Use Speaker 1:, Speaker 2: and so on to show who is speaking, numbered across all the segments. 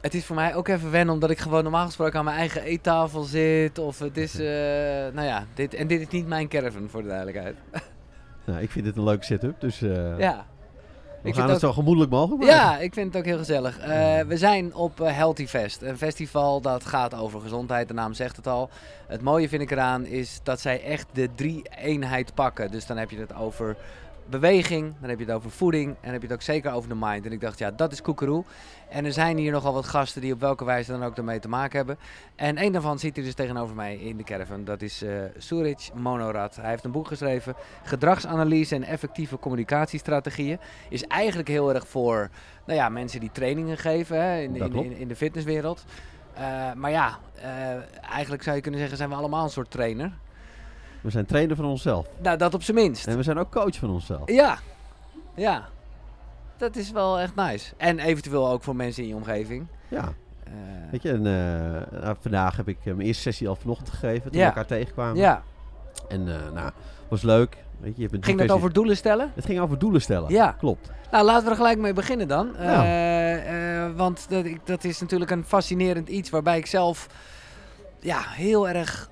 Speaker 1: Het is voor mij ook even wennen, omdat ik gewoon normaal gesproken aan mijn eigen eettafel zit. Of het is, eh, nou ja, dit, en dit is niet mijn caravan, voor de duidelijkheid.
Speaker 2: Nou, ik vind dit een leuke setup, dus eh,
Speaker 1: Ja,
Speaker 2: we
Speaker 1: ik
Speaker 2: gaan
Speaker 1: zit
Speaker 2: het zo gemoedelijk mogelijk maken.
Speaker 1: ja ik vind het ook heel gezellig. Eh, we zijn op eh, Healthy Fest, een festival dat gaat over gezondheid. De naam zegt het al. Het mooie vind ik eraan is dat zij echt de drie-eenheid pakken. Dus dan heb je het over beweging, dan heb je het over voeding en dan heb je het ook zeker over de mind. En ik dacht, ja, dat is koekeroe. En er zijn hier nogal wat gasten die op welke wijze dan ook ermee te maken hebben. En één daarvan zit hier dus tegenover mij in de caravan. Dat is eh Suraj Monorat. Hij heeft een boek geschreven, Gedragsanalyse en effectieve communicatiestrategieën. Is eigenlijk heel erg voor nou ja, mensen die trainingen geven hè, in,
Speaker 2: Dat
Speaker 1: in,
Speaker 2: klopt.
Speaker 1: in, in de fitnesswereld. Eh, maar ja, eh, eigenlijk zou je kunnen zeggen, zijn we allemaal een soort trainer.
Speaker 2: We zijn trainer van onszelf.
Speaker 1: Nou, dat op zijn minst.
Speaker 2: En we zijn ook coach van onszelf.
Speaker 1: Ja, ja. Dat is wel echt nice. En eventueel ook voor mensen in je omgeving.
Speaker 2: Ja,
Speaker 1: Eh,
Speaker 2: weet je, en, eh, nou, vandaag heb ik eh, mijn eerste sessie al vanochtend gegeven, toen
Speaker 1: Ja.
Speaker 2: we elkaar tegenkwamen.
Speaker 1: ja.
Speaker 2: En eh, nou, was leuk. Weet je, je
Speaker 1: Ging het
Speaker 2: bent diversi-
Speaker 1: over doelen stellen?
Speaker 2: Het ging over doelen stellen.
Speaker 1: Ja.
Speaker 2: Klopt.
Speaker 1: Nou, laten we er gelijk mee beginnen dan. Eh,
Speaker 2: Nou.
Speaker 1: eh, want dat, ik- dat is natuurlijk een fascinerend iets waarbij ik zelf ja, heel erg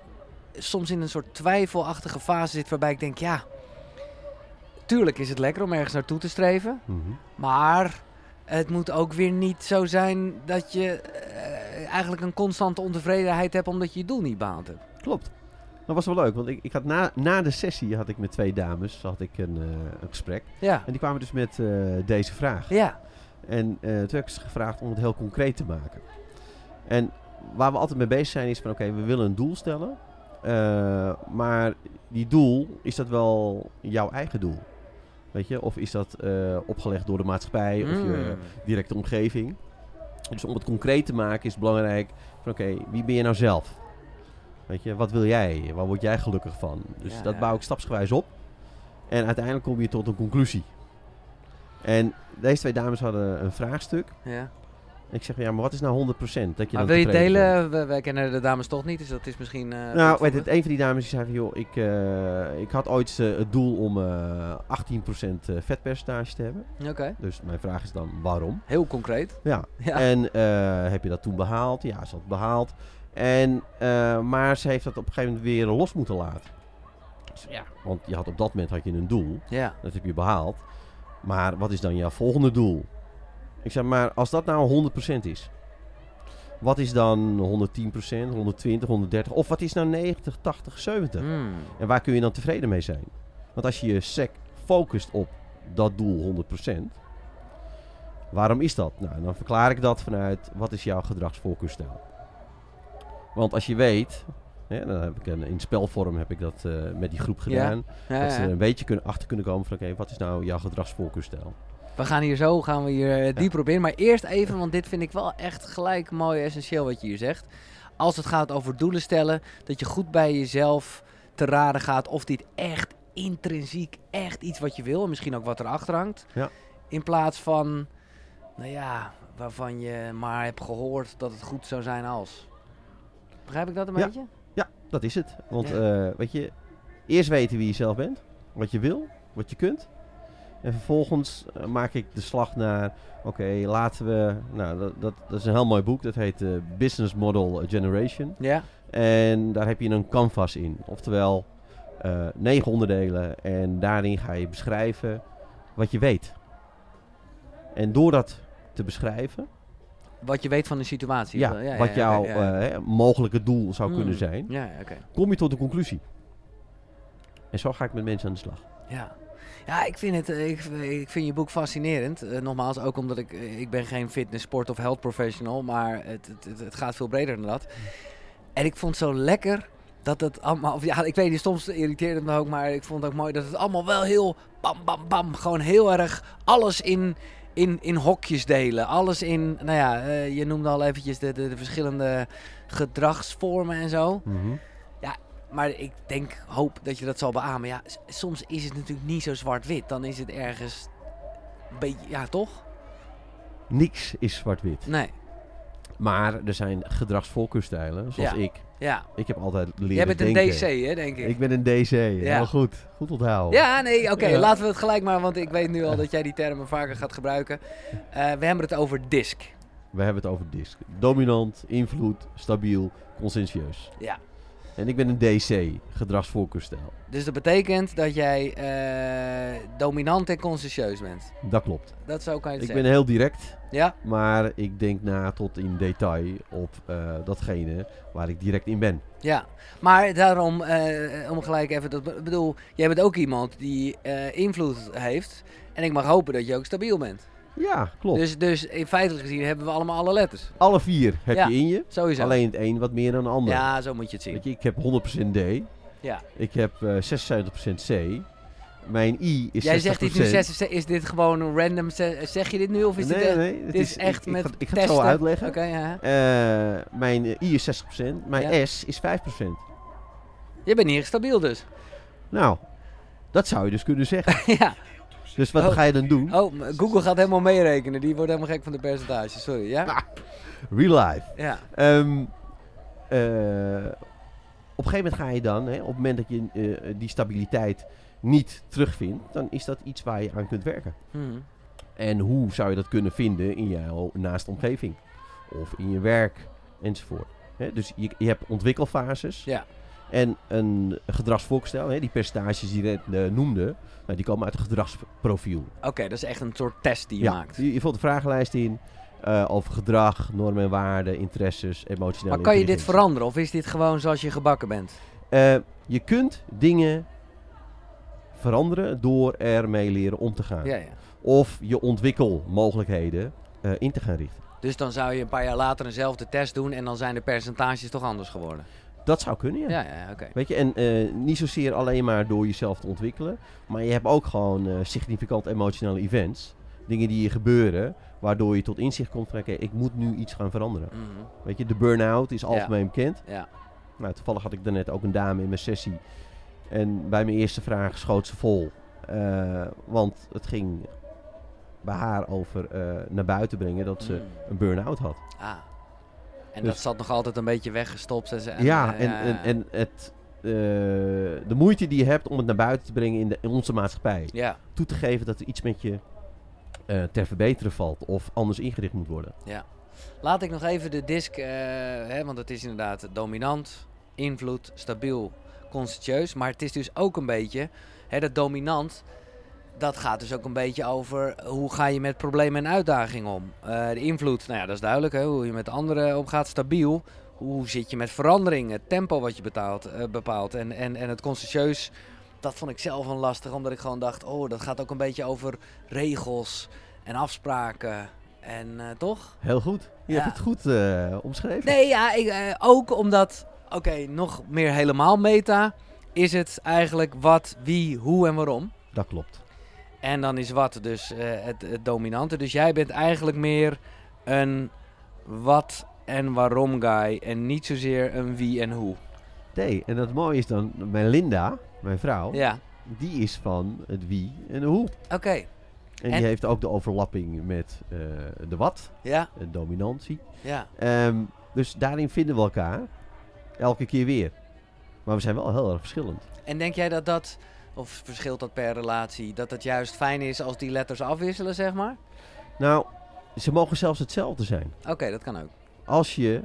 Speaker 1: soms in een soort twijfelachtige fase zit. Waarbij ik denk, ja, tuurlijk is het lekker om ergens naartoe te streven.
Speaker 2: Mhm.
Speaker 1: Maar het moet ook weer niet zo zijn dat je eh, eigenlijk een constante ontevredenheid hebt omdat je je doel niet behaald hebt.
Speaker 2: Klopt. Dat was wel leuk, want ik, ik had na, na de sessie had ik met twee dames had ik een, eh, een gesprek.
Speaker 1: Ja,
Speaker 2: En die kwamen dus met eh, deze vraag.
Speaker 1: ja,
Speaker 2: En eh, toen heb ik ze gevraagd om het heel concreet te maken. En waar we altijd mee bezig zijn is van oké, we willen een doel stellen. eh, maar die doel, is dat wel jouw eigen doel? Weet je, of is dat eh, opgelegd door de maatschappij of je
Speaker 1: Mm.
Speaker 2: directe omgeving? Dus om het concreet te maken is het belangrijk van oké, wie ben je nou zelf? Weet je, wat wil jij? Waar word jij gelukkig van? Dus
Speaker 1: Ja,
Speaker 2: dat
Speaker 1: ja.
Speaker 2: bouw ik stapsgewijs op. En uiteindelijk kom je tot een conclusie. En deze twee dames hadden een vraagstuk.
Speaker 1: ja.
Speaker 2: En ik zeg, ja, maar wat is nou 100%? Dat je
Speaker 1: Maar
Speaker 2: dan
Speaker 1: wil je het
Speaker 2: tevreden bent?
Speaker 1: delen? We- wij kennen de dames toch niet, dus dat is misschien. eh, goed
Speaker 2: Nou,
Speaker 1: voor
Speaker 2: weet
Speaker 1: me.
Speaker 2: het, een van die dames die zei van, joh, ik, eh, ik had ooit eh, het doel om eh 18% vetpercentage te hebben.
Speaker 1: Oké,
Speaker 2: Dus mijn vraag is dan, waarom?
Speaker 1: heel concreet.
Speaker 2: Ja.
Speaker 1: Ja.
Speaker 2: En eh, heb je dat toen behaald? Ja, ze had het behaald. En, eh, maar ze heeft dat op een gegeven moment weer los moeten laten. Dus ja, want je had op dat moment had je een doel.
Speaker 1: ja.
Speaker 2: Dat heb je behaald. Maar wat is dan jouw volgende doel? Ik zeg maar, als dat nou 100% is. Wat is dan 110%, 120, 130? Of wat is nou 90, 80, 70?
Speaker 1: Mm.
Speaker 2: En waar kun je dan tevreden mee zijn? Want als je je sec focust op dat doel 100%, waarom is dat? Nou, dan verklaar ik dat vanuit wat is jouw gedragsvoorkeurstijl. Want als je weet, hè, dan heb ik een, in spelvorm heb ik dat eh, met die groep gedaan,
Speaker 1: Ja,
Speaker 2: dat eh, ze
Speaker 1: ja.
Speaker 2: er een beetje kunnen, achter kunnen komen van oké, wat is nou jouw gedragsvoorkeurstijl?
Speaker 1: We gaan hier zo gaan we hier eh, dieper op in. Maar eerst even, want dit vind ik wel echt gelijk mooi essentieel wat je hier zegt. Als het gaat over doelen stellen, dat je goed bij jezelf te raden gaat of dit echt intrinsiek echt iets wat je wil en misschien ook wat erachter hangt.
Speaker 2: Ja.
Speaker 1: In plaats van, nou ja, waarvan je maar hebt gehoord dat het goed zou zijn als. Begrijp ik dat een
Speaker 2: Ja.
Speaker 1: beetje?
Speaker 2: Ja, dat is het. Want
Speaker 1: Ja.
Speaker 2: eh, weet je, eerst weten wie je zelf bent, wat je wil, wat je kunt. En vervolgens eh, maak ik de slag naar, oké, laten we, nou dat, dat, dat is een heel mooi boek, dat heet eh, Business Model Generation.
Speaker 1: Ja.
Speaker 2: En daar heb je een canvas in. Oftewel, eh, negen onderdelen. En daarin ga je beschrijven wat je weet. En door dat te beschrijven,
Speaker 1: Wat je weet van de situatie.
Speaker 2: ja,
Speaker 1: Van- ja,
Speaker 2: wat
Speaker 1: ja,
Speaker 2: jouw
Speaker 1: ja, ja.
Speaker 2: eh, hè, mogelijke doel zou
Speaker 1: Hmm.
Speaker 2: kunnen zijn,
Speaker 1: Ja, oké.
Speaker 2: kom je tot een conclusie. En zo ga ik met mensen aan de slag.
Speaker 1: Ja. Ja, ik vind, het, eh, ik, ik vind je boek fascinerend. Eh, nogmaals, ook omdat ik, eh, ik ben geen fitness, sport of health professional, maar het, het, het, het gaat veel breder dan dat. En ik vond het zo lekker dat het allemaal, of ja, ik weet niet, soms irriteerde het me ook, maar ik vond het ook mooi dat het allemaal wel heel bam, bam, bam, gewoon heel erg alles in, in, in hokjes delen. Alles in, nou ja, eh, je noemde al eventjes de, de, de verschillende gedragsvormen en zo.
Speaker 2: Mhm.
Speaker 1: Maar ik denk, hoop dat je dat zal beamen. Ja, s- soms is het natuurlijk niet zo zwart-wit. Dan is het ergens een beetje... Ja, toch?
Speaker 2: Niks is zwart-wit.
Speaker 1: Nee.
Speaker 2: Maar er zijn gedragsvoorkeurstijlen, zoals
Speaker 1: Ja.
Speaker 2: ik.
Speaker 1: Ja.
Speaker 2: Ik heb altijd leren
Speaker 1: Jij bent een
Speaker 2: denken.
Speaker 1: DC, hè, denk ik.
Speaker 2: Ik ben een DC. Heel goed. Goed onthouden.
Speaker 1: Ja, nee, oké.
Speaker 2: Ja.
Speaker 1: Laten we het gelijk maar, want ik weet nu al dat jij die termen vaker gaat gebruiken. Eh, we hebben het over disc.
Speaker 2: We hebben het over disc. Dominant, invloed, stabiel, consentieus.
Speaker 1: Ja.
Speaker 2: En ik ben een DC, gedragsvoorkeurstijl.
Speaker 1: Dus dat betekent dat jij eh, dominant en consciëntieus bent.
Speaker 2: Dat klopt.
Speaker 1: Dat zo kan je
Speaker 2: Ik
Speaker 1: het
Speaker 2: ben
Speaker 1: zeggen.
Speaker 2: heel direct,
Speaker 1: Ja,
Speaker 2: maar ik denk na tot in detail op eh, datgene waar ik direct in ben.
Speaker 1: Ja, maar daarom, eh, om gelijk even, dat, ik bedoel, jij bent ook iemand die eh, invloed heeft. En ik mag hopen dat je ook stabiel bent.
Speaker 2: Ja, klopt.
Speaker 1: Dus, dus in feitelijk gezien hebben we allemaal alle letters.
Speaker 2: Alle vier heb
Speaker 1: Ja,
Speaker 2: je in je.
Speaker 1: Sowieso.
Speaker 2: Alleen het een wat meer dan de ander.
Speaker 1: Ja, zo moet je het zien.
Speaker 2: Weet je, ik heb 100% D.
Speaker 1: Ja.
Speaker 2: Ik heb eh 76% C. Mijn I is 60%.
Speaker 1: Jij zegt dit nu 6, is dit gewoon een random, ze- zeg je dit nu of is dit...
Speaker 2: Nee,
Speaker 1: eh,
Speaker 2: nee. Het
Speaker 1: dit is echt
Speaker 2: ik, ik
Speaker 1: met
Speaker 2: ga, ik ga het zo
Speaker 1: testen.
Speaker 2: uitleggen.
Speaker 1: Oké, ja.
Speaker 2: Eh, mijn eh, I is 60%, mijn
Speaker 1: Ja.
Speaker 2: S is 5%.
Speaker 1: Je bent niet echt stabiel dus.
Speaker 2: Nou, dat zou je dus kunnen zeggen.
Speaker 1: ja.
Speaker 2: Dus wat
Speaker 1: Oh.
Speaker 2: ga je dan doen?
Speaker 1: Oh, maar Google gaat helemaal meerekenen. Die wordt helemaal gek van de percentages. Sorry, ja?
Speaker 2: Nou. Real life.
Speaker 1: Ja.
Speaker 2: Ehm, eh, op een gegeven moment ga je dan, hè, op het moment dat je eh, die stabiliteit niet terugvindt, dan is dat iets waar je aan kunt werken.
Speaker 1: Hm.
Speaker 2: En hoe zou je dat kunnen vinden in jouw naaste omgeving? Of in je werk, enzovoort. Hè, dus je, je hebt ontwikkelfases.
Speaker 1: Ja.
Speaker 2: En een gedragsvoorstel, hè, die percentages die je net eh, noemde, nou, die komen uit het gedragsprofiel.
Speaker 1: Oké, dat is echt een soort test die je maakt.
Speaker 2: Je, je vult een vragenlijst in eh, over gedrag, normen en waarden, interesses, emotionele
Speaker 1: Maar kan je dit
Speaker 2: intelligentie.
Speaker 1: veranderen of is dit gewoon zoals je gebakken bent?
Speaker 2: Eh, je kunt dingen veranderen door ermee leren om te gaan.
Speaker 1: Ja, ja.
Speaker 2: Of je ontwikkelmogelijkheden eh, in te gaan richten.
Speaker 1: Dus dan zou je een paar jaar later eenzelfde test doen en dan zijn de percentages toch anders geworden.
Speaker 2: Dat zou kunnen, ja.
Speaker 1: Ja, ja, oké.
Speaker 2: Weet je, en eh, niet zozeer alleen maar door jezelf te ontwikkelen, maar je hebt ook gewoon eh, significant emotionele events. Dingen die je gebeuren, waardoor je tot inzicht komt van, oké, ik moet nu iets gaan veranderen.
Speaker 1: Mhm.
Speaker 2: Weet je, de burn-out is algemeen bekend.
Speaker 1: Ja.
Speaker 2: Nou, toevallig had ik daarnet ook een dame in mijn sessie. En bij mijn eerste vraag schoot ze vol. Eh, want het ging bij haar over eh, naar buiten brengen dat ze
Speaker 1: Mhm.
Speaker 2: een burn-out had.
Speaker 1: Ah. En
Speaker 2: Dus-
Speaker 1: dat zat nog altijd een beetje weggestopt. En, ze- en,
Speaker 2: ja,
Speaker 1: eh,
Speaker 2: en,
Speaker 1: ja,
Speaker 2: en,
Speaker 1: ja.
Speaker 2: en het, eh, de moeite die je hebt om het naar buiten te brengen in, de, in onze maatschappij.
Speaker 1: Ja,
Speaker 2: Toe te geven dat er iets met je eh, ter verbeteren valt of anders ingericht moet worden.
Speaker 1: laat ik nog even de disc, eh, hè, want het is inderdaad dominant, invloed, stabiel, constantieus. Maar het is dus ook een beetje, hè, dat dominant, dat gaat dus ook een beetje over hoe ga je met problemen en uitdagingen om. Eh, de invloed, nou ja, dat is duidelijk, hè, hoe je met anderen omgaat, stabiel. Hoe zit je met verandering, het tempo wat je betaalt, eh, bepaalt en, en, en het constantieus. Dat vond ik zelf een lastig, omdat ik gewoon dacht, oh, dat gaat ook een beetje over regels en afspraken. En eh, toch?
Speaker 2: Heel goed. Je
Speaker 1: Ja.
Speaker 2: hebt het goed eh, omschreven.
Speaker 1: Nee, ja, ik, eh, ook omdat, oké, nog meer helemaal meta, is het eigenlijk wat, wie, hoe en waarom.
Speaker 2: Dat klopt.
Speaker 1: En dan is wat dus eh, het, het dominante. Dus jij bent eigenlijk meer een wat en waarom guy en niet zozeer een wie en hoe.
Speaker 2: Nee, en dat mooie is dan, mijn Linda, mijn vrouw,
Speaker 1: Ja,
Speaker 2: die is van het wie en de hoe.
Speaker 1: oké.
Speaker 2: En,
Speaker 1: En-
Speaker 2: die heeft ook de overlapping met eh, de wat,
Speaker 1: Ja,
Speaker 2: eh, dominantie.
Speaker 1: ja.
Speaker 2: Ehm, dus daarin vinden we elkaar elke keer weer. Maar we zijn wel heel erg verschillend.
Speaker 1: En denk jij dat dat... Of verschilt dat per relatie? Dat het juist fijn is als die letters afwisselen, zeg maar?
Speaker 2: Nou, ze mogen zelfs hetzelfde zijn.
Speaker 1: Oké, dat kan ook.
Speaker 2: Als je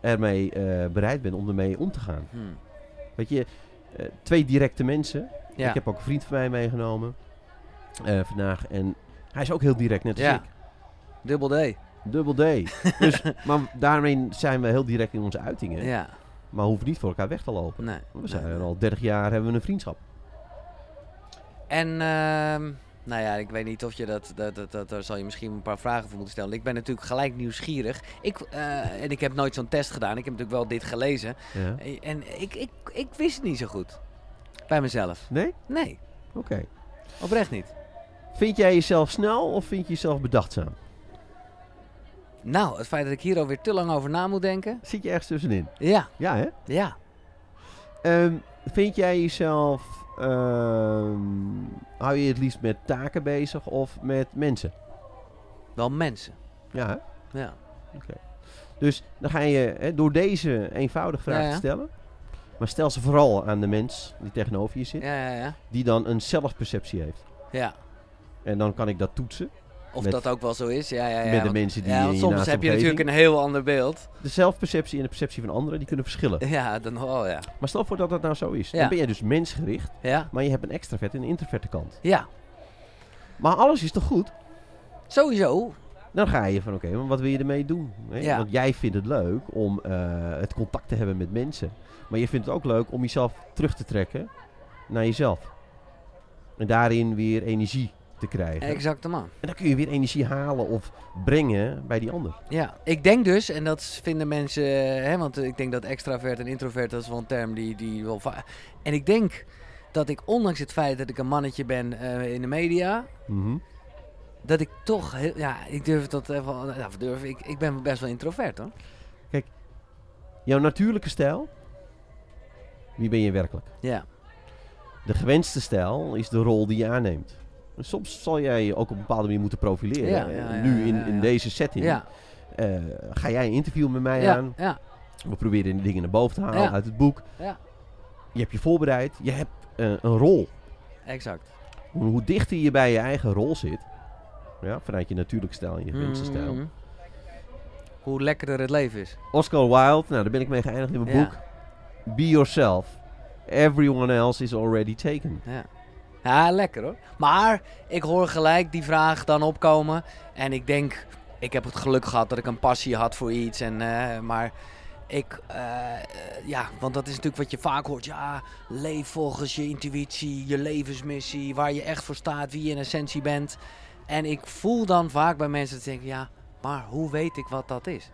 Speaker 2: ermee eh, bereid bent om ermee om te gaan.
Speaker 1: Hmm.
Speaker 2: Weet je, eh, twee directe mensen.
Speaker 1: Ja.
Speaker 2: Ik heb ook een vriend van mij meegenomen eh, vandaag. En hij is ook heel direct, net als
Speaker 1: Ja.
Speaker 2: ik.
Speaker 1: Dubbel D.
Speaker 2: Dubbel D. dus, maar daarmee zijn we heel direct in onze uitingen.
Speaker 1: Ja.
Speaker 2: Maar we hoeven niet voor elkaar weg te lopen.
Speaker 1: Nee.
Speaker 2: We zijn
Speaker 1: nee, nee.
Speaker 2: al 30 jaar hebben we een vriendschap.
Speaker 1: En ehm, nou ja, ik weet niet of je dat, dat, dat, dat- daar zal je misschien een paar vragen voor moeten stellen. Ik ben natuurlijk gelijk nieuwsgierig. Ik, eh, en ik heb nooit zo'n test gedaan. Ik heb natuurlijk wel dit gelezen.
Speaker 2: Ja.
Speaker 1: En ik, ik, ik wist het niet zo goed. Bij mezelf.
Speaker 2: Nee?
Speaker 1: Nee,
Speaker 2: Oké.
Speaker 1: oprecht niet.
Speaker 2: Vind jij jezelf snel of vind je jezelf bedachtzaam?
Speaker 1: Nou, het feit dat ik hier alweer te lang over na moet denken.
Speaker 2: Zit je ergens tussenin?
Speaker 1: Ja,
Speaker 2: Ja, hè?
Speaker 1: ja.
Speaker 2: Ehm, vind jij jezelf... ehm, hou je je het liefst met taken bezig of met mensen?
Speaker 1: Wel mensen.
Speaker 2: Ja, hè?
Speaker 1: Ja.
Speaker 2: Dus dan ga je hè, door deze eenvoudige vraag
Speaker 1: Ja, ja.
Speaker 2: te stellen... Maar stel ze vooral aan de mens die tegenover je zit,
Speaker 1: Ja, ja, ja.
Speaker 2: die dan een zelfperceptie heeft.
Speaker 1: ja.
Speaker 2: En dan kan ik dat toetsen
Speaker 1: Of
Speaker 2: Met-
Speaker 1: dat ook wel zo is. Ja, ja, ja.
Speaker 2: met de
Speaker 1: want-
Speaker 2: mensen die
Speaker 1: ja,
Speaker 2: in
Speaker 1: want
Speaker 2: je
Speaker 1: soms
Speaker 2: naaste
Speaker 1: heb je
Speaker 2: omgeving-
Speaker 1: natuurlijk een heel ander beeld.
Speaker 2: De zelfperceptie en de perceptie van anderen, die kunnen verschillen.
Speaker 1: Ja, dan oh ja.
Speaker 2: Maar stel voor dat dat nou zo is.
Speaker 1: Ja.
Speaker 2: Dan ben je dus mensgericht,
Speaker 1: Ja,
Speaker 2: maar je hebt een extravert en een introverte kant.
Speaker 1: ja.
Speaker 2: Maar alles is toch goed?
Speaker 1: Sowieso.
Speaker 2: Dan ga je van, oké, maar wat wil je ermee doen? Hè?
Speaker 1: Ja.
Speaker 2: Want jij vindt het leuk om eh, het contact te hebben met mensen. Maar je vindt het ook leuk om jezelf terug te trekken naar jezelf. En daarin weer energie te krijgen.
Speaker 1: Exact, man.
Speaker 2: en dan kun je weer energie halen of brengen bij die ander.
Speaker 1: Ja, ik denk dus, en dat vinden mensen, hè, want ik denk dat extravert en introvert, dat is wel een term die, die wel va- En ik denk dat ik, ondanks het feit dat ik een mannetje ben eh, in de media,
Speaker 2: Mhm.
Speaker 1: dat ik toch, heel, ja, ik durf dat even, nou, of durf, ik, ik ben best wel introvert hoor.
Speaker 2: Jouw natuurlijke stijl, wie ben je werkelijk?
Speaker 1: Ja,
Speaker 2: De gewenste stijl is de rol die je aanneemt. En soms zal jij je ook op een bepaalde manier moeten profileren.
Speaker 1: Ja,
Speaker 2: Eh,
Speaker 1: ja, ja,
Speaker 2: nu in,
Speaker 1: ja, ja.
Speaker 2: in deze setting
Speaker 1: ja,
Speaker 2: eh, ga jij een interview met mij
Speaker 1: ja,
Speaker 2: aan.
Speaker 1: ja,
Speaker 2: We proberen de dingen naar boven te halen
Speaker 1: Ja.
Speaker 2: uit het boek.
Speaker 1: Ja.
Speaker 2: Je hebt je voorbereid. Je hebt eh, een rol.
Speaker 1: exact.
Speaker 2: Hoe hoe dichter je bij je eigen rol zit, ja, vanuit je natuurlijke stijl en je gewenste stijl.
Speaker 1: Mhm. Hoe lekkerder het leven is.
Speaker 2: Oscar Wilde, nou daar ben ik mee geëindigd in mijn
Speaker 1: Ja.
Speaker 2: boek. Be yourself. Everyone else is already taken.
Speaker 1: Ja. ja, lekker hoor. Maar ik hoor gelijk die vraag dan opkomen. En ik denk, ik heb het geluk gehad dat ik een passie had voor iets. En, eh, maar ik, eh, eh, ja, want dat is natuurlijk wat je vaak hoort. Ja, leef volgens je intuïtie, je levensmissie, waar je echt voor staat, wie je in essentie bent. En ik voel dan vaak bij mensen dat ze denken, ja, maar hoe weet ik wat dat is?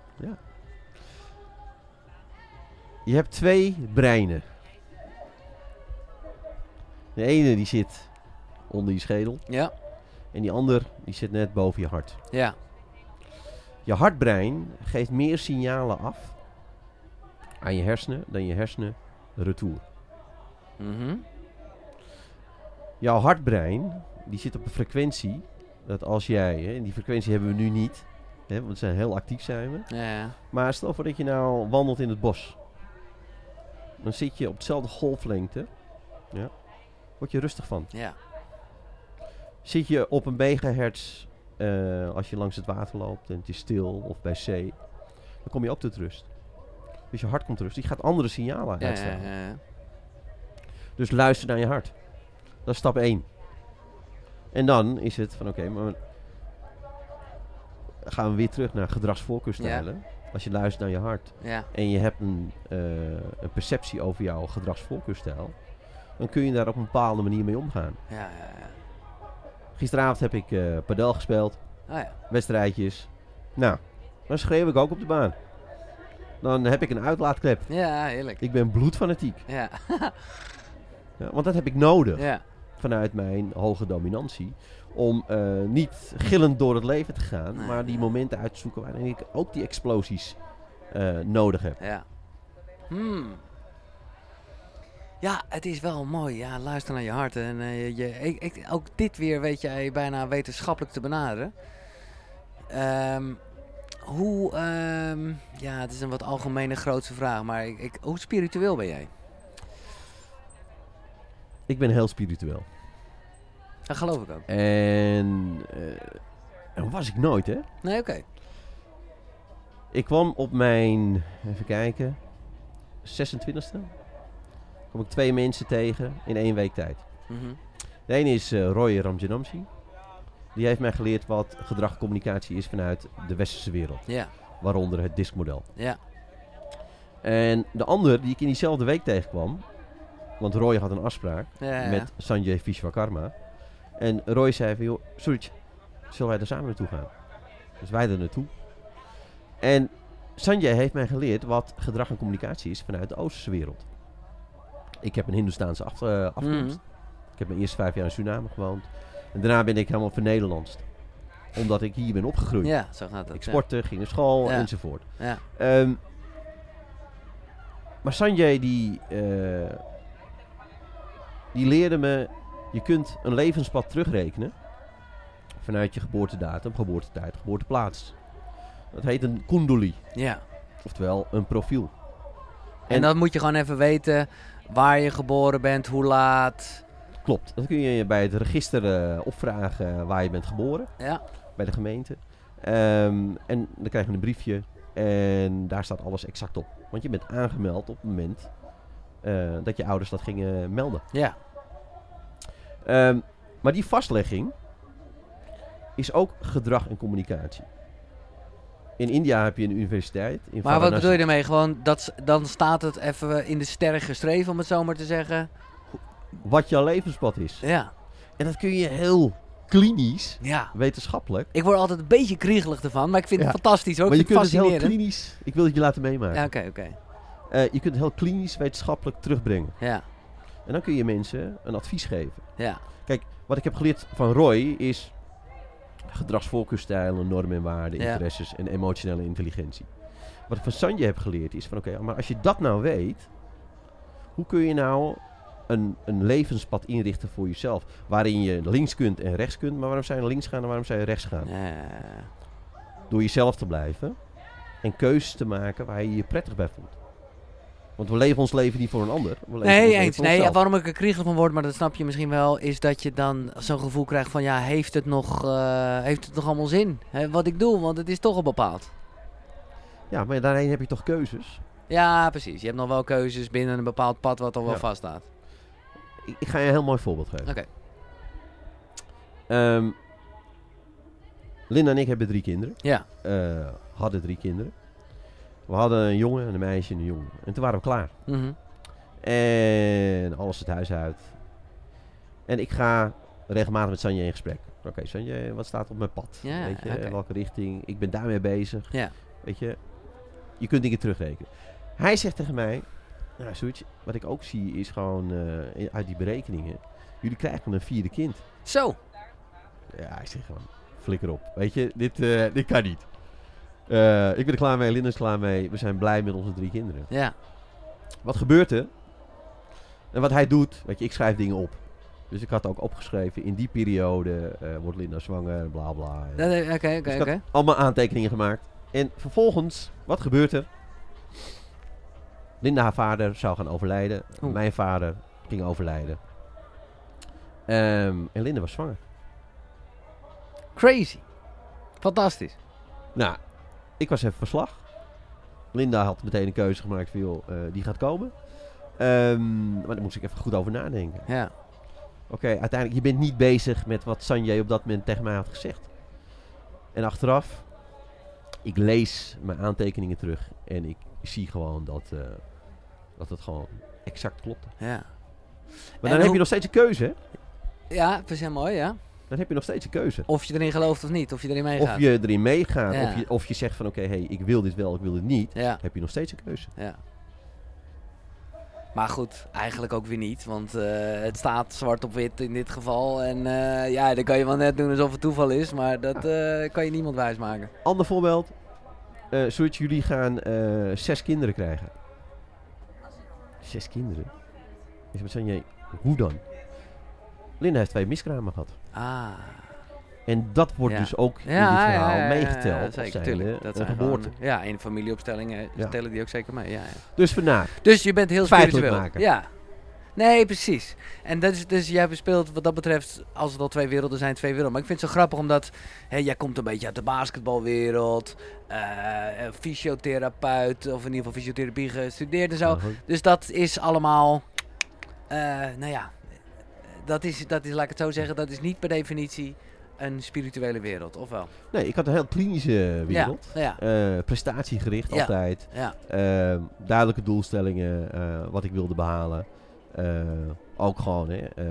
Speaker 2: Je hebt twee breinen. De ene die zit onder je schedel
Speaker 1: Ja,
Speaker 2: en die ander die zit net boven je hart.
Speaker 1: ja,
Speaker 2: Je hartbrein geeft meer signalen af aan je hersenen dan je hersenen retour.
Speaker 1: mhm,
Speaker 2: Jouw hartbrein die zit op een frequentie dat als jij, hè, en die frequentie hebben we nu niet, hè, want ze zijn heel actief zijn we.
Speaker 1: ja, ja.
Speaker 2: Maar stel voor dat je nou wandelt in het bos. Dan zit je op dezelfde golflengte. Ja. Word je rustig van.
Speaker 1: ja.
Speaker 2: Zit je op een megahertz eh, als je langs het water loopt en het is stil of bij zee. Dan kom je ook tot rust. Dus je hart komt tot rust. Die gaat andere signalen
Speaker 1: ja, ja,
Speaker 2: uitstralen.
Speaker 1: ja, ja.
Speaker 2: Dus luister naar je hart. Dat is stap 1. En dan is het van oké, maar dan gaan we weer terug naar gedragsvoorkeurstijlen. Als je luistert naar je hart
Speaker 1: ja.
Speaker 2: en je hebt een, eh, een perceptie over jouw gedragsvoorkeurstijl, dan kun je daar op een bepaalde manier mee omgaan.
Speaker 1: ja, ja, ja.
Speaker 2: Gisteravond heb ik eh padel gespeeld,
Speaker 1: Oh ja.
Speaker 2: wedstrijdjes. Nou, dan schreeuw ik ook op de baan. Dan heb ik een uitlaatklep.
Speaker 1: Ja, heerlijk.
Speaker 2: Ik ben bloedfanatiek.
Speaker 1: Ja,
Speaker 2: Ja, want dat heb ik nodig
Speaker 1: ja,
Speaker 2: vanuit mijn hoge dominantie. Om eh, niet gillend door het leven te gaan,
Speaker 1: Nee.
Speaker 2: maar die momenten uit te zoeken waarin ik ook die explosies eh, nodig heb.
Speaker 1: ja. Hmm. Ja, het is wel mooi. Ja, luister naar je hart. En eh, je, je- ik, ik- ook dit weer weet jij bijna wetenschappelijk te benaderen. Ehm, hoe, ehm, ja, het is een wat algemene grootse vraag, maar ik, ik, hoe spiritueel ben jij?
Speaker 2: Ik ben heel spiritueel.
Speaker 1: Dat geloof ik ook.
Speaker 2: En, eh, en was ik nooit, hè?
Speaker 1: Nee, oké.
Speaker 2: Ik kwam op mijn, even kijken, 26e. Kom ik twee mensen tegen in één week tijd.
Speaker 1: Mhm.
Speaker 2: De ene is eh, Roy Ramjanamsi. Die heeft mij geleerd wat gedrag communicatie is vanuit de westerse wereld.
Speaker 1: Ja,
Speaker 2: Waaronder het DISC-model.
Speaker 1: ja.
Speaker 2: En de ander die ik in diezelfde week tegenkwam. Want Roy had een afspraak
Speaker 1: ja, ja.
Speaker 2: met Sanjay Vishwakarma. En Roy zei van, joh, Suraj, zullen wij er samen naartoe gaan? Dus wij er naartoe. En Sanjay heeft mij geleerd wat gedrag en communicatie is vanuit de Oosterse wereld. Ik heb een Hindoestaanse af, eh, afkomst.
Speaker 1: Mhm.
Speaker 2: Ik heb mijn eerste vijf jaar in Suriname gewoond. En daarna ben ik helemaal vernederlandst. Omdat ik hier ben opgegroeid.
Speaker 1: Ja, zo gaat dat.
Speaker 2: ik
Speaker 1: ja.
Speaker 2: sportte, ging naar school
Speaker 1: Ja.
Speaker 2: enzovoort.
Speaker 1: Ja.
Speaker 2: Ehm, maar Sanjay die, eh, die leerde me, je kunt een levenspad terugrekenen vanuit je geboortedatum, geboortetijd, geboorteplaats. Dat heet een kundali,
Speaker 1: ja.
Speaker 2: oftewel een profiel.
Speaker 1: En,
Speaker 2: En-
Speaker 1: dan moet je gewoon even weten waar je geboren bent, hoe laat.
Speaker 2: Klopt, dat kun je bij het register eh, opvragen waar je bent geboren.
Speaker 1: Ja,
Speaker 2: bij de gemeente. Ehm, en dan krijgen we een briefje. En daar staat alles exact op. Want je bent aangemeld op het moment eh, dat je ouders dat gingen melden.
Speaker 1: ja.
Speaker 2: Ehm, maar die vastlegging is ook gedrag en communicatie. In India heb je een universiteit. In
Speaker 1: Maar wat
Speaker 2: Varanasi.
Speaker 1: bedoel je daarmee? Gewoon, dat, s- dan staat het even in de sterren geschreven, om het zo maar te zeggen.
Speaker 2: Wat jouw levenspad is.
Speaker 1: Ja,
Speaker 2: En dat kun je heel klinisch,
Speaker 1: ja.
Speaker 2: wetenschappelijk.
Speaker 1: Ik word altijd een beetje kriegelig ervan, maar ik vind
Speaker 2: Ja.
Speaker 1: het fantastisch hoor.
Speaker 2: maar je
Speaker 1: ik vind
Speaker 2: kunt
Speaker 1: het
Speaker 2: het heel
Speaker 1: fascinerend.
Speaker 2: klinisch. Ik wil het je laten meemaken.
Speaker 1: ja, oké, oké.
Speaker 2: Eh, je kunt het heel klinisch, wetenschappelijk terugbrengen.
Speaker 1: Ja,
Speaker 2: En dan kun je mensen een advies geven.
Speaker 1: ja.
Speaker 2: Kijk, wat ik heb geleerd van Roy is gedragsvoorkeurstijlen, normen en waarden,
Speaker 1: Ja.
Speaker 2: interesses en emotionele intelligentie. Wat ik van Sanjay heb geleerd is van oké, maar als je dat nou weet, hoe kun je nou een, een levenspad inrichten voor jezelf? Waarin je links kunt en rechts kunt, maar waarom zou je links gaan en waarom zou je rechts gaan?
Speaker 1: Eh,
Speaker 2: Door jezelf te blijven en keuzes te maken waar je je prettig bij voelt. Want we leven ons leven niet voor een ander. We leven ons
Speaker 1: Nee,
Speaker 2: leven
Speaker 1: eens.
Speaker 2: voor
Speaker 1: Nee,
Speaker 2: onszelf.
Speaker 1: waarom ik er kriegelig van word, maar dat snap je misschien wel, is dat je dan zo'n gevoel krijgt van ja, heeft het nog, eh, heeft het nog allemaal zin? Hè, wat ik doe, want het is toch al bepaald.
Speaker 2: Ja, maar daarheen heb je toch keuzes?
Speaker 1: Ja, precies. Je hebt nog wel keuzes binnen een bepaald pad wat al wel
Speaker 2: Ja.
Speaker 1: vaststaat.
Speaker 2: Ik, ik ga je een heel mooi voorbeeld geven.
Speaker 1: Oké.
Speaker 2: Ehm, Linda en ik hebben drie kinderen.
Speaker 1: Ja.
Speaker 2: Eh, hadden drie kinderen. We hadden een jongen, een meisje en een jongen. En toen waren we klaar.
Speaker 1: Mhm.
Speaker 2: En alles het huis uit. En ik ga regelmatig met Sanjay in gesprek. Oké, Sanjay, wat staat op mijn pad?
Speaker 1: Ja,
Speaker 2: Weet je,
Speaker 1: oké.
Speaker 2: welke richting? Ik ben daarmee bezig.
Speaker 1: Ja.
Speaker 2: Weet je, je kunt dingen terugrekenen. Hij zegt tegen mij, nou, zoiets, wat ik ook zie is gewoon eh, uit die berekeningen. Jullie krijgen wel een vierde kind.
Speaker 1: Zo.
Speaker 2: Ja, ik zeg gewoon, flikker op. Weet je, dit, eh, dit kan niet. Eh, ik ben er klaar mee, Linda is klaar mee. We zijn blij met onze drie kinderen.
Speaker 1: Ja.
Speaker 2: Wat gebeurt er? En wat hij doet, weet je, ik schrijf dingen op. Dus ik had ook opgeschreven, in die periode eh, wordt Linda zwanger, bla bla. En
Speaker 1: Dat- eh, Oké,
Speaker 2: Dus
Speaker 1: oké,
Speaker 2: ik
Speaker 1: oké.
Speaker 2: Allemaal aantekeningen gemaakt. En vervolgens, wat gebeurt er? Linda, haar vader, zou gaan overlijden.
Speaker 1: Oeh.
Speaker 2: Mijn vader ging overlijden. Ehm, en Linda was zwanger.
Speaker 1: Crazy. Fantastisch.
Speaker 2: Nou, ik was even verslag. Linda had meteen een keuze gemaakt van, joh, eh, die gaat komen. Ehm, maar daar moest ik even goed over nadenken.
Speaker 1: Ja.
Speaker 2: Oké, uiteindelijk, je bent niet bezig met wat Sanjay op dat moment tegen mij had gezegd. En achteraf, ik lees mijn aantekeningen terug en ik zie gewoon dat, eh, dat het gewoon exact klopt.
Speaker 1: Ja.
Speaker 2: Maar
Speaker 1: En
Speaker 2: dan heb
Speaker 1: hoe-
Speaker 2: je nog steeds een keuze, hè?
Speaker 1: Ja, dat is heel mooi, ja.
Speaker 2: Dan heb je nog steeds een keuze.
Speaker 1: Of je erin gelooft of niet, of je erin meegaat.
Speaker 2: Of je erin meegaat,
Speaker 1: Ja.
Speaker 2: of, je, of je zegt van oké, hey, ik wil dit wel, ik wil dit niet.
Speaker 1: Ja.
Speaker 2: Heb je nog steeds een keuze.
Speaker 1: Maar goed, eigenlijk ook weer niet, want eh, het staat zwart op wit in dit geval. En eh, ja, dan kan je wel net doen alsof het toeval is, maar dat
Speaker 2: Ah.
Speaker 1: eh, kan je niemand wijsmaken.
Speaker 2: Ander voorbeeld. Eh zoiets, jullie gaan eh, zes kinderen krijgen. Zes kinderen? Ik zeg, Sanjay, hoe dan? Linda heeft twee miskramen gehad.
Speaker 1: Ah.
Speaker 2: En dat wordt
Speaker 1: Ja.
Speaker 2: dus ook
Speaker 1: Ja,
Speaker 2: in dit
Speaker 1: ja, ja,
Speaker 2: verhaal
Speaker 1: ja,
Speaker 2: meegeteld.
Speaker 1: ja,
Speaker 2: als
Speaker 1: zeker,
Speaker 2: zijnde
Speaker 1: tuurlijk. Dat
Speaker 2: een
Speaker 1: zijn
Speaker 2: geboorte.
Speaker 1: gewoon- ja, in familieopstellingen eh,
Speaker 2: Ja.
Speaker 1: tellen die ook zeker mee. Ja, ja.
Speaker 2: Dus vandaag,
Speaker 1: Dus je bent heel
Speaker 2: Feitelijk
Speaker 1: spiritueel.
Speaker 2: maken.
Speaker 1: Ja. Nee, precies. En dat is, dus jij bespeelt wat dat betreft, als het al twee werelden zijn, twee werelden. Maar ik vind het zo grappig omdat hè, jij komt een beetje uit de basketbalwereld. eh, eh, fysiotherapeut, of in ieder geval fysiotherapie gestudeerd en zo.
Speaker 2: Maar Nou, goed.
Speaker 1: Dus dat is allemaal, eh, nou ja, dat is, dat is, laat ik het zo zeggen, dat is niet per definitie een spirituele wereld, of wel?
Speaker 2: Nee, ik had een heel klinische wereld.
Speaker 1: Ja, ja,
Speaker 2: Eh, prestatiegericht
Speaker 1: Ja.
Speaker 2: altijd.
Speaker 1: ja.
Speaker 2: Ehm, duidelijke doelstellingen, eh, wat ik wilde behalen. Eh, ook gewoon, hè, eh,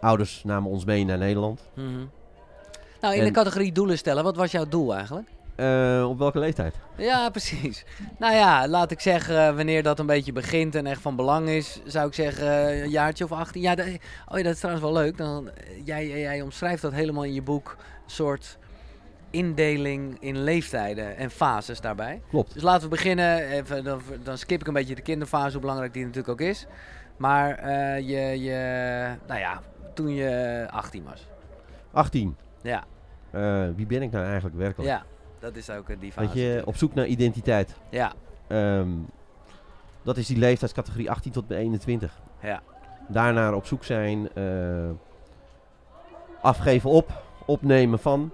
Speaker 2: ouders namen ons mee naar Nederland.
Speaker 1: mhm. Nou, in de
Speaker 2: En-
Speaker 1: categorie doelen stellen, wat was jouw doel eigenlijk?
Speaker 2: Eh, op welke leeftijd?
Speaker 1: Ja, precies. Nou ja, laat ik zeggen, eh, wanneer dat een beetje begint en echt van belang is, zou ik zeggen eh, een jaartje of 18. Ja, dat, oh ja, dat is trouwens wel leuk. Dan, eh, jij, jij, jij omschrijft dat helemaal in je boek, een soort indeling in leeftijden en fases daarbij.
Speaker 2: Klopt.
Speaker 1: Dus laten we beginnen, even, dan, dan skip ik een beetje de kinderfase, hoe belangrijk die natuurlijk ook is. Maar eh, je, je, nou ja, toen je 18 was.
Speaker 2: 18.
Speaker 1: Ja,
Speaker 2: Eh, wie ben ik nou eigenlijk werkelijk?
Speaker 1: ja dat is ook eh, die fase.
Speaker 2: Weet je, op zoek naar identiteit.
Speaker 1: Ja,
Speaker 2: Ehm, dat is die leeftijdscategorie 18 tot bij 21.
Speaker 1: Ja.
Speaker 2: Daarna op zoek zijn, eh, afgeven op, opnemen van.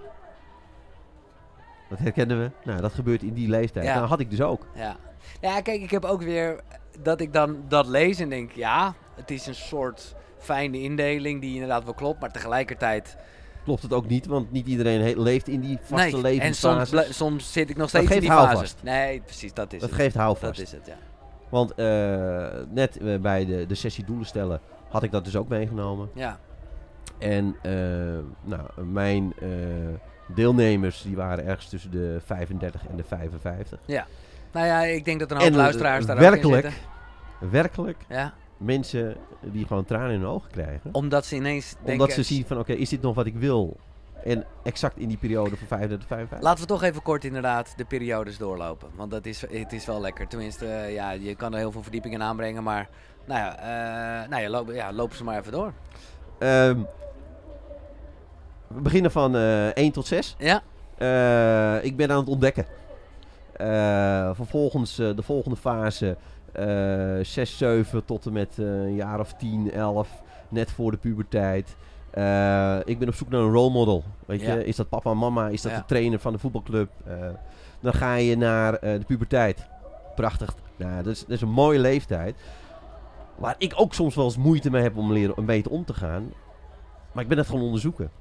Speaker 2: Dat herkennen we. Nou, dat gebeurt in die leeftijd.
Speaker 1: Ja.
Speaker 2: Nou, had ik dus ook.
Speaker 1: Ja. ja, kijk, ik heb ook weer dat ik dan dat lees en denk, ja, het is een soort fijne indeling die inderdaad wel klopt, maar tegelijkertijd...
Speaker 2: Klopt het ook niet, want niet iedereen he- leeft in die vaste
Speaker 1: nee, en soms,
Speaker 2: levensfase.
Speaker 1: ble- soms zit ik nog steeds in
Speaker 2: geeft
Speaker 1: die
Speaker 2: houvast.
Speaker 1: fases. Nee, precies, dat is
Speaker 2: dat
Speaker 1: het.
Speaker 2: geeft
Speaker 1: dat
Speaker 2: houvast.
Speaker 1: is het, ja.
Speaker 2: Want eh, net eh, bij de, de sessie doelen stellen had ik dat dus ook meegenomen.
Speaker 1: Ja,
Speaker 2: En eh, nou, mijn eh, deelnemers die waren ergens tussen de 35 en de 55.
Speaker 1: nou ja, ik denk dat er een hoop
Speaker 2: En, eh,
Speaker 1: luisteraars daar ook in
Speaker 2: werkelijk.
Speaker 1: zitten.
Speaker 2: Werkelijk
Speaker 1: Ja,
Speaker 2: mensen die gewoon tranen in hun ogen krijgen.
Speaker 1: omdat ze ineens denken...
Speaker 2: omdat ze zien van oké, is dit nog wat ik wil? En exact in die periode van 35 55.
Speaker 1: Laten we toch even kort inderdaad de periodes doorlopen. Want dat is, het is wel lekker. Tenminste, eh, ja, je kan er heel veel verdieping in aanbrengen. Maar nou ja, eh, nou ja, loop, ja lopen ze maar even door.
Speaker 2: Ehm, we beginnen van eh 1 tot 6.
Speaker 1: Ja,
Speaker 2: Eh, ik ben aan het ontdekken. Eh, vervolgens eh, de volgende fase. eh 6, 7 tot en met eh, een jaar of 10, 11. Net voor de puberteit. Eh, ik ben op zoek naar een role model. Weet
Speaker 1: Ja.
Speaker 2: je? Is dat papa en mama? Is dat
Speaker 1: Ja.
Speaker 2: de trainer van de voetbalclub? Eh, dan ga je naar eh, de puberteit. Prachtig. Nou, dat, is, dat is een mooie leeftijd. Waar ik ook soms wel eens moeite mee heb om leren, een beetje om te gaan. Maar ik ben dat gewoon onderzoeken.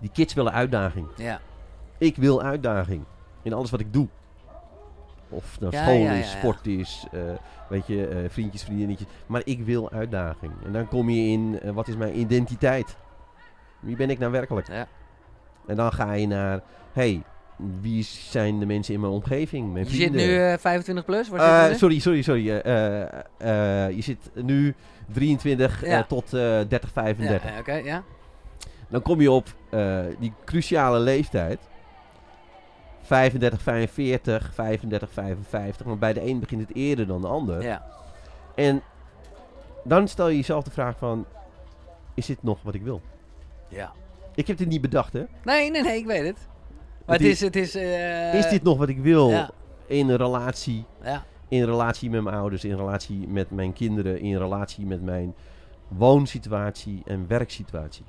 Speaker 2: Die kids willen uitdaging.
Speaker 1: ja.
Speaker 2: Ik wil uitdaging in alles wat ik doe. Of het nou
Speaker 1: Ja,
Speaker 2: school
Speaker 1: ja, ja,
Speaker 2: is,
Speaker 1: ja.
Speaker 2: sport is, eh, weet je, eh, vriendjes, vriendinnetjes. Maar ik wil uitdaging. En dan kom je in, eh, wat is mijn identiteit? Wie ben ik nou werkelijk?
Speaker 1: Ja.
Speaker 2: En dan ga je naar, hey, wie zijn de mensen in mijn omgeving? Mijn
Speaker 1: Je zit nu
Speaker 2: vrienden?
Speaker 1: eh, 25 plus? Waar
Speaker 2: Eh,
Speaker 1: zit je nu?
Speaker 2: sorry, sorry, sorry. eh, eh, eh, je zit nu 23
Speaker 1: Ja.
Speaker 2: eh, tot eh 30, 35.
Speaker 1: Ja, eh, Oké, ja.
Speaker 2: Dan kom je op eh, die cruciale leeftijd. 35, 45, 35, 55. Want bij de een begint het eerder dan de ander.
Speaker 1: ja.
Speaker 2: En dan stel je jezelf de vraag van... Is dit nog wat ik wil?
Speaker 1: ja.
Speaker 2: Ik heb dit niet bedacht, hè?
Speaker 1: Nee, nee, nee, ik weet het. Maar het
Speaker 2: Die-
Speaker 1: is... Het is, eh,
Speaker 2: is dit nog wat ik wil
Speaker 1: ja.
Speaker 2: in een relatie?
Speaker 1: Ja,
Speaker 2: In relatie met mijn ouders, in relatie met mijn kinderen, in relatie met mijn woonsituatie en werksituatie.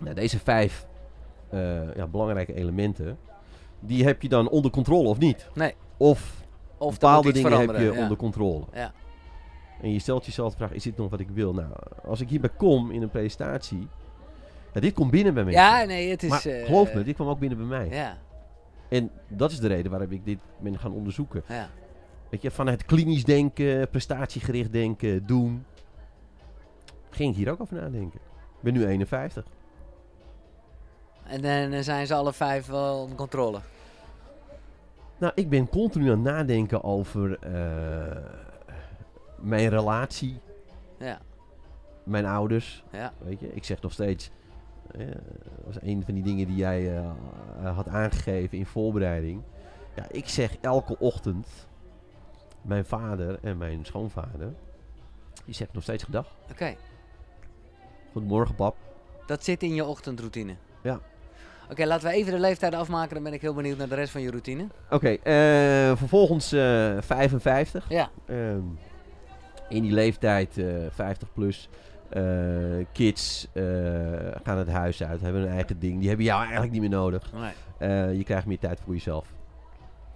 Speaker 2: Nou, deze vijf eh, ja, belangrijke elementen, die heb je dan onder controle of niet?
Speaker 1: Nee.
Speaker 2: Of,
Speaker 1: of er moet
Speaker 2: bepaalde
Speaker 1: iets
Speaker 2: dingen heb
Speaker 1: veranderen.
Speaker 2: je
Speaker 1: ja.
Speaker 2: onder controle.
Speaker 1: Ja.
Speaker 2: En je stelt jezelf de vraag, is dit nog wat ik wil? Nou, als ik hierbij kom in een presentatie, ja, dit komt binnen bij mij.
Speaker 1: Ja, nee, het is...
Speaker 2: maar
Speaker 1: eh,
Speaker 2: geloof me, dit kwam ook binnen bij mij.
Speaker 1: Ja,
Speaker 2: En dat is de reden waarom ik dit ben gaan onderzoeken.
Speaker 1: ja.
Speaker 2: Weet je, vanuit klinisch denken, prestatiegericht denken, doen. Ging ik hier ook over nadenken. Ik ben nu 51.
Speaker 1: En dan eh, zijn ze alle vijf wel onder controle.
Speaker 2: Nou, ik ben continu aan het nadenken over eh, mijn relatie,
Speaker 1: Ja,
Speaker 2: mijn ouders.
Speaker 1: ja.
Speaker 2: Weet je, ik zeg nog steeds. eh, Dat was een van die dingen die jij eh, had aangegeven in voorbereiding. Ja, ik zeg elke ochtend. Mijn vader en mijn schoonvader. Die zegt nog steeds gedag.
Speaker 1: Oké,
Speaker 2: Goedemorgen, pap.
Speaker 1: dat zit in je ochtendroutine.
Speaker 2: Ja.
Speaker 1: Oké, laten we even de leeftijden afmaken. Dan ben ik heel benieuwd naar de rest van je routine.
Speaker 2: Oké, eh, vervolgens eh, 55.
Speaker 1: Ja,
Speaker 2: Ehm, in die leeftijd, eh, 50 plus, eh, kids eh, gaan het huis uit, hebben hun eigen ding. Die hebben jou eigenlijk niet meer nodig. Eh, je krijgt meer tijd voor jezelf.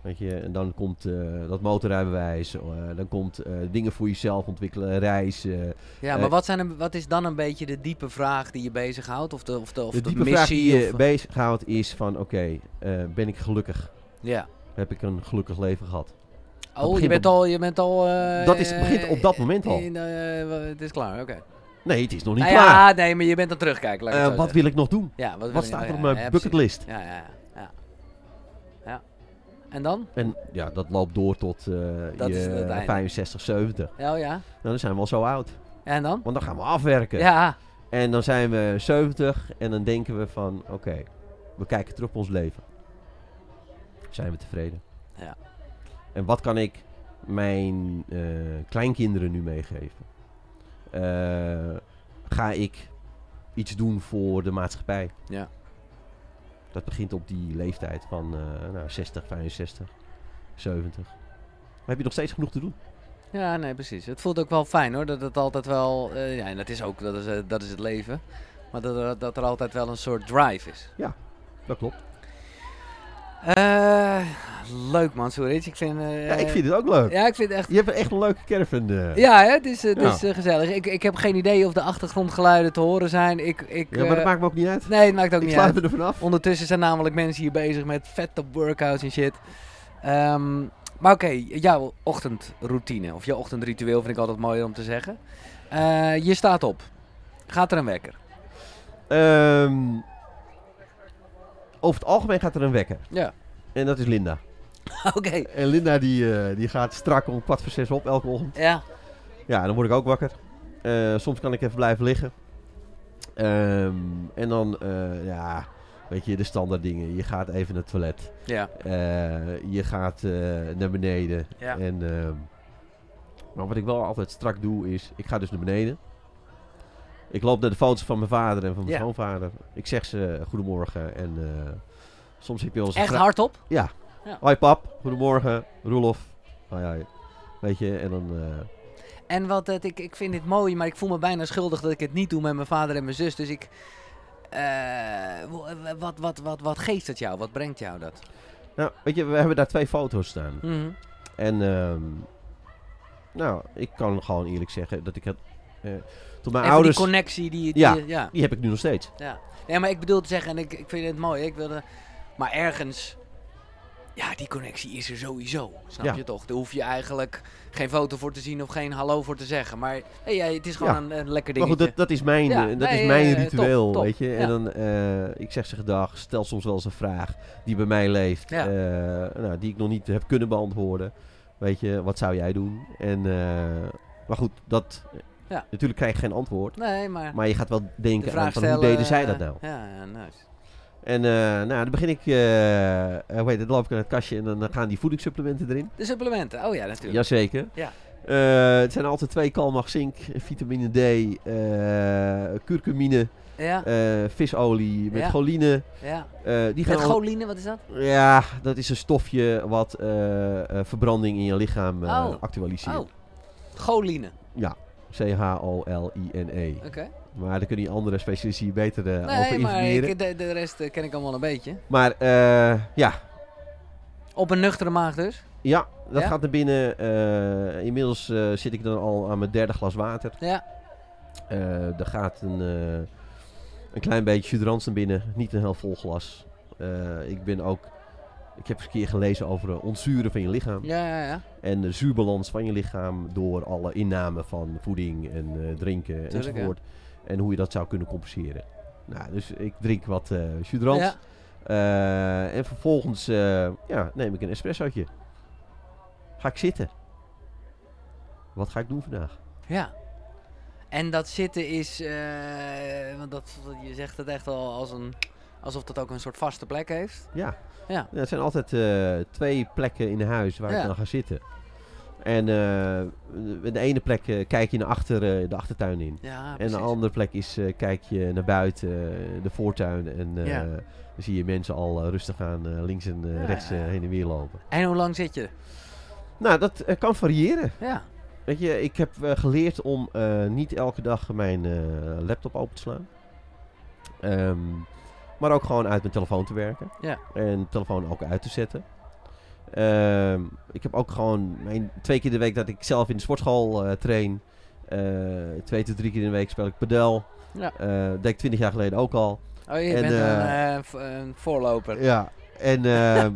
Speaker 2: Weet je, en dan komt eh, dat motorrijbewijs, eh, dan komt eh, dingen voor jezelf ontwikkelen, reizen.
Speaker 1: Ja,
Speaker 2: Eh,
Speaker 1: maar wat, zijn, een- wat is dan een beetje de diepe vraag die je bezighoudt? Of de, of de, of de,
Speaker 2: de diepe
Speaker 1: missie?
Speaker 2: vraag die je
Speaker 1: of- eh,
Speaker 2: bezighoudt is van, oké, eh, ben ik gelukkig?
Speaker 1: ja.
Speaker 2: Heb ik een gelukkig leven gehad?
Speaker 1: Oh, je
Speaker 2: begint
Speaker 1: bent
Speaker 2: op-
Speaker 1: al... Je bent al eh,
Speaker 2: Dat is- begint op dat moment al.
Speaker 1: in, eh, wa- het is klaar, oké.
Speaker 2: Nee, het is nog niet
Speaker 1: Nou
Speaker 2: klaar.
Speaker 1: ja, nee, maar je bent aan het terugkijken. laat ik het
Speaker 2: Eh,
Speaker 1: zo
Speaker 2: wat
Speaker 1: zeggen.
Speaker 2: wil ik nog doen?
Speaker 1: ja, wat, wil
Speaker 2: Wat
Speaker 1: je-
Speaker 2: staat
Speaker 1: oh,
Speaker 2: er op
Speaker 1: ja,
Speaker 2: mijn
Speaker 1: ja, precies.
Speaker 2: bucketlist?
Speaker 1: Ja, ja, ja. ja. En dan?
Speaker 2: En ja, dat loopt door tot eh,
Speaker 1: Dat
Speaker 2: je
Speaker 1: is het einde.
Speaker 2: 65, 70.
Speaker 1: Ja, Oh ja.
Speaker 2: Nou, dan zijn we al zo oud.
Speaker 1: En dan?
Speaker 2: Want dan gaan we afwerken.
Speaker 1: Ja.
Speaker 2: En dan zijn we 70 en dan denken we van, oké, we kijken terug op ons leven. Zijn we tevreden?
Speaker 1: Ja.
Speaker 2: En wat kan ik mijn eh, kleinkinderen nu meegeven? Eh, ga ik iets doen voor de maatschappij?
Speaker 1: Ja.
Speaker 2: Dat begint op die leeftijd van eh, nou, 60, 65, 70. Maar heb je nog steeds genoeg te doen?
Speaker 1: Ja, nee, precies. Het voelt ook wel fijn hoor, dat het altijd wel... eh, ja, en dat is ook, dat is, eh, dat is het leven. Maar dat er, dat er altijd wel een soort drive is.
Speaker 2: Dat klopt.
Speaker 1: Eh, leuk man, Soerits. Ik vind... eh,
Speaker 2: ja, ik vind het ook leuk.
Speaker 1: Ja, ik vind het echt...
Speaker 2: Je hebt echt een leuke caravan. eh.
Speaker 1: Ja, hè, het is, eh, het
Speaker 2: Ja.
Speaker 1: is eh, gezellig. Ik, ik heb geen idee of de achtergrondgeluiden te horen zijn. Ik, ik,
Speaker 2: Ja, maar
Speaker 1: eh,
Speaker 2: dat maakt me ook niet uit.
Speaker 1: Nee, het maakt ook
Speaker 2: Ik
Speaker 1: niet uit.
Speaker 2: sluit me er vanaf.
Speaker 1: Ondertussen zijn namelijk mensen hier bezig met vette workouts en shit. Ehm, maar oké, jouw ochtendroutine of jouw ochtendritueel vind ik altijd mooi om te zeggen. Eh, je staat op. Gaat er een wekker?
Speaker 2: Ehm, over het algemeen gaat er een wekker.
Speaker 1: Ja.
Speaker 2: En dat is Linda.
Speaker 1: oké.
Speaker 2: En Linda die, eh, die gaat strak om kwart voor zes op elke ochtend.
Speaker 1: Ja.
Speaker 2: Ja, en dan word ik ook wakker. Eh, soms kan ik even blijven liggen. Ehm, en dan, eh, ja, weet je, de standaard dingen. Je gaat even naar het toilet.
Speaker 1: Ja.
Speaker 2: Eh, je gaat eh, naar beneden.
Speaker 1: Ja.
Speaker 2: En, ehm, maar wat ik wel altijd strak doe is, ik ga dus naar beneden. Ik loop naar de foto's van mijn vader en van mijn
Speaker 1: Ja.
Speaker 2: schoonvader. Ik zeg ze goedemorgen en eh, soms heb je wel eens een
Speaker 1: Echt
Speaker 2: vra-
Speaker 1: hardop?
Speaker 2: Ja.
Speaker 1: Ja.
Speaker 2: Hoi pap, goedemorgen, Roelof. Hoi hoi. Weet je, en dan... eh,
Speaker 1: En wat het, ik, ik vind dit mooi, maar ik voel me bijna schuldig dat ik het niet doe met mijn vader en mijn zus. Dus ik. eh, w- wat, wat, wat, wat geeft het jou? Wat brengt jou dat?
Speaker 2: nou, weet je, we hebben daar twee foto's staan. En ehm, nou, ik kan gewoon eerlijk zeggen dat ik het... eh, tot mijn
Speaker 1: Even
Speaker 2: ouders...
Speaker 1: die connectie die. die
Speaker 2: Ja.
Speaker 1: ja.
Speaker 2: Die heb ik nu nog steeds.
Speaker 1: Ja. Nee, maar ik bedoel te zeggen, en ik, ik vind het mooi, ik wilde... Maar ergens... Ja, die connectie is er sowieso. Snap
Speaker 2: Ja.
Speaker 1: je toch? Daar hoef je eigenlijk geen foto voor te zien of geen hallo voor te zeggen. Maar hey, ja, het is gewoon
Speaker 2: Ja.
Speaker 1: een, een lekker
Speaker 2: Maar
Speaker 1: dingetje.
Speaker 2: goed, dat, dat is mijn,
Speaker 1: Ja,
Speaker 2: eh, dat
Speaker 1: nee,
Speaker 2: is mijn
Speaker 1: eh, top,
Speaker 2: ritueel,
Speaker 1: top,
Speaker 2: weet je. En
Speaker 1: ja.
Speaker 2: dan, eh, ik zeg ze gedag, stel soms wel eens een vraag die bij mij leeft,
Speaker 1: Ja.
Speaker 2: eh, nou, die ik nog niet heb kunnen beantwoorden. Weet je, wat zou jij doen? En, eh, maar goed, dat,
Speaker 1: Ja.
Speaker 2: natuurlijk krijg je geen antwoord.
Speaker 1: Nee, maar...
Speaker 2: Maar je gaat wel
Speaker 1: de
Speaker 2: denken
Speaker 1: vraag
Speaker 2: aan van,
Speaker 1: stellen...
Speaker 2: hoe deden zij
Speaker 1: eh,
Speaker 2: dat nou?
Speaker 1: Ja, ja, nice.
Speaker 2: En eh, nou, dan begin ik, eh, eh, hoe heet het, dan loop ik naar het kastje en dan eh, gaan die voedingssupplementen erin.
Speaker 1: De supplementen. Oh ja, natuurlijk.
Speaker 2: Jazeker.
Speaker 1: Ja.
Speaker 2: Eh, het zijn altijd twee, kalmag zink, vitamine D, eh curcumine.
Speaker 1: Ja,
Speaker 2: Eh, visolie met
Speaker 1: Ja.
Speaker 2: choline.
Speaker 1: ja.
Speaker 2: Eh, die gaan
Speaker 1: Met
Speaker 2: al-
Speaker 1: choline, wat is dat?
Speaker 2: Ja, dat is een stofje wat eh, eh, verbranding in je lichaam eh,
Speaker 1: Oh.
Speaker 2: actualiseert.
Speaker 1: Oh. Choline.
Speaker 2: C-H-O-L-I-N-E.
Speaker 1: Oké.
Speaker 2: E. Maar daar kunnen die andere specialisten hier beter eh, over
Speaker 1: Eh. Nee, maar
Speaker 2: informeren.
Speaker 1: ik, de, de rest eh, ken ik allemaal een beetje.
Speaker 2: Maar eh, ja,
Speaker 1: Op een nuchtere maag dus.
Speaker 2: ja, dat
Speaker 1: Ja?
Speaker 2: gaat naar binnen. Eh, inmiddels eh, zit ik dan al aan mijn derde glas water.
Speaker 1: Ja.
Speaker 2: Eh er gaat een, eh, een klein beetje judrans naar binnen. Niet een heel vol glas. Eh, ik ben ook... Ik heb eens een keer gelezen over eh, ontzuren van je lichaam.
Speaker 1: Ja, ja, ja.
Speaker 2: En de zuurbalans van je lichaam door alle inname van voeding en eh, drinken
Speaker 1: hè.
Speaker 2: enzovoort. En hoe je dat zou kunnen compenseren. Nou, dus ik drink wat eh judrans.
Speaker 1: Ja.
Speaker 2: Eh, en vervolgens eh, ja, neem ik een espressootje. Ga ik zitten. Wat ga ik doen vandaag?
Speaker 1: Ja. En dat zitten is, eh, want dat, je zegt het echt wel als een, alsof dat ook een soort vaste plek heeft.
Speaker 2: Ja.
Speaker 1: Ja.
Speaker 2: Er zijn altijd eh, twee plekken in huis waar
Speaker 1: Ja.
Speaker 2: ik dan ga zitten. En eh, de ene plek eh, kijk je naar achter eh, de achtertuin in.
Speaker 1: Ja,
Speaker 2: En
Speaker 1: Ah, precies.
Speaker 2: de andere plek is, eh, kijk je naar buiten, eh, de voortuin. En eh,
Speaker 1: Ja.
Speaker 2: dan zie je mensen al eh, rustig aan eh, links en eh,
Speaker 1: Ja.
Speaker 2: rechts eh, heen en weer lopen.
Speaker 1: En hoe lang zit je?
Speaker 2: Nou, dat eh, kan variëren.
Speaker 1: Ja.
Speaker 2: Weet je, ik heb eh, geleerd om eh, niet elke dag mijn eh, laptop open te slaan. Ehm, maar ook gewoon uit mijn telefoon te werken.
Speaker 1: Ja.
Speaker 2: En telefoon ook uit te zetten. Ehm, ik heb ook gewoon mijn, twee keer de week dat ik zelf in de sportschool eh, train. Eh, twee tot drie keer in de week speel ik padel.
Speaker 1: Ja.
Speaker 2: Eh, dat deed ik twintig jaar geleden ook al.
Speaker 1: Oh, je
Speaker 2: En,
Speaker 1: bent
Speaker 2: eh,
Speaker 1: een, eh, v- een voorloper.
Speaker 2: Ja. En ehm,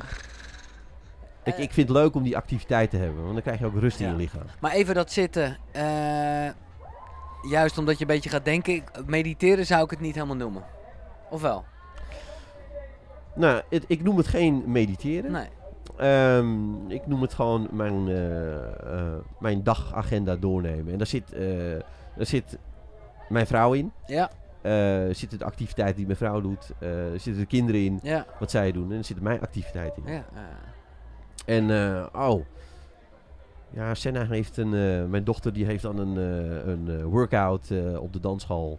Speaker 2: ik, ik vind het leuk om die activiteit te hebben. Want dan krijg je ook rust in
Speaker 1: Ja.
Speaker 2: je lichaam.
Speaker 1: Maar even dat zitten. eh, juist omdat je een beetje gaat denken. ik- Mediteren zou ik het niet helemaal noemen. Of wel?
Speaker 2: Nou, het- ik noem het geen mediteren.
Speaker 1: Nee.
Speaker 2: Ehm, ik noem het gewoon mijn, eh, eh, mijn dagagenda doornemen. En daar zit, eh, daar zit mijn vrouw in.
Speaker 1: Ja,
Speaker 2: Eh, Er zitten de activiteiten die mijn vrouw doet. Eh, Er zitten de kinderen in,
Speaker 1: ja,
Speaker 2: wat zij doen. En er zitten mijn activiteiten in.
Speaker 1: ja. eh.
Speaker 2: En, eh, oh. Ja, Senna heeft een... eh, mijn dochter die heeft dan een, eh, een eh, workout eh, op de dansschool.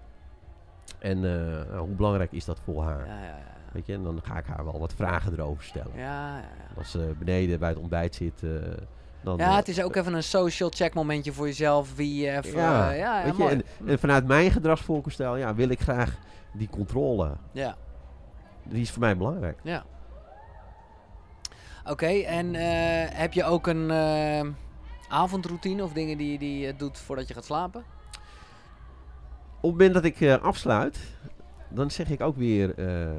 Speaker 2: En eh, nou, hoe belangrijk is dat voor haar?
Speaker 1: ja, ja, ja.
Speaker 2: Weet je, en dan ga ik haar wel wat vragen erover stellen.
Speaker 1: Ja, ja, ja.
Speaker 2: Als ze beneden bij het ontbijt zit, eh, dan...
Speaker 1: Ja,
Speaker 2: eh,
Speaker 1: het is ook even een social check momentje voor jezelf. Wie je even...
Speaker 2: Ja,
Speaker 1: Ja, Ah, ja,
Speaker 2: weet je,
Speaker 1: mooi. Hm.
Speaker 2: En vanuit mijn gedragsvoorkeursstijl ja, wil ik graag die controle.
Speaker 1: Ja,
Speaker 2: Die is voor mij belangrijk.
Speaker 1: ja. Oké, en eh, heb je ook een eh, avondroutine of dingen die, die je doet voordat je gaat slapen?
Speaker 2: Op het moment dat ik eh, afsluit, dan zeg ik ook weer eh,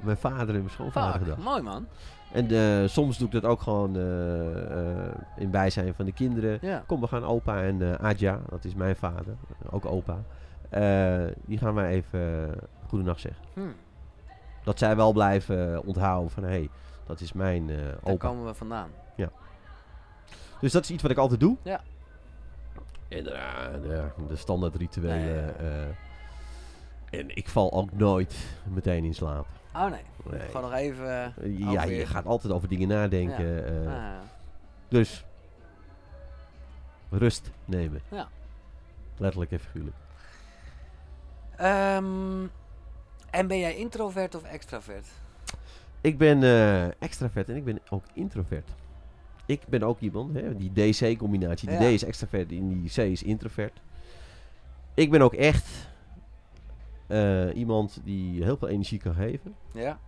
Speaker 2: mijn vader en mijn schoonvader
Speaker 1: Fuck,
Speaker 2: gedag.
Speaker 1: mooi man.
Speaker 2: En eh, soms doe ik dat ook gewoon eh, eh, in bijzijn van de kinderen.
Speaker 1: Ja.
Speaker 2: Kom, we gaan opa en eh, Adja, dat is mijn vader, ook opa. eh, die gaan wij even eh, goedenacht zeggen.
Speaker 1: Hm,
Speaker 2: Dat zij wel blijven eh, onthouden van, hé, hey, dat is mijn eh,
Speaker 1: daar
Speaker 2: opa.
Speaker 1: komen we vandaan.
Speaker 2: Dus dat is iets wat ik altijd doe.
Speaker 1: Ja.
Speaker 2: En daarna, ja, de standaard rituelen.
Speaker 1: Nee, ja, ja.
Speaker 2: eh, en ik val ook nooit meteen in slaap.
Speaker 1: Oh nee,
Speaker 2: Nee.
Speaker 1: gewoon nog even... eh, ook
Speaker 2: Ja, je
Speaker 1: weer.
Speaker 2: gaat altijd over dingen nadenken. eh,
Speaker 1: ah,
Speaker 2: Dus rust nemen.
Speaker 1: Ja.
Speaker 2: Letterlijk en figuurlijk.
Speaker 1: Ehm, en ben jij introvert of extravert?
Speaker 2: Ik ben eh, extravert en ik ben ook introvert. Ik ben ook iemand, hè, die DC-combinatie. Die
Speaker 1: Ja.
Speaker 2: D is extravert en die C is introvert. Ik ben ook echt eh, iemand die heel veel energie kan geven,
Speaker 1: Ja.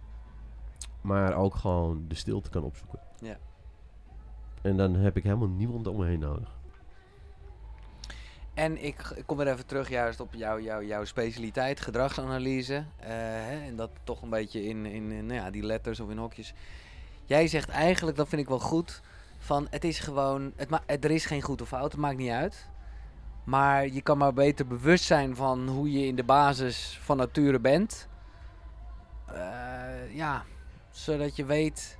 Speaker 2: maar ook gewoon de stilte kan opzoeken.
Speaker 1: Ja.
Speaker 2: En dan heb ik helemaal niemand om me heen nodig.
Speaker 1: En ik, g- ik kom weer even terug juist op jouw jouw jouw specialiteit, gedragsanalyse. eh, hè, en dat toch een beetje in, in, in, nou ja, die letters of in hokjes. Jij zegt eigenlijk, dat vind ik wel goed, van het is gewoon, het ma- het, er is geen goed of fout, het maakt niet uit. Maar je kan maar beter bewust zijn van hoe je in de basis van nature bent. Eh, ja, zodat je weet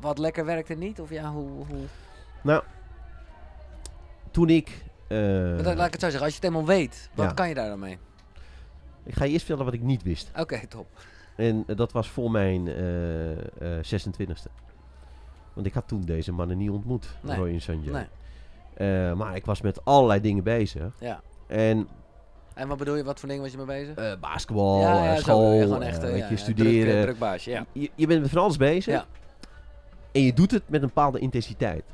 Speaker 1: wat lekker werkt en niet. Of ja, hoe... hoe...
Speaker 2: Toen ik... eh,
Speaker 1: Maar dat- laat ik het zo zeggen, als je het helemaal weet, wat
Speaker 2: ja.
Speaker 1: kan je daar dan mee?
Speaker 2: ik ga je eerst vertellen wat ik niet wist.
Speaker 1: Oké, top.
Speaker 2: En eh, dat was voor mijn eh, eh, 26e. Want ik had toen deze mannen niet ontmoet,
Speaker 1: Nee.
Speaker 2: Roy en Sanjay.
Speaker 1: Nee.
Speaker 2: Eh, maar ik was met allerlei dingen bezig.
Speaker 1: Ja.
Speaker 2: En
Speaker 1: En wat bedoel je, wat voor dingen was je mee bezig?
Speaker 2: eh, basketbal, eh,
Speaker 1: zo
Speaker 2: school,
Speaker 1: bedoel
Speaker 2: eh
Speaker 1: je, gewoon echt, eh,
Speaker 2: weet
Speaker 1: ja,
Speaker 2: je,
Speaker 1: ja,
Speaker 2: studeren.
Speaker 1: Druk, eh, druk baasje, ja.
Speaker 2: je, je bent met van alles bezig.
Speaker 1: Ja.
Speaker 2: En je doet het met een bepaalde intensiteit.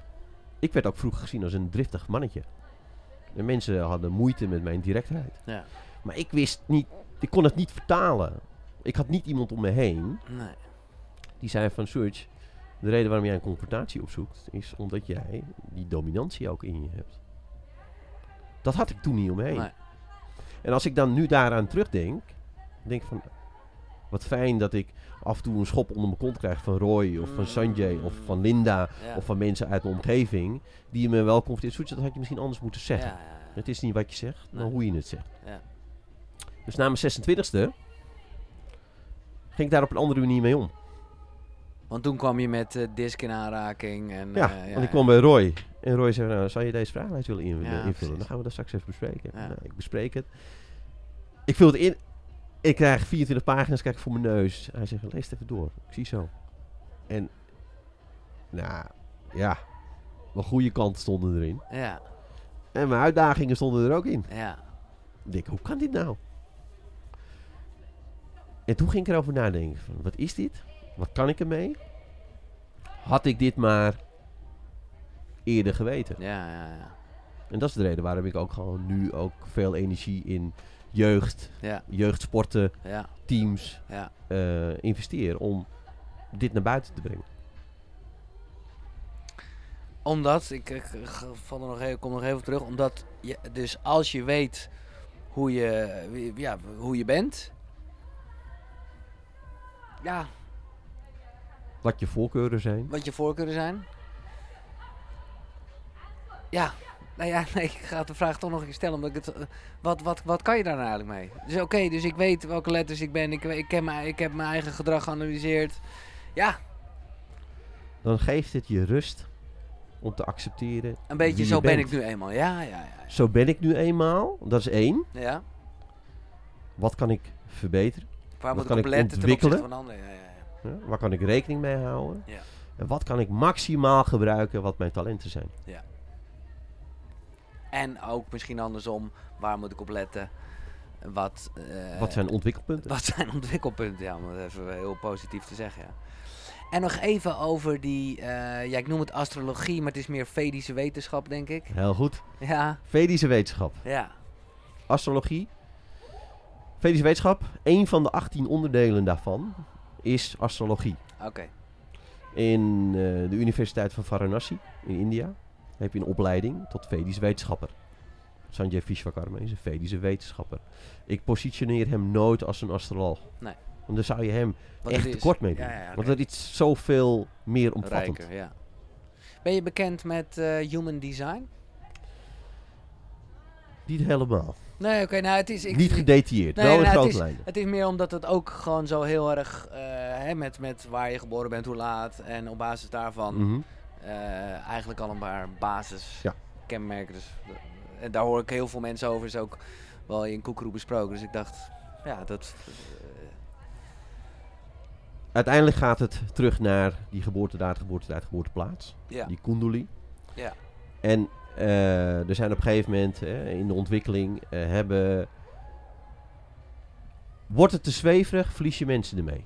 Speaker 2: Ik werd ook vroeger gezien als een driftig mannetje. En mensen hadden moeite met mijn directheid.
Speaker 1: Ja.
Speaker 2: Maar ik wist niet, ik kon het niet vertalen. Ik had niet iemand om me heen
Speaker 1: Nee.
Speaker 2: Die zei van Surge, de reden waarom jij een confrontatie opzoekt, is omdat jij die dominantie ook in je hebt. Dat had ik toen niet omheen.
Speaker 1: Nee.
Speaker 2: En als ik dan nu daaraan terugdenk, denk ik van, wat fijn dat ik af en toe een schop onder mijn kont krijg van Roy of van Sanjay of van Linda
Speaker 1: Ja.
Speaker 2: of van mensen uit mijn omgeving, die me wel confronteren. Surge, dat had je misschien anders moeten zeggen.
Speaker 1: Ja, ja, ja.
Speaker 2: Het is niet wat je zegt, maar
Speaker 1: Nee.
Speaker 2: hoe je het zegt.
Speaker 1: Ja.
Speaker 2: Dus na mijn 26e ging ik daar op een andere manier mee om.
Speaker 1: Want toen kwam je met eh, disc in aanraking en...
Speaker 2: Ja,
Speaker 1: eh,
Speaker 2: want ik kwam bij Roy. En Roy zei, nou, zou je deze vraaglijst willen inv- eh,
Speaker 1: Ja,
Speaker 2: invullen?
Speaker 1: precies.
Speaker 2: Dan gaan we dat straks even bespreken.
Speaker 1: Ja.
Speaker 2: Nou, ik bespreek het. Ik vul het in. Ik krijg 24 pagina's, kijk ik voor mijn neus. Hij zegt, lees het even door. Ik zie zo. En, nou, ja. Mijn goede kanten stonden erin.
Speaker 1: Ja,
Speaker 2: En mijn uitdagingen stonden er ook in.
Speaker 1: ja.
Speaker 2: Ik denk, hoe kan dit nou? En toen ging ik erover nadenken. Van, wat is dit? Wat kan ik ermee? Had ik dit maar eerder geweten?
Speaker 1: Ja, ja, ja.
Speaker 2: En dat is de reden waarom ik ook gewoon nu ook veel energie in jeugd,
Speaker 1: Ja.
Speaker 2: jeugdsporten,
Speaker 1: Ja.
Speaker 2: teams
Speaker 1: Ja.
Speaker 2: eh, investeer om dit naar buiten te brengen.
Speaker 1: Omdat, ik, ik g- val er nog even, kom nog even op terug, omdat je, dus als je weet hoe je, wie- ja, hoe je bent, ja,
Speaker 2: Wat je voorkeuren zijn.
Speaker 1: wat je voorkeuren zijn. Ja, nou ja, nee, ik ga de vraag toch nog een keer stellen, omdat ik het, eh, wat, wat, wat kan je daar nou eigenlijk mee? Dus oké, dus ik weet welke letters ik ben, ik, we- ik, ken mijn, ik heb mijn eigen gedrag geanalyseerd. Ja,
Speaker 2: Dan geeft het je rust om te accepteren.
Speaker 1: een beetje
Speaker 2: wie je
Speaker 1: zo ben
Speaker 2: bent.
Speaker 1: ik nu eenmaal, ja, ja, ja. Nou
Speaker 2: Zo ben ik nu eenmaal. Dat is één.
Speaker 1: ja.
Speaker 2: Wat kan ik verbeteren?
Speaker 1: Waar moet ik
Speaker 2: kan
Speaker 1: op
Speaker 2: ik
Speaker 1: letten ten
Speaker 2: ontwikkelen?
Speaker 1: opzichte van anderen? Ja, ja, ja.
Speaker 2: Ja, Waar kan ik rekening mee houden?
Speaker 1: Ja.
Speaker 2: En wat kan ik maximaal gebruiken wat mijn talenten zijn?
Speaker 1: En ook misschien andersom, waar moet ik op letten? Wat, eh,
Speaker 2: wat zijn ontwikkelpunten?
Speaker 1: wat zijn ontwikkelpunten? Ja, om het even heel positief te zeggen. Ja. En nog even over die, eh, ja, ik noem het astrologie, maar het is meer Vedische wetenschap, denk ik.
Speaker 2: Heel goed.
Speaker 1: Ja,
Speaker 2: Vedische wetenschap.
Speaker 1: ja,
Speaker 2: Astrologie. Vedische wetenschap. Een van de 18 onderdelen daarvan is astrologie.
Speaker 1: oké.
Speaker 2: In eh, de Universiteit van Varanasi in India heb je een opleiding tot Vedisch wetenschapper. Sanjay Vishwakarma is een Vedische wetenschapper. Ik positioneer hem nooit als een astroloog.
Speaker 1: Nee.
Speaker 2: Want dan zou je hem
Speaker 1: Wat
Speaker 2: echt
Speaker 1: het is.
Speaker 2: tekort mee doen.
Speaker 1: Ja, ja, oké.
Speaker 2: Want dat is zoveel meer omvattend.
Speaker 1: Rijker, ja. Ben je bekend met eh, human design?
Speaker 2: Niet helemaal.
Speaker 1: Nee, oké, nou het is... Ik,
Speaker 2: Niet
Speaker 1: ik-
Speaker 2: gedetailleerd.
Speaker 1: Nee,
Speaker 2: wel in
Speaker 1: nou,
Speaker 2: grote
Speaker 1: het is-
Speaker 2: lijnen.
Speaker 1: Het is meer omdat het ook gewoon zo heel erg eh, hè, met, met waar je geboren bent, hoe laat. En op basis daarvan
Speaker 2: Mhm.
Speaker 1: eh, eigenlijk al een paar
Speaker 2: Ja.
Speaker 1: basiskenmerken. Dus, eh, en daar hoor ik heel veel mensen over. Is ook wel in Koekeroe besproken. Dus ik dacht, ja, dat. eh,
Speaker 2: Uiteindelijk gaat het terug naar die geboortedaad, geboortedaad, geboorteplaats.
Speaker 1: ja.
Speaker 2: Die kunduli.
Speaker 1: Ja.
Speaker 2: En eh, er zijn op een gegeven moment eh, in de ontwikkeling eh, hebben... Wordt het te zweverig, verlies je mensen ermee.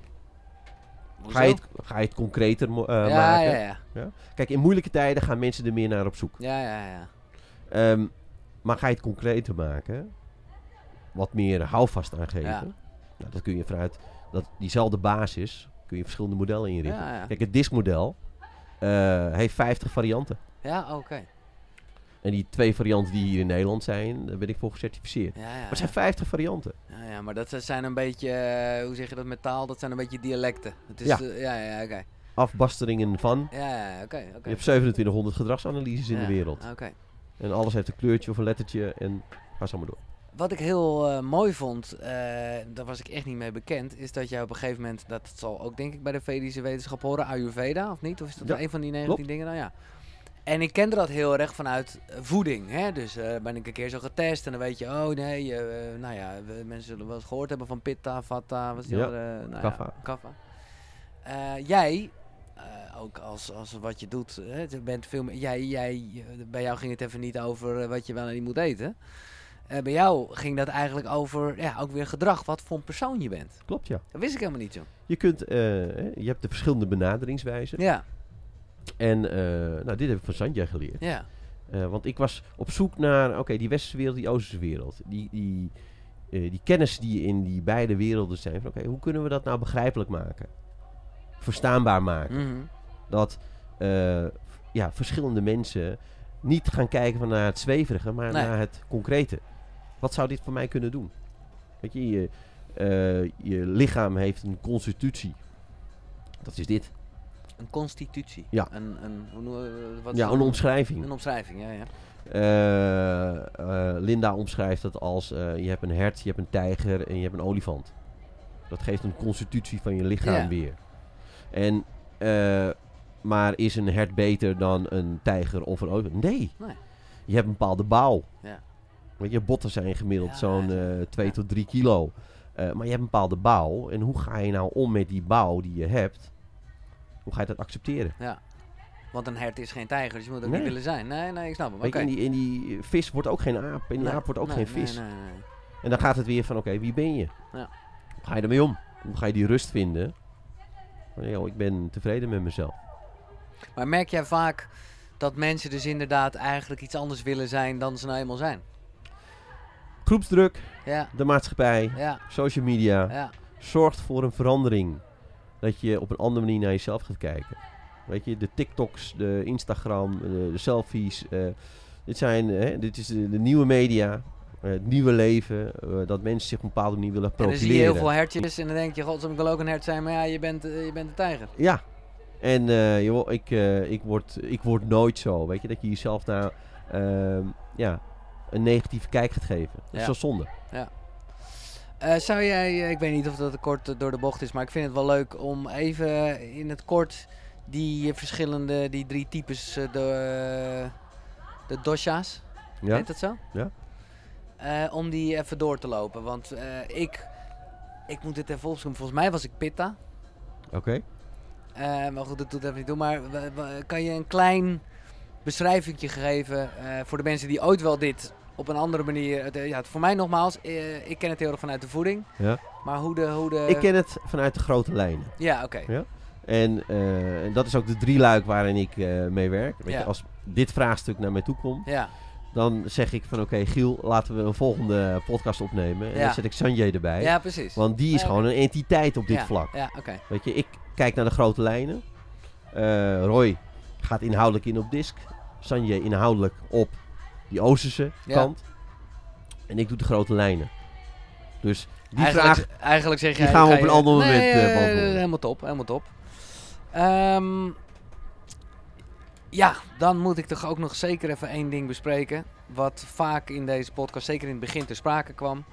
Speaker 2: Ga je het, ga je het concreter mo- eh,
Speaker 1: ja,
Speaker 2: maken.
Speaker 1: ja, ja,
Speaker 2: Kijk, in moeilijke tijden gaan mensen er meer naar op zoek.
Speaker 1: ja, ja, ja.
Speaker 2: Ehm, maar ga je het concreter maken, wat meer houvast aangeven.
Speaker 1: Ja.
Speaker 2: Nou, dat kun je vanuit dat, diezelfde basis kun je verschillende modellen inrichten.
Speaker 1: Ja, ja.
Speaker 2: Kijk, het diskmodel eh, heeft 50 varianten.
Speaker 1: Ja, oké.
Speaker 2: En die twee varianten die hier in Nederland zijn, daar ben ik voor gecertificeerd.
Speaker 1: Ja, ja,
Speaker 2: Maar het
Speaker 1: ja.
Speaker 2: zijn 50 varianten.
Speaker 1: ja, ja, maar dat zijn een beetje, eh, hoe zeg je dat met taal? Dat zijn een beetje dialecten. Het is
Speaker 2: Ja.
Speaker 1: de- ja, ja, ja, oké.
Speaker 2: Afbasteringen van.
Speaker 1: Ja, ja, oké, oké.
Speaker 2: Je hebt 2700 gedragsanalyses in de
Speaker 1: Ja,
Speaker 2: wereld.
Speaker 1: Oké.
Speaker 2: En alles heeft een kleurtje of een lettertje en ga zo maar door.
Speaker 1: Wat ik heel eh, mooi vond, eh, daar was ik echt niet mee bekend, is dat jij op een gegeven moment, dat zal ook denk ik bij de Vedische wetenschap horen, Ayurveda of niet? Of is dat
Speaker 2: Ja,
Speaker 1: een van die 19
Speaker 2: klopt.
Speaker 1: dingen? Nou ja. En ik kende dat heel erg vanuit eh, voeding. Hè? Dus eh, ben ik een keer zo getest en dan weet je, oh nee, eh, nou ja, we- mensen zullen wel eens gehoord hebben van pitta, vata, wat is die
Speaker 2: Ja,
Speaker 1: andere? Nou
Speaker 2: kapha.
Speaker 1: Ja, kapha. Eh, jij, eh, ook als, als wat je doet, hè, je bent veel meer, jij, jij, eh, bij jou ging het even niet over eh, wat je wel en niet moet eten. Eh, bij jou ging dat eigenlijk over ja, ook weer gedrag, wat voor een persoon je bent.
Speaker 2: Klopt ja.
Speaker 1: Dat wist ik helemaal niet, joh.
Speaker 2: Je, kunt, eh, hè, je hebt de verschillende benaderingswijzen.
Speaker 1: Ja,
Speaker 2: En eh, nou, dit heb ik van Sandja geleerd.
Speaker 1: ja,
Speaker 2: Eh, want ik was op zoek naar, oké, die westerse wereld, die oosterse wereld. Die, die, eh, die kennis die in die beide werelden zijn. Van, Oké, hoe kunnen we dat nou begrijpelijk maken? Verstaanbaar maken.
Speaker 1: mhm,
Speaker 2: Dat eh, f- ja, verschillende mensen niet gaan kijken van naar het zweverige, maar
Speaker 1: Nee.
Speaker 2: naar het concrete. Wat zou dit voor mij kunnen doen? Weet je, je, eh, je lichaam heeft een constitutie. Dat is dit.
Speaker 1: Een constitutie.
Speaker 2: Ja.
Speaker 1: Een, een, hoe noemen we- wat is
Speaker 2: Ja,
Speaker 1: dat?
Speaker 2: een omschrijving.
Speaker 1: Een omschrijving, ja, ja.
Speaker 2: Eh, eh, Linda omschrijft dat als eh, je hebt een hert, je hebt een tijger en je hebt een olifant. Dat geeft een constitutie van je lichaam
Speaker 1: Ja.
Speaker 2: weer. En, eh, maar is een hert beter dan een tijger of een olifant? Nee.
Speaker 1: Nee.
Speaker 2: Je hebt een bepaalde bouw.
Speaker 1: Ja.
Speaker 2: Want je botten zijn gemiddeld
Speaker 1: Ja,
Speaker 2: zo'n
Speaker 1: ja.
Speaker 2: 2
Speaker 1: Ja.
Speaker 2: tot 3 kilo. Eh, maar je hebt een bepaalde bouw. En hoe ga je nou om met die bouw die je hebt? Hoe ga je dat accepteren?
Speaker 1: Want een hert is geen tijger, dus je moet ook
Speaker 2: Nee.
Speaker 1: niet willen zijn. Nee, nee, ik snap hem.
Speaker 2: Weet
Speaker 1: Oké.
Speaker 2: je, en, die, en die vis wordt ook geen aap. En die
Speaker 1: Nee,
Speaker 2: aap wordt ook
Speaker 1: nee,
Speaker 2: geen
Speaker 1: nee,
Speaker 2: vis.
Speaker 1: nee, nee.
Speaker 2: En dan gaat het weer van, oké, wie ben je?
Speaker 1: Ja.
Speaker 2: Hoe ga je ermee om? Hoe ga je die rust vinden? Van, joh, ik ben tevreden met mezelf.
Speaker 1: Maar merk jij vaak dat mensen dus inderdaad eigenlijk iets anders willen zijn dan ze nou eenmaal zijn.
Speaker 2: Groepsdruk,
Speaker 1: Ja,
Speaker 2: de maatschappij,
Speaker 1: ja,
Speaker 2: social media
Speaker 1: ja.
Speaker 2: zorgt voor een verandering. Dat je op een andere manier naar jezelf gaat kijken. Weet je, de TikToks, de Instagram, de, de selfies. eh, dit, zijn, hè, dit is de, de nieuwe media, eh, het nieuwe leven. eh, dat mensen zich op een bepaalde manier willen
Speaker 1: En dan
Speaker 2: profileren.
Speaker 1: zie je heel veel hertjes en dan denk je, god, ik wil ook een hert zijn, maar ja, je bent, eh, je bent een tijger.
Speaker 2: Ja. En eh, joh, ik, eh, ik, word, ik word nooit zo. Weet je, dat je jezelf daar ehm, ja, een negatieve kijk gaat geven. Dat
Speaker 1: Ja.
Speaker 2: is wel zonde.
Speaker 1: Eh, zou jij, eh, ik weet niet of dat kort eh, door de bocht is, maar ik vind het wel leuk om even eh, in het kort die eh, verschillende, die drie types, eh, de, de dosha's,
Speaker 2: Ja?
Speaker 1: heet dat zo?
Speaker 2: Ja.
Speaker 1: Eh, om die even door te lopen, want eh, ik, ik moet dit even opzoeken, volgens mij was ik pitta,
Speaker 2: Oké.
Speaker 1: Eh, maar goed, dat doet even niet toe, maar wa- wa- kan je een klein beschrijving geven eh, voor de mensen die ooit wel dit op een andere manier, het, eh, ja, het- voor mij nogmaals, eh, ik ken het heel erg vanuit de voeding.
Speaker 2: Ja.
Speaker 1: Maar hoe de... Hoe de
Speaker 2: Ik ken het vanuit de grote lijnen.
Speaker 1: ja, oké.
Speaker 2: En eh, en dat is ook de drieluik waarin ik eh, mee werk. Weet
Speaker 1: Ja.
Speaker 2: je, als dit vraagstuk naar mij toe komt,
Speaker 1: Ja,
Speaker 2: dan zeg ik van oké Giel, laten we een volgende podcast opnemen. En
Speaker 1: Ja.
Speaker 2: dan zet ik Sanjay erbij.
Speaker 1: ja precies.
Speaker 2: Want die is
Speaker 1: Ja,
Speaker 2: gewoon een entiteit op dit
Speaker 1: ja,
Speaker 2: vlak.
Speaker 1: Ja, oké.
Speaker 2: Weet je, ik kijk naar de grote lijnen. Eh, Roy gaat inhoudelijk in op disc. Sanjay inhoudelijk op die Oosterse
Speaker 1: Ja.
Speaker 2: kant. En ik doe de grote lijnen. Dus die
Speaker 1: eigenlijk,
Speaker 2: vraag...
Speaker 1: eigenlijk zeg
Speaker 2: die
Speaker 1: jij-
Speaker 2: gaan we
Speaker 1: ga
Speaker 2: op een
Speaker 1: je-
Speaker 2: ander moment,
Speaker 1: Nee,
Speaker 2: eh,
Speaker 1: eh,
Speaker 2: beantwoorden.
Speaker 1: helemaal top, helemaal top. Ehm, ja, dan moet ik toch ook nog zeker even één ding bespreken. Wat vaak in deze podcast, zeker in het begin, ter sprake kwam.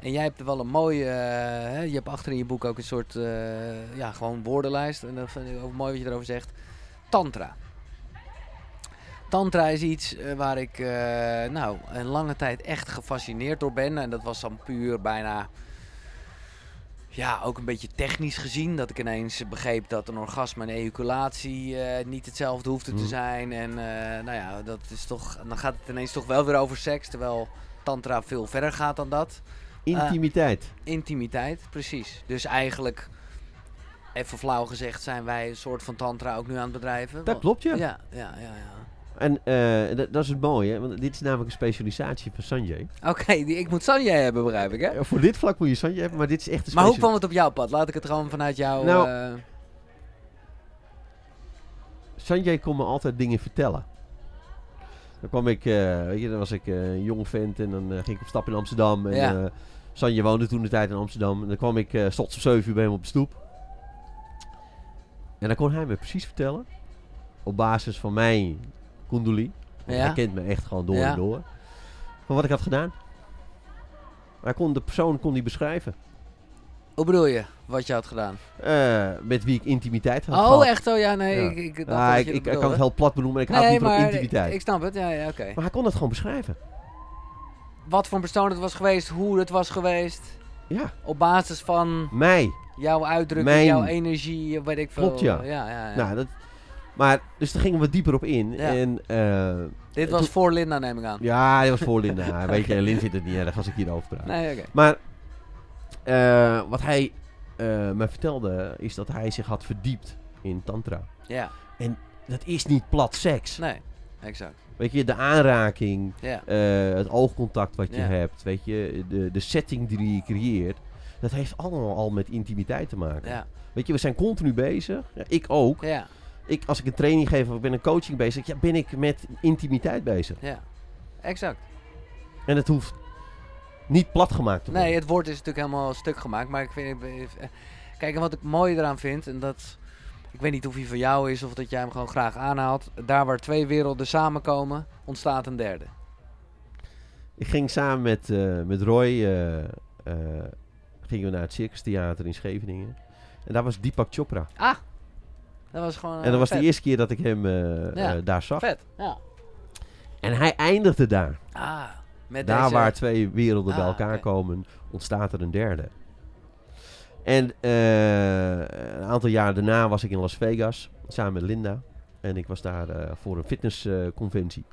Speaker 1: En jij hebt er wel een mooie... eh, hè, je hebt achter in je boek ook een soort... eh, ja, gewoon woordenlijst. En dat vind ik ook mooi wat je erover zegt. Tantra. Tantra is iets eh, waar ik eh, nou, een lange tijd echt gefascineerd door ben. En dat was dan puur bijna... Ja, ook een beetje technisch gezien. Dat ik ineens begreep dat een orgasme en ejaculatie eh, niet hetzelfde hoefden te
Speaker 2: Mhm.
Speaker 1: zijn. En eh, nou ja, dat is toch, dan gaat het ineens toch wel weer over seks. Terwijl tantra veel verder gaat dan dat.
Speaker 2: Intimiteit.
Speaker 1: Intimiteit, precies. Dus eigenlijk, even flauw gezegd, zijn wij een soort van tantra ook nu aan het bedrijven.
Speaker 2: dat klopt, ja.
Speaker 1: Ja, ja, ja. ja.
Speaker 2: En eh, dat- dat is het mooie, hè, want dit is namelijk een specialisatie van Sanjay.
Speaker 1: Oké, die ik moet Sanjay hebben, begrijp ik, hè?
Speaker 2: Ja, voor dit vlak moet je Sanjay hebben, maar dit is echt een
Speaker 1: Maar hoe
Speaker 2: speciali-
Speaker 1: kwam het op jouw pad? Laat ik het gewoon vanuit jou...
Speaker 2: Nou,
Speaker 1: eh,
Speaker 2: Sanjay kon me altijd dingen vertellen. Dan kwam ik, eh, weet je, dan was ik eh, een jong vent en dan eh, ging ik op stap in Amsterdam. En
Speaker 1: Ja.
Speaker 2: eh, Sanjay woonde toen de tijd in Amsterdam. En dan kwam ik eh, 's ochtends om 7 uur bij hem op de stoep. En dan kon hij me precies vertellen, op basis van mijn kundali. Want
Speaker 1: Ja.
Speaker 2: Hij kent me echt gewoon door
Speaker 1: Ja.
Speaker 2: en door. Van wat ik had gedaan. Hij kon, de persoon kon die beschrijven.
Speaker 1: hoe bedoel je wat je had gedaan?
Speaker 2: eh, met wie ik intimiteit had gehad.
Speaker 1: Oh, echt? Oh, ja, nee,
Speaker 2: Ja.
Speaker 1: ik, ik dacht
Speaker 2: Ah,
Speaker 1: dat
Speaker 2: ik,
Speaker 1: je dat
Speaker 2: ik, ik kan
Speaker 1: bedoelde.
Speaker 2: het heel plat benoemen, maar ik hou
Speaker 1: Nee,
Speaker 2: niet van
Speaker 1: maar
Speaker 2: intimiteit.
Speaker 1: ik, ik snap het. Ja, ja oké.
Speaker 2: Maar hij kon dat gewoon beschrijven.
Speaker 1: Wat voor persoon het was geweest, hoe het was geweest...
Speaker 2: Ja,
Speaker 1: Op basis van
Speaker 2: mij.
Speaker 1: jouw uitdrukking,
Speaker 2: Mijn-
Speaker 1: jouw energie, weet ik veel.
Speaker 2: Klopt, ja.
Speaker 1: ja, ja, ja.
Speaker 2: Nou, dat, maar, dus daar gingen we dieper op in.
Speaker 1: Ja.
Speaker 2: En, eh,
Speaker 1: Dit was
Speaker 2: Toen-
Speaker 1: voor Linda, neem ik aan.
Speaker 2: ja, dit was voor Linda. Weet je, Lin vindt het niet erg als ik hierover praat.
Speaker 1: Nee, oké.
Speaker 2: Maar, eh, wat hij eh me vertelde, is dat hij zich had verdiept in tantra.
Speaker 1: Ja,
Speaker 2: Dat is niet plat seks.
Speaker 1: nee, exact.
Speaker 2: Weet je, de aanraking,
Speaker 1: Ja,
Speaker 2: eh, het oogcontact wat je
Speaker 1: Ja.
Speaker 2: hebt, weet je, de, de setting die je creëert. Dat heeft allemaal al met intimiteit te maken.
Speaker 1: ja,
Speaker 2: Weet je, we zijn continu bezig. Ja, ik ook.
Speaker 1: ja,
Speaker 2: ik, als ik een training geef of ik ben een coaching bezig, ja, ben ik met intimiteit bezig.
Speaker 1: ja. Exact.
Speaker 2: En het hoeft niet plat gemaakt te worden.
Speaker 1: Nee, het woord is natuurlijk helemaal stuk gemaakt, maar ik vind... eh, Kijk, en wat ik mooi eraan vind, en dat... Ik weet niet of hij van jou is of dat jij hem gewoon graag aanhaalt. Daar waar twee werelden samenkomen, ontstaat een derde.
Speaker 2: Ik ging samen met, eh, met Roy eh, eh, gingen we naar het Circus Theater in Scheveningen. En daar was Deepak Chopra.
Speaker 1: Ah! Dat was gewoon...
Speaker 2: en dat was
Speaker 1: die
Speaker 2: de eerste keer dat ik hem eh,
Speaker 1: Ah, Ja.
Speaker 2: eh, daar zag.
Speaker 1: Vet, ja.
Speaker 2: En hij eindigde daar.
Speaker 1: Ah, met
Speaker 2: daar
Speaker 1: deze...
Speaker 2: waar twee werelden bij
Speaker 1: Ah,
Speaker 2: elkaar
Speaker 1: oké.
Speaker 2: komen, ontstaat er een derde. En eh, een aantal jaar daarna was ik in Las Vegas samen met Linda. En ik was daar eh, voor een fitnessconventie.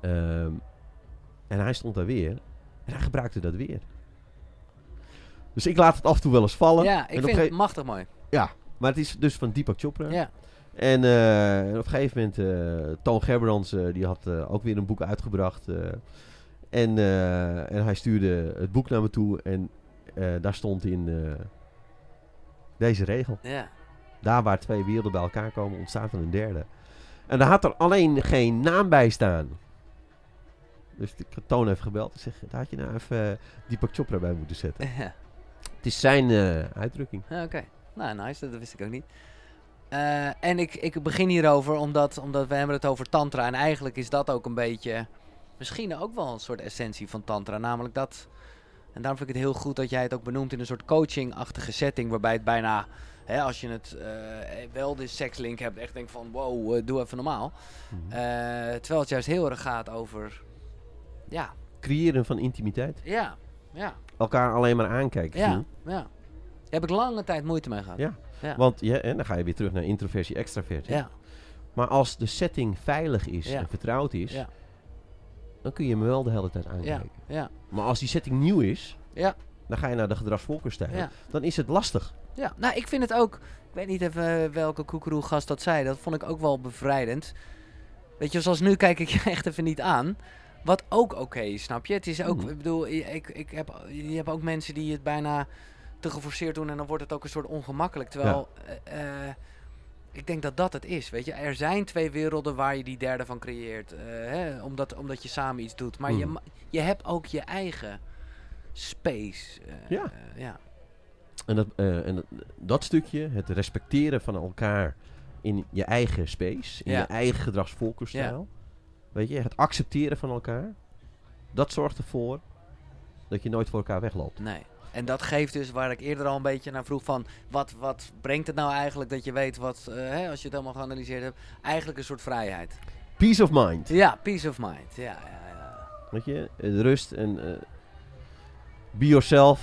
Speaker 2: Ehm, en hij stond daar weer. En hij gebruikte dat weer. Dus ik laat het af en toe wel eens vallen.
Speaker 1: Ja, ik
Speaker 2: En op
Speaker 1: vind
Speaker 2: een
Speaker 1: het
Speaker 2: gege-
Speaker 1: machtig mooi.
Speaker 2: Maar het is dus van Deepak Chopra.
Speaker 1: Ja,
Speaker 2: En eh, op een gegeven moment, eh, Toon Gerbrands, eh, die had eh, ook weer een boek uitgebracht. eh, en, eh, en hij stuurde het boek naar me toe en eh, daar stond in eh, deze regel.
Speaker 1: Ja.
Speaker 2: Daar waar twee werelden bij elkaar komen, ontstaat er een derde. En daar had er alleen geen naam bij staan. Dus ik had Toon even gebeld. Ik zeg, daar had je nou even eh, Deepak Chopra bij moeten zetten.
Speaker 1: Ja.
Speaker 2: Het is zijn eh, uitdrukking.
Speaker 1: Ja, Oké, nou nice, dat wist ik ook niet. Eh, en ik, ik begin hierover omdat, omdat we hebben het over tantra en eigenlijk is dat ook een beetje, misschien ook wel een soort essentie van tantra, namelijk dat, en daarom vind ik het heel goed dat jij het ook benoemt in een soort coaching-achtige setting, waarbij het bijna, hè, als je het eh, wel de sekslink hebt, echt denk van wow, eh, doe even normaal. Eh, terwijl het juist heel erg gaat over, ja,
Speaker 2: Creëren van intimiteit.
Speaker 1: ja, ja,
Speaker 2: Elkaar alleen maar aankijken.
Speaker 1: ja,
Speaker 2: Giel.
Speaker 1: ja. Daar heb ik lange tijd moeite mee gehad.
Speaker 2: Ja.
Speaker 1: Ja.
Speaker 2: Want ja, en dan ga je weer terug naar introversie, extraversie.
Speaker 1: ja.
Speaker 2: Maar als de setting veilig is
Speaker 1: Ja.
Speaker 2: en vertrouwd is,
Speaker 1: Ja.
Speaker 2: dan kun je me wel de hele tijd aankijken.
Speaker 1: ja.
Speaker 2: Maar als die setting nieuw is,
Speaker 1: Ja.
Speaker 2: dan ga je naar de gedragsvolkenstijl.
Speaker 1: Ja.
Speaker 2: Dan is het lastig.
Speaker 1: Ja, nou, ik vind het ook. Ik weet niet even welke koekeroe-gast dat zei. Dat vond ik ook wel bevrijdend. Weet je, zoals nu kijk ik je echt even niet aan. Wat ook oké is, snap je? Het is ook,
Speaker 2: Mhm.
Speaker 1: ik bedoel, i- ik, ik heb, je hebt ook mensen die het bijna te geforceerd doen en dan wordt het ook een soort ongemakkelijk. Terwijl, eh, eh, ik denk dat dat het is, weet je. Er zijn twee werelden waar je die derde van creëert, eh, hè, omdat, omdat je samen iets doet. Maar je,
Speaker 2: Mhm.
Speaker 1: ma- je hebt ook je eigen space. eh,
Speaker 2: Ja.
Speaker 1: eh, ja.
Speaker 2: En dat, eh, en dat, dat stukje, het respecteren van elkaar in je eigen space, in
Speaker 1: Ja.
Speaker 2: je eigen gedragsvolkenstijl. Weet je, het accepteren van elkaar. Dat zorgt ervoor dat je nooit voor elkaar wegloopt.
Speaker 1: Nee. En dat geeft dus waar ik eerder al een beetje naar vroeg van... wat, wat brengt het nou eigenlijk dat je weet wat... eh, hè, als je het helemaal geanalyseerd hebt... eigenlijk een soort vrijheid.
Speaker 2: Peace of mind.
Speaker 1: Ja, peace of mind. Ja, ja, ja.
Speaker 2: Weet je, eh, rust en eh, be yourself.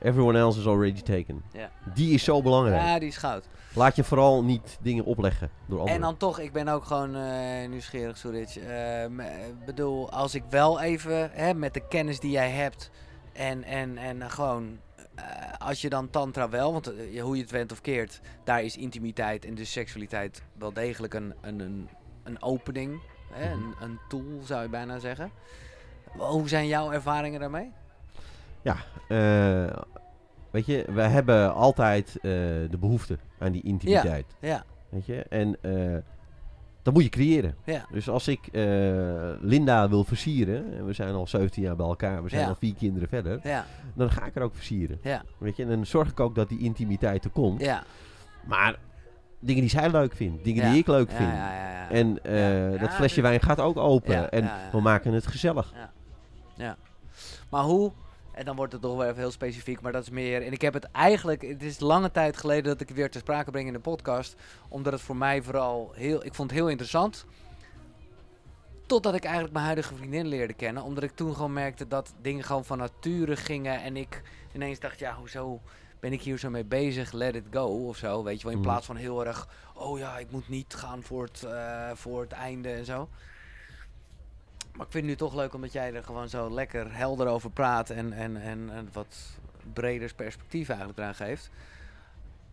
Speaker 2: Everyone else is already taken.
Speaker 1: Ja.
Speaker 2: Die is zo belangrijk.
Speaker 1: ja die is goud.
Speaker 2: Laat je vooral niet dingen opleggen door anderen.
Speaker 1: En dan toch, ik ben ook gewoon eh, nieuwsgierig, Soeric. Ehm, eh, Ik bedoel, als ik wel even hè, met de kennis die jij hebt... en, en, en gewoon... eh, als je dan tantra wel, want eh, hoe je het went of keert, daar is intimiteit en dus seksualiteit wel degelijk een, een, een, een opening, hè?
Speaker 2: Mhm.
Speaker 1: Een, een tool zou je bijna zeggen. Hoe zijn jouw ervaringen daarmee?
Speaker 2: Eh, weet je, we hebben altijd eh, de behoefte aan die intimiteit.
Speaker 1: Ja,
Speaker 2: Weet je? En eh, dat moet je creëren.
Speaker 1: ja,
Speaker 2: Dus als ik eh, Linda wil versieren, en we zijn al 17 jaar bij elkaar, we zijn
Speaker 1: Ja.
Speaker 2: al vier kinderen verder,
Speaker 1: ja,
Speaker 2: dan ga ik er ook versieren.
Speaker 1: ja,
Speaker 2: Weet je? En dan zorg ik ook dat die intimiteit er komt.
Speaker 1: ja.
Speaker 2: Maar dingen die zij leuk vindt, dingen
Speaker 1: Ja.
Speaker 2: die ik leuk
Speaker 1: Ja,
Speaker 2: vind.
Speaker 1: ja, ja, ja.
Speaker 2: En eh,
Speaker 1: Ja.
Speaker 2: dat
Speaker 1: Ja,
Speaker 2: flesje
Speaker 1: dit-
Speaker 2: wijn gaat ook open.
Speaker 1: Ja,
Speaker 2: en
Speaker 1: ja, ja.
Speaker 2: we maken het gezellig.
Speaker 1: Maar hoe? En dan wordt het toch wel even heel specifiek, maar dat is meer. En ik heb het eigenlijk, het is lange tijd geleden dat ik het weer ter sprake breng in de podcast, omdat het voor mij vooral heel, ik vond het heel interessant. Totdat ik eigenlijk mijn huidige vriendin leerde kennen, omdat ik toen gewoon merkte dat dingen gewoon van nature gingen en ik ineens dacht, ja, hoezo ben ik hier zo mee bezig? Let it go of zo, weet je wel? In
Speaker 2: Mhm.
Speaker 1: plaats van heel erg, oh ja, ik moet niet gaan voor het, eh, voor het einde en zo. Maar ik vind het nu toch leuk omdat jij er gewoon zo lekker helder over praat en, en, en, en wat breder perspectief eigenlijk eraan geeft.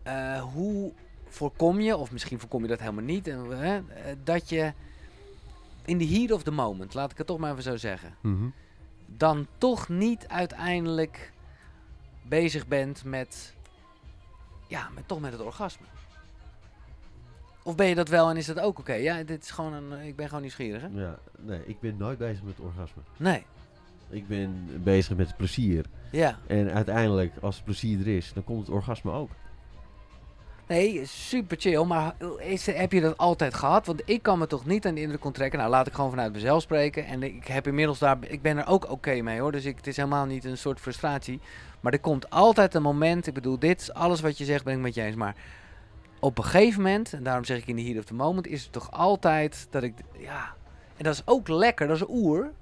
Speaker 1: Eh, hoe voorkom je, of misschien voorkom je dat helemaal niet, en, hè, eh, dat je in the heat of the moment, laat ik het toch maar even zo zeggen,
Speaker 2: Mhm.
Speaker 1: dan toch niet uiteindelijk bezig bent met, ja, met, toch met het orgasme? Of ben je dat wel en is dat ook oké? Ja, dit is gewoon een, ik ben gewoon nieuwsgierig. Hè?
Speaker 2: Ja, nee, ik ben nooit bezig met orgasme.
Speaker 1: Nee.
Speaker 2: Ik ben bezig met het plezier.
Speaker 1: Ja.
Speaker 2: En uiteindelijk, als het plezier er is, dan komt het orgasme ook.
Speaker 1: Nee, super chill. Maar is, heb je dat altijd gehad? Want ik kan me toch niet aan de indruk onttrekken. Nou, laat ik gewoon vanuit mezelf spreken. En ik heb inmiddels daar. Ik ben er ook oké mee hoor. Dus ik, het is helemaal niet een soort frustratie. Maar er komt altijd een moment. Ik bedoel, dit is alles wat je zegt, ben ik met je eens. Maar op een gegeven moment, en daarom zeg ik in de heat of the moment, is het toch altijd dat ik. Ja. En dat is ook lekker, dat is oer.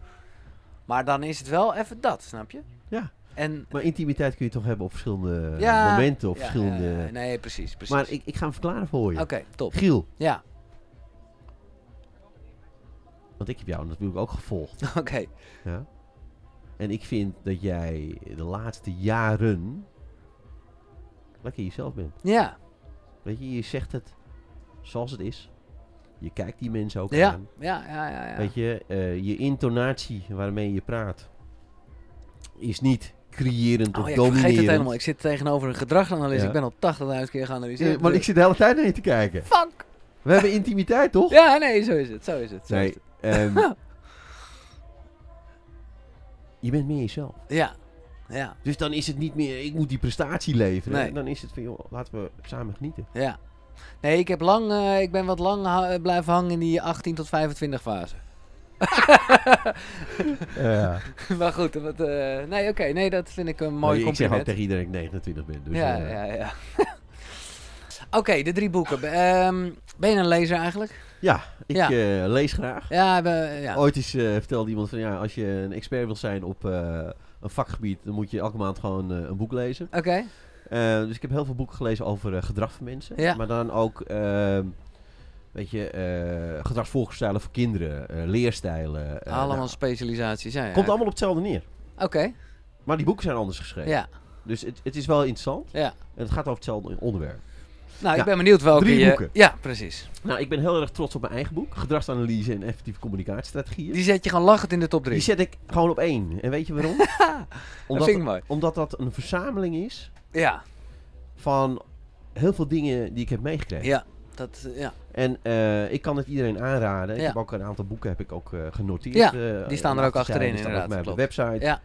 Speaker 1: Maar dan is het wel even dat, snap je?
Speaker 2: Ja.
Speaker 1: En.
Speaker 2: Maar intimiteit kun je toch hebben op verschillende
Speaker 1: Ja,
Speaker 2: momenten of
Speaker 1: ja,
Speaker 2: verschillende.
Speaker 1: ja, ja. nee, precies. precies.
Speaker 2: Maar ik, ik ga hem verklaren voor je.
Speaker 1: Oké, top.
Speaker 2: Giel,
Speaker 1: Ja,
Speaker 2: want ik heb jou natuurlijk ook gevolgd.
Speaker 1: oké.
Speaker 2: ja? En ik vind dat jij de laatste jaren lekker jezelf bent.
Speaker 1: Ja.
Speaker 2: Weet je, je zegt het. zoals het is. Je kijkt die mensen ook
Speaker 1: Ja,
Speaker 2: aan.
Speaker 1: ja, ja, ja. ja.
Speaker 2: Weet je, eh, je intonatie waarmee je praat is niet creërend
Speaker 1: Oh
Speaker 2: of
Speaker 1: ja, ik
Speaker 2: dominerend.
Speaker 1: vergeet het helemaal. Ik zit tegenover een gedragsanalist.
Speaker 2: Ja.
Speaker 1: Ik ben al 80.000 keer geanalyseerd. Dus
Speaker 2: Eh, maar ik zit de hele tijd naar je te kijken.
Speaker 1: Fuck!
Speaker 2: We hebben intimiteit, toch?
Speaker 1: Ja, nee, zo is het. Zo is het. zo is
Speaker 2: Nee. ehm, je bent meer jezelf.
Speaker 1: het. Ja. Ja.
Speaker 2: Dus dan is het niet meer, ik moet die prestatie leveren.
Speaker 1: Nee.
Speaker 2: Dan is het van, joh, laten we samen genieten.
Speaker 1: Ja. Nee, ik, heb lang, eh, ik ben wat lang ha- blijven hangen in die 18 tot 25 fase.
Speaker 2: Ja.
Speaker 1: maar goed, wat, eh, nee, oké. nee, dat vind ik een mooi
Speaker 2: ik zeg ook
Speaker 1: compliment.
Speaker 2: tegen iedereen dat ik 29 ben. Dus,
Speaker 1: ja,
Speaker 2: eh,
Speaker 1: ja, ja. oké, de drie boeken. Be- ehm, ben je een lezer eigenlijk?
Speaker 2: Ik
Speaker 1: Ja.
Speaker 2: eh, lees graag.
Speaker 1: Ja, we- ja.
Speaker 2: Ooit eens eh, vertelde iemand van, ja, als je een expert wil zijn op eh, een vakgebied, dan moet je elke maand gewoon eh, een boek lezen.
Speaker 1: Oké.
Speaker 2: Eh, dus ik heb heel veel boeken gelezen over eh, gedrag van mensen.
Speaker 1: Ja.
Speaker 2: Maar dan ook, ehm, weet je, eh gedragsvoorstellen voor kinderen, eh, leerstijlen. eh,
Speaker 1: Allemaal
Speaker 2: nou,
Speaker 1: specialisaties. Ja, ja.
Speaker 2: komt allemaal op hetzelfde neer.
Speaker 1: Oké.
Speaker 2: Maar die boeken zijn anders geschreven.
Speaker 1: Ja.
Speaker 2: Dus het, het is wel interessant.
Speaker 1: Ja.
Speaker 2: En het gaat over hetzelfde onderwerp.
Speaker 1: Nou, ik
Speaker 2: Ja,
Speaker 1: ben benieuwd welke
Speaker 2: drie
Speaker 1: je...
Speaker 2: boeken.
Speaker 1: Ja, precies.
Speaker 2: Nou, ik ben heel erg trots op mijn eigen boek. Gedragsanalyse en effectieve communicatiestrategieën.
Speaker 1: Die zet je gewoon lachend in de top 3.
Speaker 2: Die zet ik gewoon op één. En weet je waarom?
Speaker 1: dat vind ik
Speaker 2: omdat,
Speaker 1: mooi.
Speaker 2: omdat dat een verzameling is
Speaker 1: Ja,
Speaker 2: van heel veel dingen die ik heb meegekregen.
Speaker 1: ja. Dat, eh, ja.
Speaker 2: En eh, ik kan het iedereen aanraden. Ik
Speaker 1: Ja.
Speaker 2: heb ook een aantal boeken heb ik ook eh, genoteerd.
Speaker 1: Ja,
Speaker 2: eh,
Speaker 1: die staan er ook
Speaker 2: laatst
Speaker 1: achterin,
Speaker 2: Die staan ook bij mij op de
Speaker 1: inderdaad,
Speaker 2: website.
Speaker 1: Ja.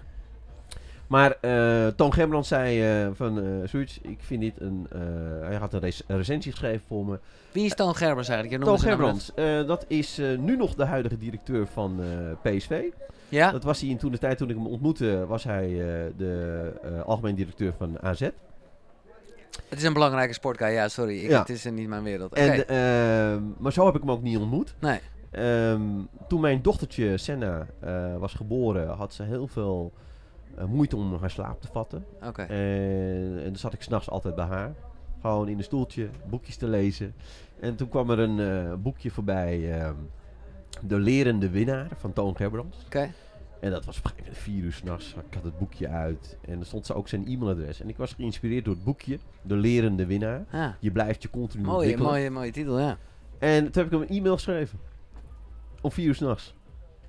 Speaker 2: Maar eh Toon Gembrand zei eh, van eh, zoiets, ik vind dit een... eh, hij had een rec- een recensie geschreven voor me.
Speaker 1: Wie is Toon Gerbers eigenlijk? Je noemde
Speaker 2: Toon
Speaker 1: zijn naam
Speaker 2: Gerbrands, eh, dat is eh, nu nog de huidige directeur van eh, PSV.
Speaker 1: net. Ja,
Speaker 2: Dat was hij in toen de tijd toen ik hem ontmoette, was hij eh, de eh, algemeen directeur van AZ.
Speaker 1: het is een belangrijke sportguy. Ja, sorry. Ik,
Speaker 2: Ja.
Speaker 1: Het is eh, niet mijn wereld. Oké.
Speaker 2: En, ehm, maar zo heb ik hem ook niet ontmoet.
Speaker 1: Nee.
Speaker 2: Ehm, toen mijn dochtertje Senna eh, was geboren, had ze heel veel eh, moeite om haar slaap te vatten.
Speaker 1: Oké.
Speaker 2: En, en dan zat ik s'nachts altijd bij haar. Gewoon in een stoeltje, boekjes te lezen. En toen kwam er een eh, boekje voorbij, ehm, De Lerende Winnaar van Toon Gerbrands.
Speaker 1: Oké.
Speaker 2: En dat was op een gegeven moment vier uur s'nachts. Ik had het boekje uit en er stond ze ook zijn e-mailadres. En ik was geïnspireerd door het boekje, De Lerende Winnaar.
Speaker 1: Ah,
Speaker 2: Je blijft je continu
Speaker 1: mooie,
Speaker 2: ontwikkelen.
Speaker 1: mooie, mooie titel, ja.
Speaker 2: En toen heb ik hem een e-mail geschreven. Om vier uur s'nachts.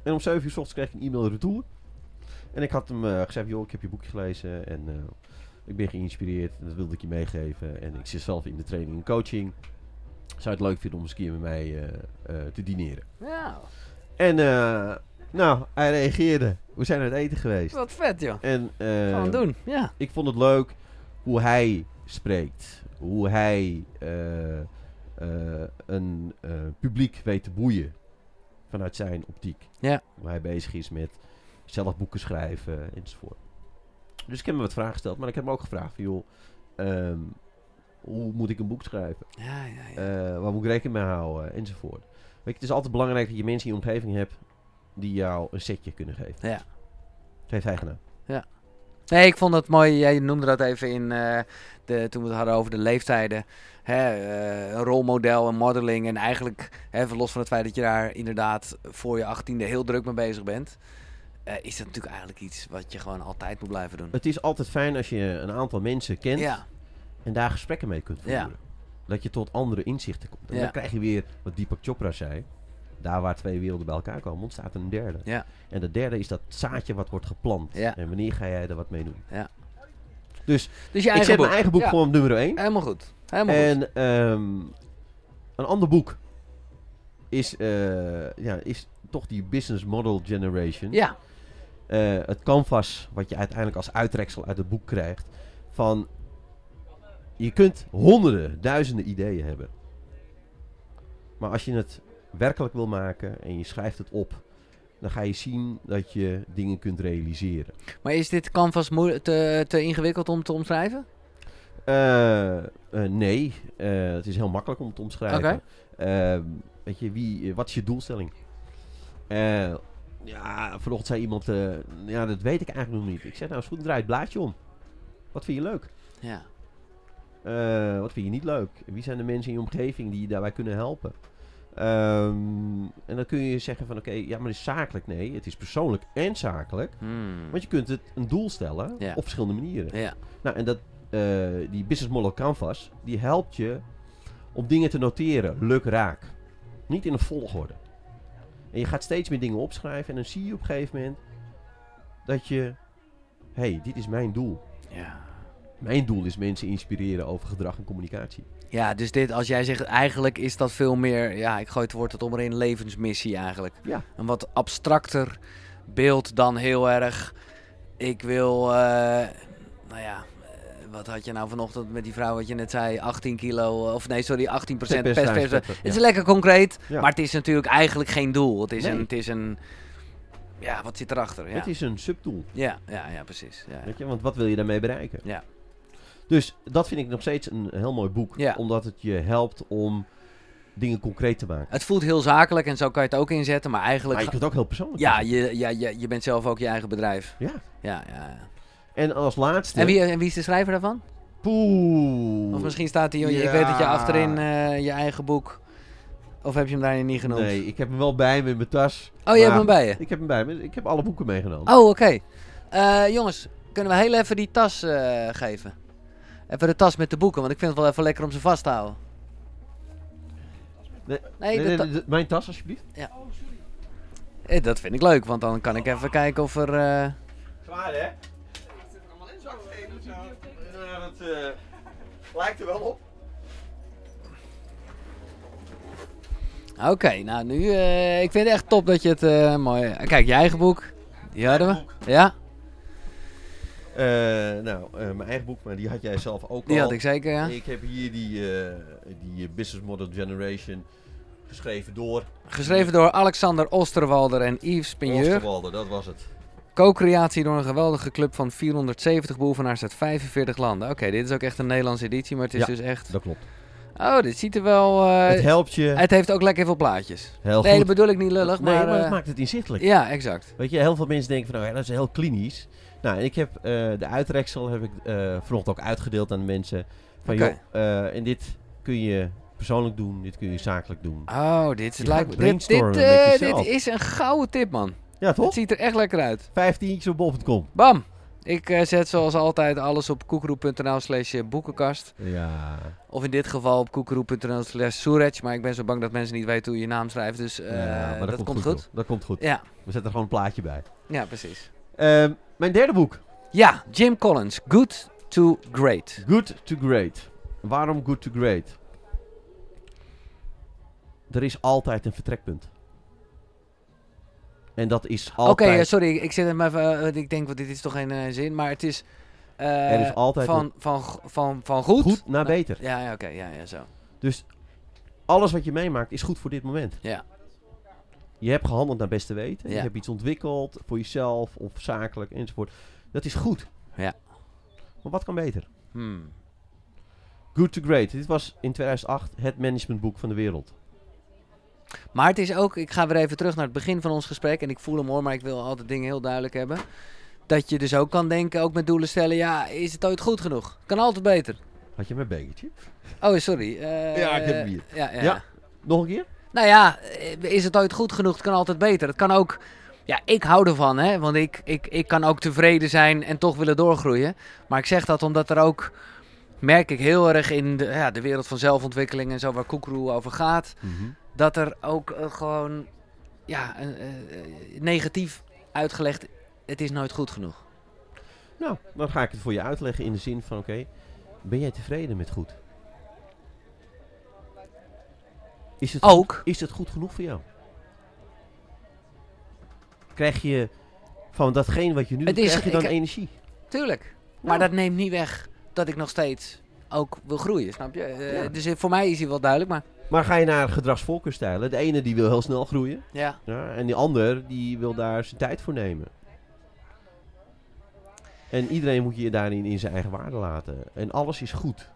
Speaker 2: En om zeven uur s ochtends kreeg ik een e-mail retour. En ik had hem eh, gezegd, joh, ik heb je boekje gelezen en eh, ik ben geïnspireerd. En dat wilde ik je meegeven. En ik zit zelf in de training en coaching. Zou je het leuk vinden om eens een keer met mij eh, eh, te dineren?
Speaker 1: Nou,
Speaker 2: En eh, nou, hij reageerde. We zijn uit eten geweest.
Speaker 1: wat vet, joh.
Speaker 2: En eh,
Speaker 1: Gaan we doen. Ja.
Speaker 2: ik vond het leuk hoe hij spreekt. Hoe hij eh, eh, een eh, publiek weet te boeien. Vanuit zijn optiek.
Speaker 1: Ja.
Speaker 2: Hoe hij bezig is met zelf boeken schrijven enzovoort. Dus ik heb hem wat vragen gesteld. Maar ik heb hem ook gevraagd van joh, ehm, hoe moet ik een boek schrijven?
Speaker 1: Ja, ja, ja.
Speaker 2: Eh, waar moet ik rekening mee houden? Enzovoort. Weet je, het is altijd belangrijk dat je mensen in je omgeving hebt die jou een setje kunnen geven.
Speaker 1: Ja.
Speaker 2: Dat heeft hij gedaan.
Speaker 1: Nee, ik vond dat mooi. Jij noemde dat even in eh, de, toen we het hadden over de leeftijden. Hè, eh, een rolmodel, een modeling. En eigenlijk, hè, even los van het feit dat je daar inderdaad voor je achttiende heel druk mee bezig bent. eh, is dat natuurlijk eigenlijk iets wat je gewoon altijd moet blijven doen.
Speaker 2: Het is altijd fijn als je een aantal mensen kent
Speaker 1: Ja,
Speaker 2: en daar gesprekken mee kunt
Speaker 1: Ja.
Speaker 2: voeren. Dat je tot andere inzichten komt. En
Speaker 1: Ja.
Speaker 2: dan krijg je weer wat Deepak Chopra zei. Daar waar twee werelden bij elkaar komen, ontstaat een derde.
Speaker 1: Ja.
Speaker 2: En dat derde is dat zaadje wat wordt geplant.
Speaker 1: Ja.
Speaker 2: En wanneer ga jij er wat mee doen?
Speaker 1: Ja.
Speaker 2: Dus
Speaker 1: dus je
Speaker 2: ik
Speaker 1: eigen
Speaker 2: zet
Speaker 1: boek.
Speaker 2: mijn eigen boek
Speaker 1: Ja,
Speaker 2: gewoon op nummer 1.
Speaker 1: Helemaal goed. Helemaal goed.
Speaker 2: En ehm, een ander boek is, eh, ja, is toch die Business Model Generation.
Speaker 1: Ja,
Speaker 2: Eh, het canvas wat je uiteindelijk als uittreksel uit het boek krijgt. Van je kunt honderden, duizenden ideeën hebben. Maar als je het werkelijk wil maken en je schrijft het op, dan ga je zien dat je dingen kunt realiseren.
Speaker 1: maar is dit canvas moe- te, te ingewikkeld om te omschrijven?
Speaker 2: Eh, eh, nee, Eh, het is heel makkelijk om te omschrijven.
Speaker 1: Oké.
Speaker 2: Ehm, weet je, wie, eh, wat is je doelstelling? Eh, ja, vanochtend zei iemand, eh, ja, dat weet ik eigenlijk nog niet. Ik zeg, nou, is goed, draai het blaadje om. Wat vind je leuk?
Speaker 1: Ja.
Speaker 2: Eh, wat vind je niet leuk? Wie zijn de mensen in je omgeving die je daarbij kunnen helpen? Ehm, en dan kun je zeggen van, oké, ja, maar het is zakelijk. Nee, het is persoonlijk en zakelijk.
Speaker 1: Hmm.
Speaker 2: Want je kunt het een doel stellen
Speaker 1: Ja.
Speaker 2: op verschillende manieren.
Speaker 1: Ja,
Speaker 2: Nou, en dat, eh, die Business Model Canvas, die helpt je om dingen te noteren, luk raak. Niet in een volgorde. En je gaat steeds meer dingen opschrijven en dan zie je op een gegeven moment dat je, hé, hey, dit is mijn doel.
Speaker 1: Ja.
Speaker 2: Mijn doel is mensen inspireren over gedrag en communicatie.
Speaker 1: ja, dus dit, als jij zegt, eigenlijk is dat veel meer, ja, ik gooi het woord het om erin, levensmissie eigenlijk.
Speaker 2: Ja.
Speaker 1: Een wat abstracter beeld dan heel erg, ik wil, eh, nou ja, eh, wat had je nou vanochtend met die vrouw wat je net zei, 18 kilo, eh, of nee, sorry, 18 procent
Speaker 2: Pest,
Speaker 1: pest,
Speaker 2: pest,
Speaker 1: pest,
Speaker 2: pest,
Speaker 1: pest.
Speaker 2: ja.
Speaker 1: Het is lekker concreet,
Speaker 2: Ja.
Speaker 1: maar het is natuurlijk eigenlijk geen doel. Het is,
Speaker 2: Nee.
Speaker 1: een, het is een, ja, wat zit erachter? Ja,
Speaker 2: Het is een subdoel.
Speaker 1: ja, ja, ja precies. Ja, ja.
Speaker 2: Weet je, want wat wil je daarmee bereiken?
Speaker 1: Ja.
Speaker 2: Dus dat vind ik nog steeds een heel mooi boek.
Speaker 1: Ja.
Speaker 2: Omdat het je helpt om dingen concreet te maken.
Speaker 1: Het voelt heel zakelijk en zo kan je het ook inzetten, maar eigenlijk...
Speaker 2: Maar je kunt het ook heel persoonlijk
Speaker 1: Ja,
Speaker 2: maken.
Speaker 1: je, ja, je, je bent zelf ook je eigen bedrijf.
Speaker 2: Ja.
Speaker 1: Ja, ja.
Speaker 2: En als laatste...
Speaker 1: En, wie, en wie is de schrijver daarvan?
Speaker 2: Poeh.
Speaker 1: Of misschien staat hij, ik
Speaker 2: Ja.
Speaker 1: weet dat je achterin eh, je eigen boek. Of heb je hem daarin niet genoemd?
Speaker 2: Nee, ik heb hem wel bij me in mijn tas.
Speaker 1: Oh, je hebt
Speaker 2: Maar
Speaker 1: hem bij je.
Speaker 2: Ik heb hem bij me. Ik heb alle boeken meegenomen.
Speaker 1: Oh, oké. Eh, jongens, kunnen we heel even die tas eh, geven? Even de tas met de boeken, want ik vind het wel even lekker om ze vast te houden.
Speaker 2: Nee,
Speaker 1: nee,
Speaker 2: Nee,
Speaker 1: de
Speaker 2: nee,
Speaker 1: ta-
Speaker 2: de- mijn tas, alsjeblieft.
Speaker 1: eh, dat vind ik leuk, want dan kan ik even kijken of er. eh,
Speaker 2: Zwaar, hè? Dat eh, lijkt er wel op.
Speaker 1: Oké, nou nu, eh, ik vind het echt top dat je het eh, mooi. Kijk, je eigen boek. Die hadden we. Ja,
Speaker 2: nou, eh, mijn eigen boek, maar die had jij zelf ook
Speaker 1: die
Speaker 2: al.
Speaker 1: had ik zeker. Ja.
Speaker 2: Ik heb hier die, eh, die eh, Business Model Generation geschreven door
Speaker 1: Geschreven door Alexander Osterwalder en Yves Pigneur.
Speaker 2: Osterwalde, dat was het.
Speaker 1: Co-creatie door een geweldige club van 470 beoefenaars uit 45 landen. Oké, dit is ook echt een Nederlandse editie, maar het is
Speaker 2: Ja.
Speaker 1: dus echt...
Speaker 2: Dat klopt.
Speaker 1: Oh, dit ziet er wel... eh,
Speaker 2: het
Speaker 1: Het,
Speaker 2: helpt je
Speaker 1: heeft ook lekker veel plaatjes.
Speaker 2: heel
Speaker 1: nee,
Speaker 2: goed.
Speaker 1: dat bedoel ik niet lullig,
Speaker 2: nee,
Speaker 1: maar...
Speaker 2: maar het
Speaker 1: eh,
Speaker 2: maakt het inzichtelijk.
Speaker 1: Ja, exact.
Speaker 2: Weet je, heel veel mensen denken van, nou, ja, dat is heel klinisch. Nou, en ik heb eh, de uitreksel heb ik eh vanochtend ook uitgedeeld aan de mensen. Van,
Speaker 1: Oké.
Speaker 2: joh, eh, en dit kun je persoonlijk doen, dit kun je zakelijk doen.
Speaker 1: Oh, dit, is
Speaker 2: Je
Speaker 1: lijkt, dit, dit,
Speaker 2: gaat brainstormen met
Speaker 1: eh,
Speaker 2: jezelf.
Speaker 1: dit is een gouden tip, man.
Speaker 2: Ja,
Speaker 1: Het
Speaker 2: toch?
Speaker 1: ziet er echt lekker uit.
Speaker 2: 15 op bol.com.
Speaker 1: Bam! Ik eh, zet zoals altijd alles op koekeroe.nl slash boekenkast.
Speaker 2: Ja.
Speaker 1: Of in dit geval op koekeroe.nl slash soeraj. Maar ik ben zo bang dat mensen niet weten hoe je naam schrijft, dus eh,
Speaker 2: Ja, maar
Speaker 1: dat, komt goed.
Speaker 2: joh. Dat komt goed.
Speaker 1: Ja,
Speaker 2: We zetten er gewoon een plaatje bij.
Speaker 1: ja, precies.
Speaker 2: Ehm, mijn derde boek.
Speaker 1: Ja, Jim Collins. Good to great.
Speaker 2: Good to great. Waarom good to great? Er is altijd een vertrekpunt. En dat is
Speaker 1: Oké,
Speaker 2: altijd...
Speaker 1: eh, sorry, ik zit hem even. eh, want ik denk, want dit is toch geen eh, zin, maar het is. eh,
Speaker 2: Er is altijd
Speaker 1: van, van, go- van, van goed.
Speaker 2: goed naar beter.
Speaker 1: Ja, ja oké, ja, ja, zo.
Speaker 2: Dus alles wat je meemaakt is goed voor dit moment.
Speaker 1: Ja.
Speaker 2: Je hebt gehandeld naar beste weten.
Speaker 1: Ja.
Speaker 2: Je hebt iets ontwikkeld voor jezelf of zakelijk enzovoort. Dat is goed.
Speaker 1: Ja.
Speaker 2: Maar wat kan beter?
Speaker 1: Hmm.
Speaker 2: Good to great. Dit was in 2008 het managementboek van de wereld.
Speaker 1: Maar het is ook, ik ga weer even terug naar het begin van ons gesprek. En ik voel hem hoor, maar ik wil altijd dingen heel duidelijk hebben. Dat je dus ook kan denken, ook met doelen stellen. Ja, is het ooit goed genoeg? Kan altijd beter.
Speaker 2: Had je mijn bekertje?
Speaker 1: Oh, sorry. eh,
Speaker 2: Ja, ik heb hem hier.
Speaker 1: Ja, ja.
Speaker 2: Ja. Nog een keer?
Speaker 1: Nou ja, eh, is het ooit goed genoeg? Het kan altijd beter. Het kan ook. Ja, ik hou ervan, hè? Want ik, ik, ik kan ook tevreden zijn en toch willen doorgroeien. Maar ik zeg dat omdat er ook. merk ik heel erg in de, ja, de wereld van zelfontwikkeling en zo, waar Koekroe over gaat. dat er ook eh, gewoon. ja, eh, eh, eh, negatief uitgelegd. Het is nooit goed genoeg.
Speaker 2: Nou, dan ga ik het voor je uitleggen in de zin van: oké, ben jij tevreden met goed? Is het,
Speaker 1: Ook.
Speaker 2: is het goed genoeg voor jou? Krijg je van datgene wat je nu
Speaker 1: Het
Speaker 2: doet,
Speaker 1: is-
Speaker 2: krijg je dan
Speaker 1: ik-
Speaker 2: energie?
Speaker 1: Tuurlijk.
Speaker 2: Nou,
Speaker 1: Maar dat neemt niet weg dat ik nog steeds ook wil groeien, snap je? Eh,
Speaker 2: Ja.
Speaker 1: Dus eh, voor mij is hij wel duidelijk, maar.
Speaker 2: maar ga je naar gedragsvoorkeurstijlen? De ene die wil heel snel groeien
Speaker 1: Ja.
Speaker 2: ja, en die ander die wil daar zijn tijd voor nemen. En iedereen moet je daarin in zijn eigen waarde laten. En alles is goed.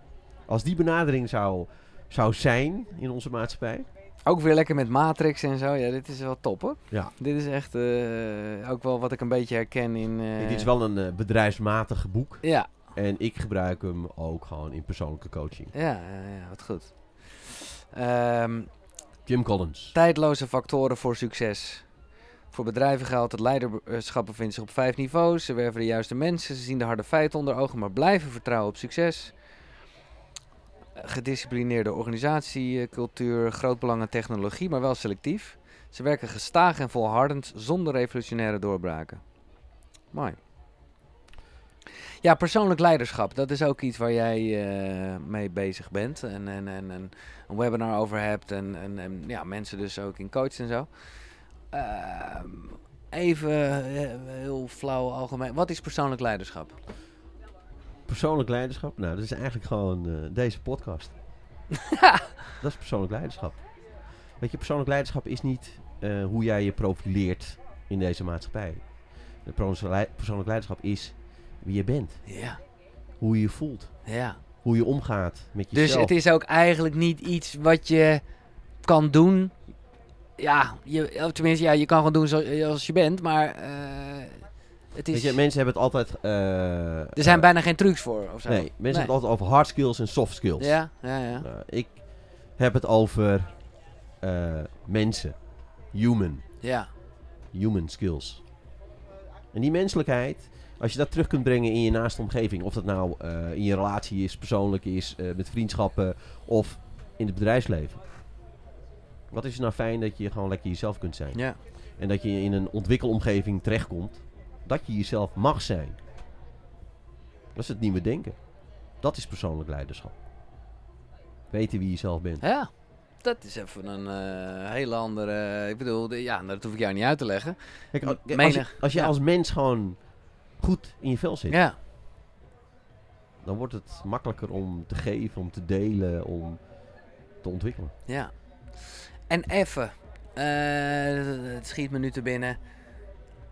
Speaker 2: Als die benadering zou, zou zijn in onze maatschappij,
Speaker 1: Ook weer lekker met Matrix en zo. Ja, dit is wel top hoor.
Speaker 2: Ja.
Speaker 1: Dit is echt eh, ook wel wat ik een beetje herken in... eh,
Speaker 2: Dit is wel een eh, bedrijfsmatig boek.
Speaker 1: Ja,
Speaker 2: En ik gebruik hem ook gewoon in persoonlijke coaching.
Speaker 1: ja, ja, ja, wat goed. Ehm,
Speaker 2: Jim Collins.
Speaker 1: tijdloze factoren voor succes. Voor bedrijven geldt het leiderschap bevindt zich op vijf niveaus. Ze werven de juiste mensen, ze zien de harde feiten onder ogen, maar blijven vertrouwen op succes. Eh, gedisciplineerde organisatiecultuur, groot belang aan technologie, maar wel selectief. Ze werken gestaag en volhardend zonder revolutionaire doorbraken. Mooi. Ja, persoonlijk leiderschap, dat is ook iets waar jij eh, mee bezig bent en, en, en, en een webinar over hebt en, en, en ja, mensen dus ook in coacht en zo. Ehm, even eh, heel flauw algemeen, wat is persoonlijk leiderschap?
Speaker 2: Persoonlijk leiderschap? Nou, dat is eigenlijk gewoon eh, deze podcast. dat is persoonlijk leiderschap. Weet je, persoonlijk leiderschap is niet eh, hoe jij je profileert in deze maatschappij. De persoonlijk lei- persoonlijk leiderschap is wie je bent,
Speaker 1: Ja,
Speaker 2: hoe je je voelt,
Speaker 1: ja.
Speaker 2: hoe je omgaat met jezelf.
Speaker 1: Dus het is ook eigenlijk niet iets wat je kan doen. Ja, je, of tenminste, ja, je kan gewoon doen zoals, als je bent, maar eh, het is,
Speaker 2: Weet je, mensen hebben het altijd... eh,
Speaker 1: er zijn
Speaker 2: eh,
Speaker 1: bijna geen trucs voor. Of zo.
Speaker 2: Nee, mensen hebben het altijd over hard skills en soft skills.
Speaker 1: Ja, ja, ja.
Speaker 2: Nou, ik heb het over eh, mensen. Human.
Speaker 1: ja.
Speaker 2: human skills. En die menselijkheid, als je dat terug kunt brengen in je naaste omgeving, of dat nou eh, in je relatie is, persoonlijk is, eh, met vriendschappen of in het bedrijfsleven. Wat is het nou fijn dat je gewoon lekker jezelf kunt zijn?
Speaker 1: ja.
Speaker 2: En dat je in een ontwikkelomgeving terechtkomt, dat je jezelf mag zijn. Dat is het nieuwe denken. Dat is persoonlijk leiderschap. Weten wie je zelf bent.
Speaker 1: Ja, dat is even een eh, hele andere. Ik bedoel, de- ja, dat hoef ik jou niet uit te leggen.
Speaker 2: Kijk, als, kijk, als, je,
Speaker 1: Menig,
Speaker 2: als je
Speaker 1: ja.
Speaker 2: als mens gewoon goed in je vel zit.
Speaker 1: Ja,
Speaker 2: dan wordt het makkelijker om te geven, om te delen, om te ontwikkelen.
Speaker 1: ja. En even, eh, het schiet me nu te binnen.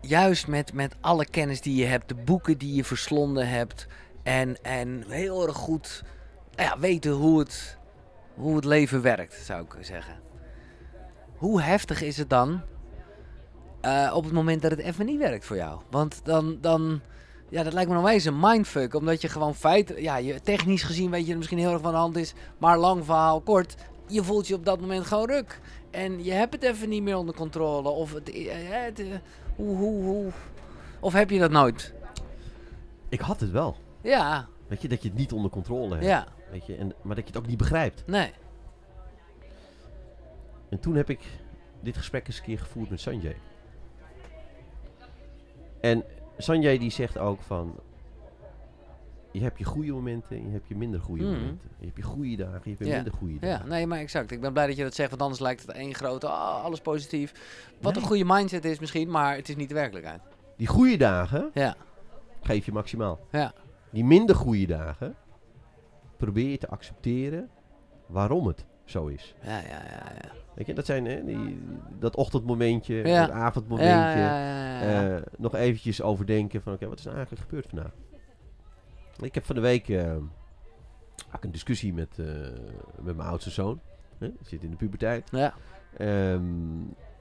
Speaker 1: Juist met, met alle kennis die je hebt, de boeken die je verslonden hebt. En, en heel erg goed nou ja, weten hoe het, hoe het leven werkt, zou ik zeggen. Hoe heftig is het dan eh, op het moment dat het even niet werkt voor jou? Want dan, dan ja, dat lijkt me nog wel eens een mindfuck. Omdat je gewoon feit, ja, je, technisch gezien weet je er misschien heel erg van de hand is. Maar lang verhaal kort, je voelt je op dat moment gewoon ruk. En je hebt het even niet meer onder controle. Of, het, eh, het, eh, hoe, hoe, hoe. of heb je dat nooit?
Speaker 2: Ik had het wel.
Speaker 1: Ja,
Speaker 2: Weet je, dat je het niet onder controle hebt.
Speaker 1: ja,
Speaker 2: Weet je, en, maar dat je het ook niet begrijpt.
Speaker 1: nee.
Speaker 2: En toen heb ik dit gesprek eens een keer gevoerd met Sanjay. En Sanjay die zegt ook van... Je hebt je goede momenten en je hebt je minder goede
Speaker 1: Mhm.
Speaker 2: momenten. Je hebt je goede dagen, je hebt je
Speaker 1: Ja.
Speaker 2: minder goede dagen.
Speaker 1: Ja, nee, maar exact. Ik ben blij dat je dat zegt, want anders lijkt het één grote, ah, alles positief. Wat
Speaker 2: Nee.
Speaker 1: een goede mindset is misschien, maar het is niet de werkelijkheid.
Speaker 2: Die goede dagen
Speaker 1: Ja,
Speaker 2: geef je maximaal.
Speaker 1: Ja.
Speaker 2: Die minder goede dagen probeer je te accepteren waarom het zo is.
Speaker 1: ja, ja, ja. ja.
Speaker 2: Weet je, dat zijn hè, die, dat ochtendmomentje,
Speaker 1: Ja.
Speaker 2: dat avondmomentje.
Speaker 1: ja, ja, ja, ja, ja.
Speaker 2: eh, nog eventjes overdenken van, oké, wat is er nou eigenlijk gebeurd vandaag? Ik heb van de week eh, had ik een discussie met, eh, met mijn oudste zoon. Hè, die zit in de puberteit.
Speaker 1: ja.
Speaker 2: Ehm,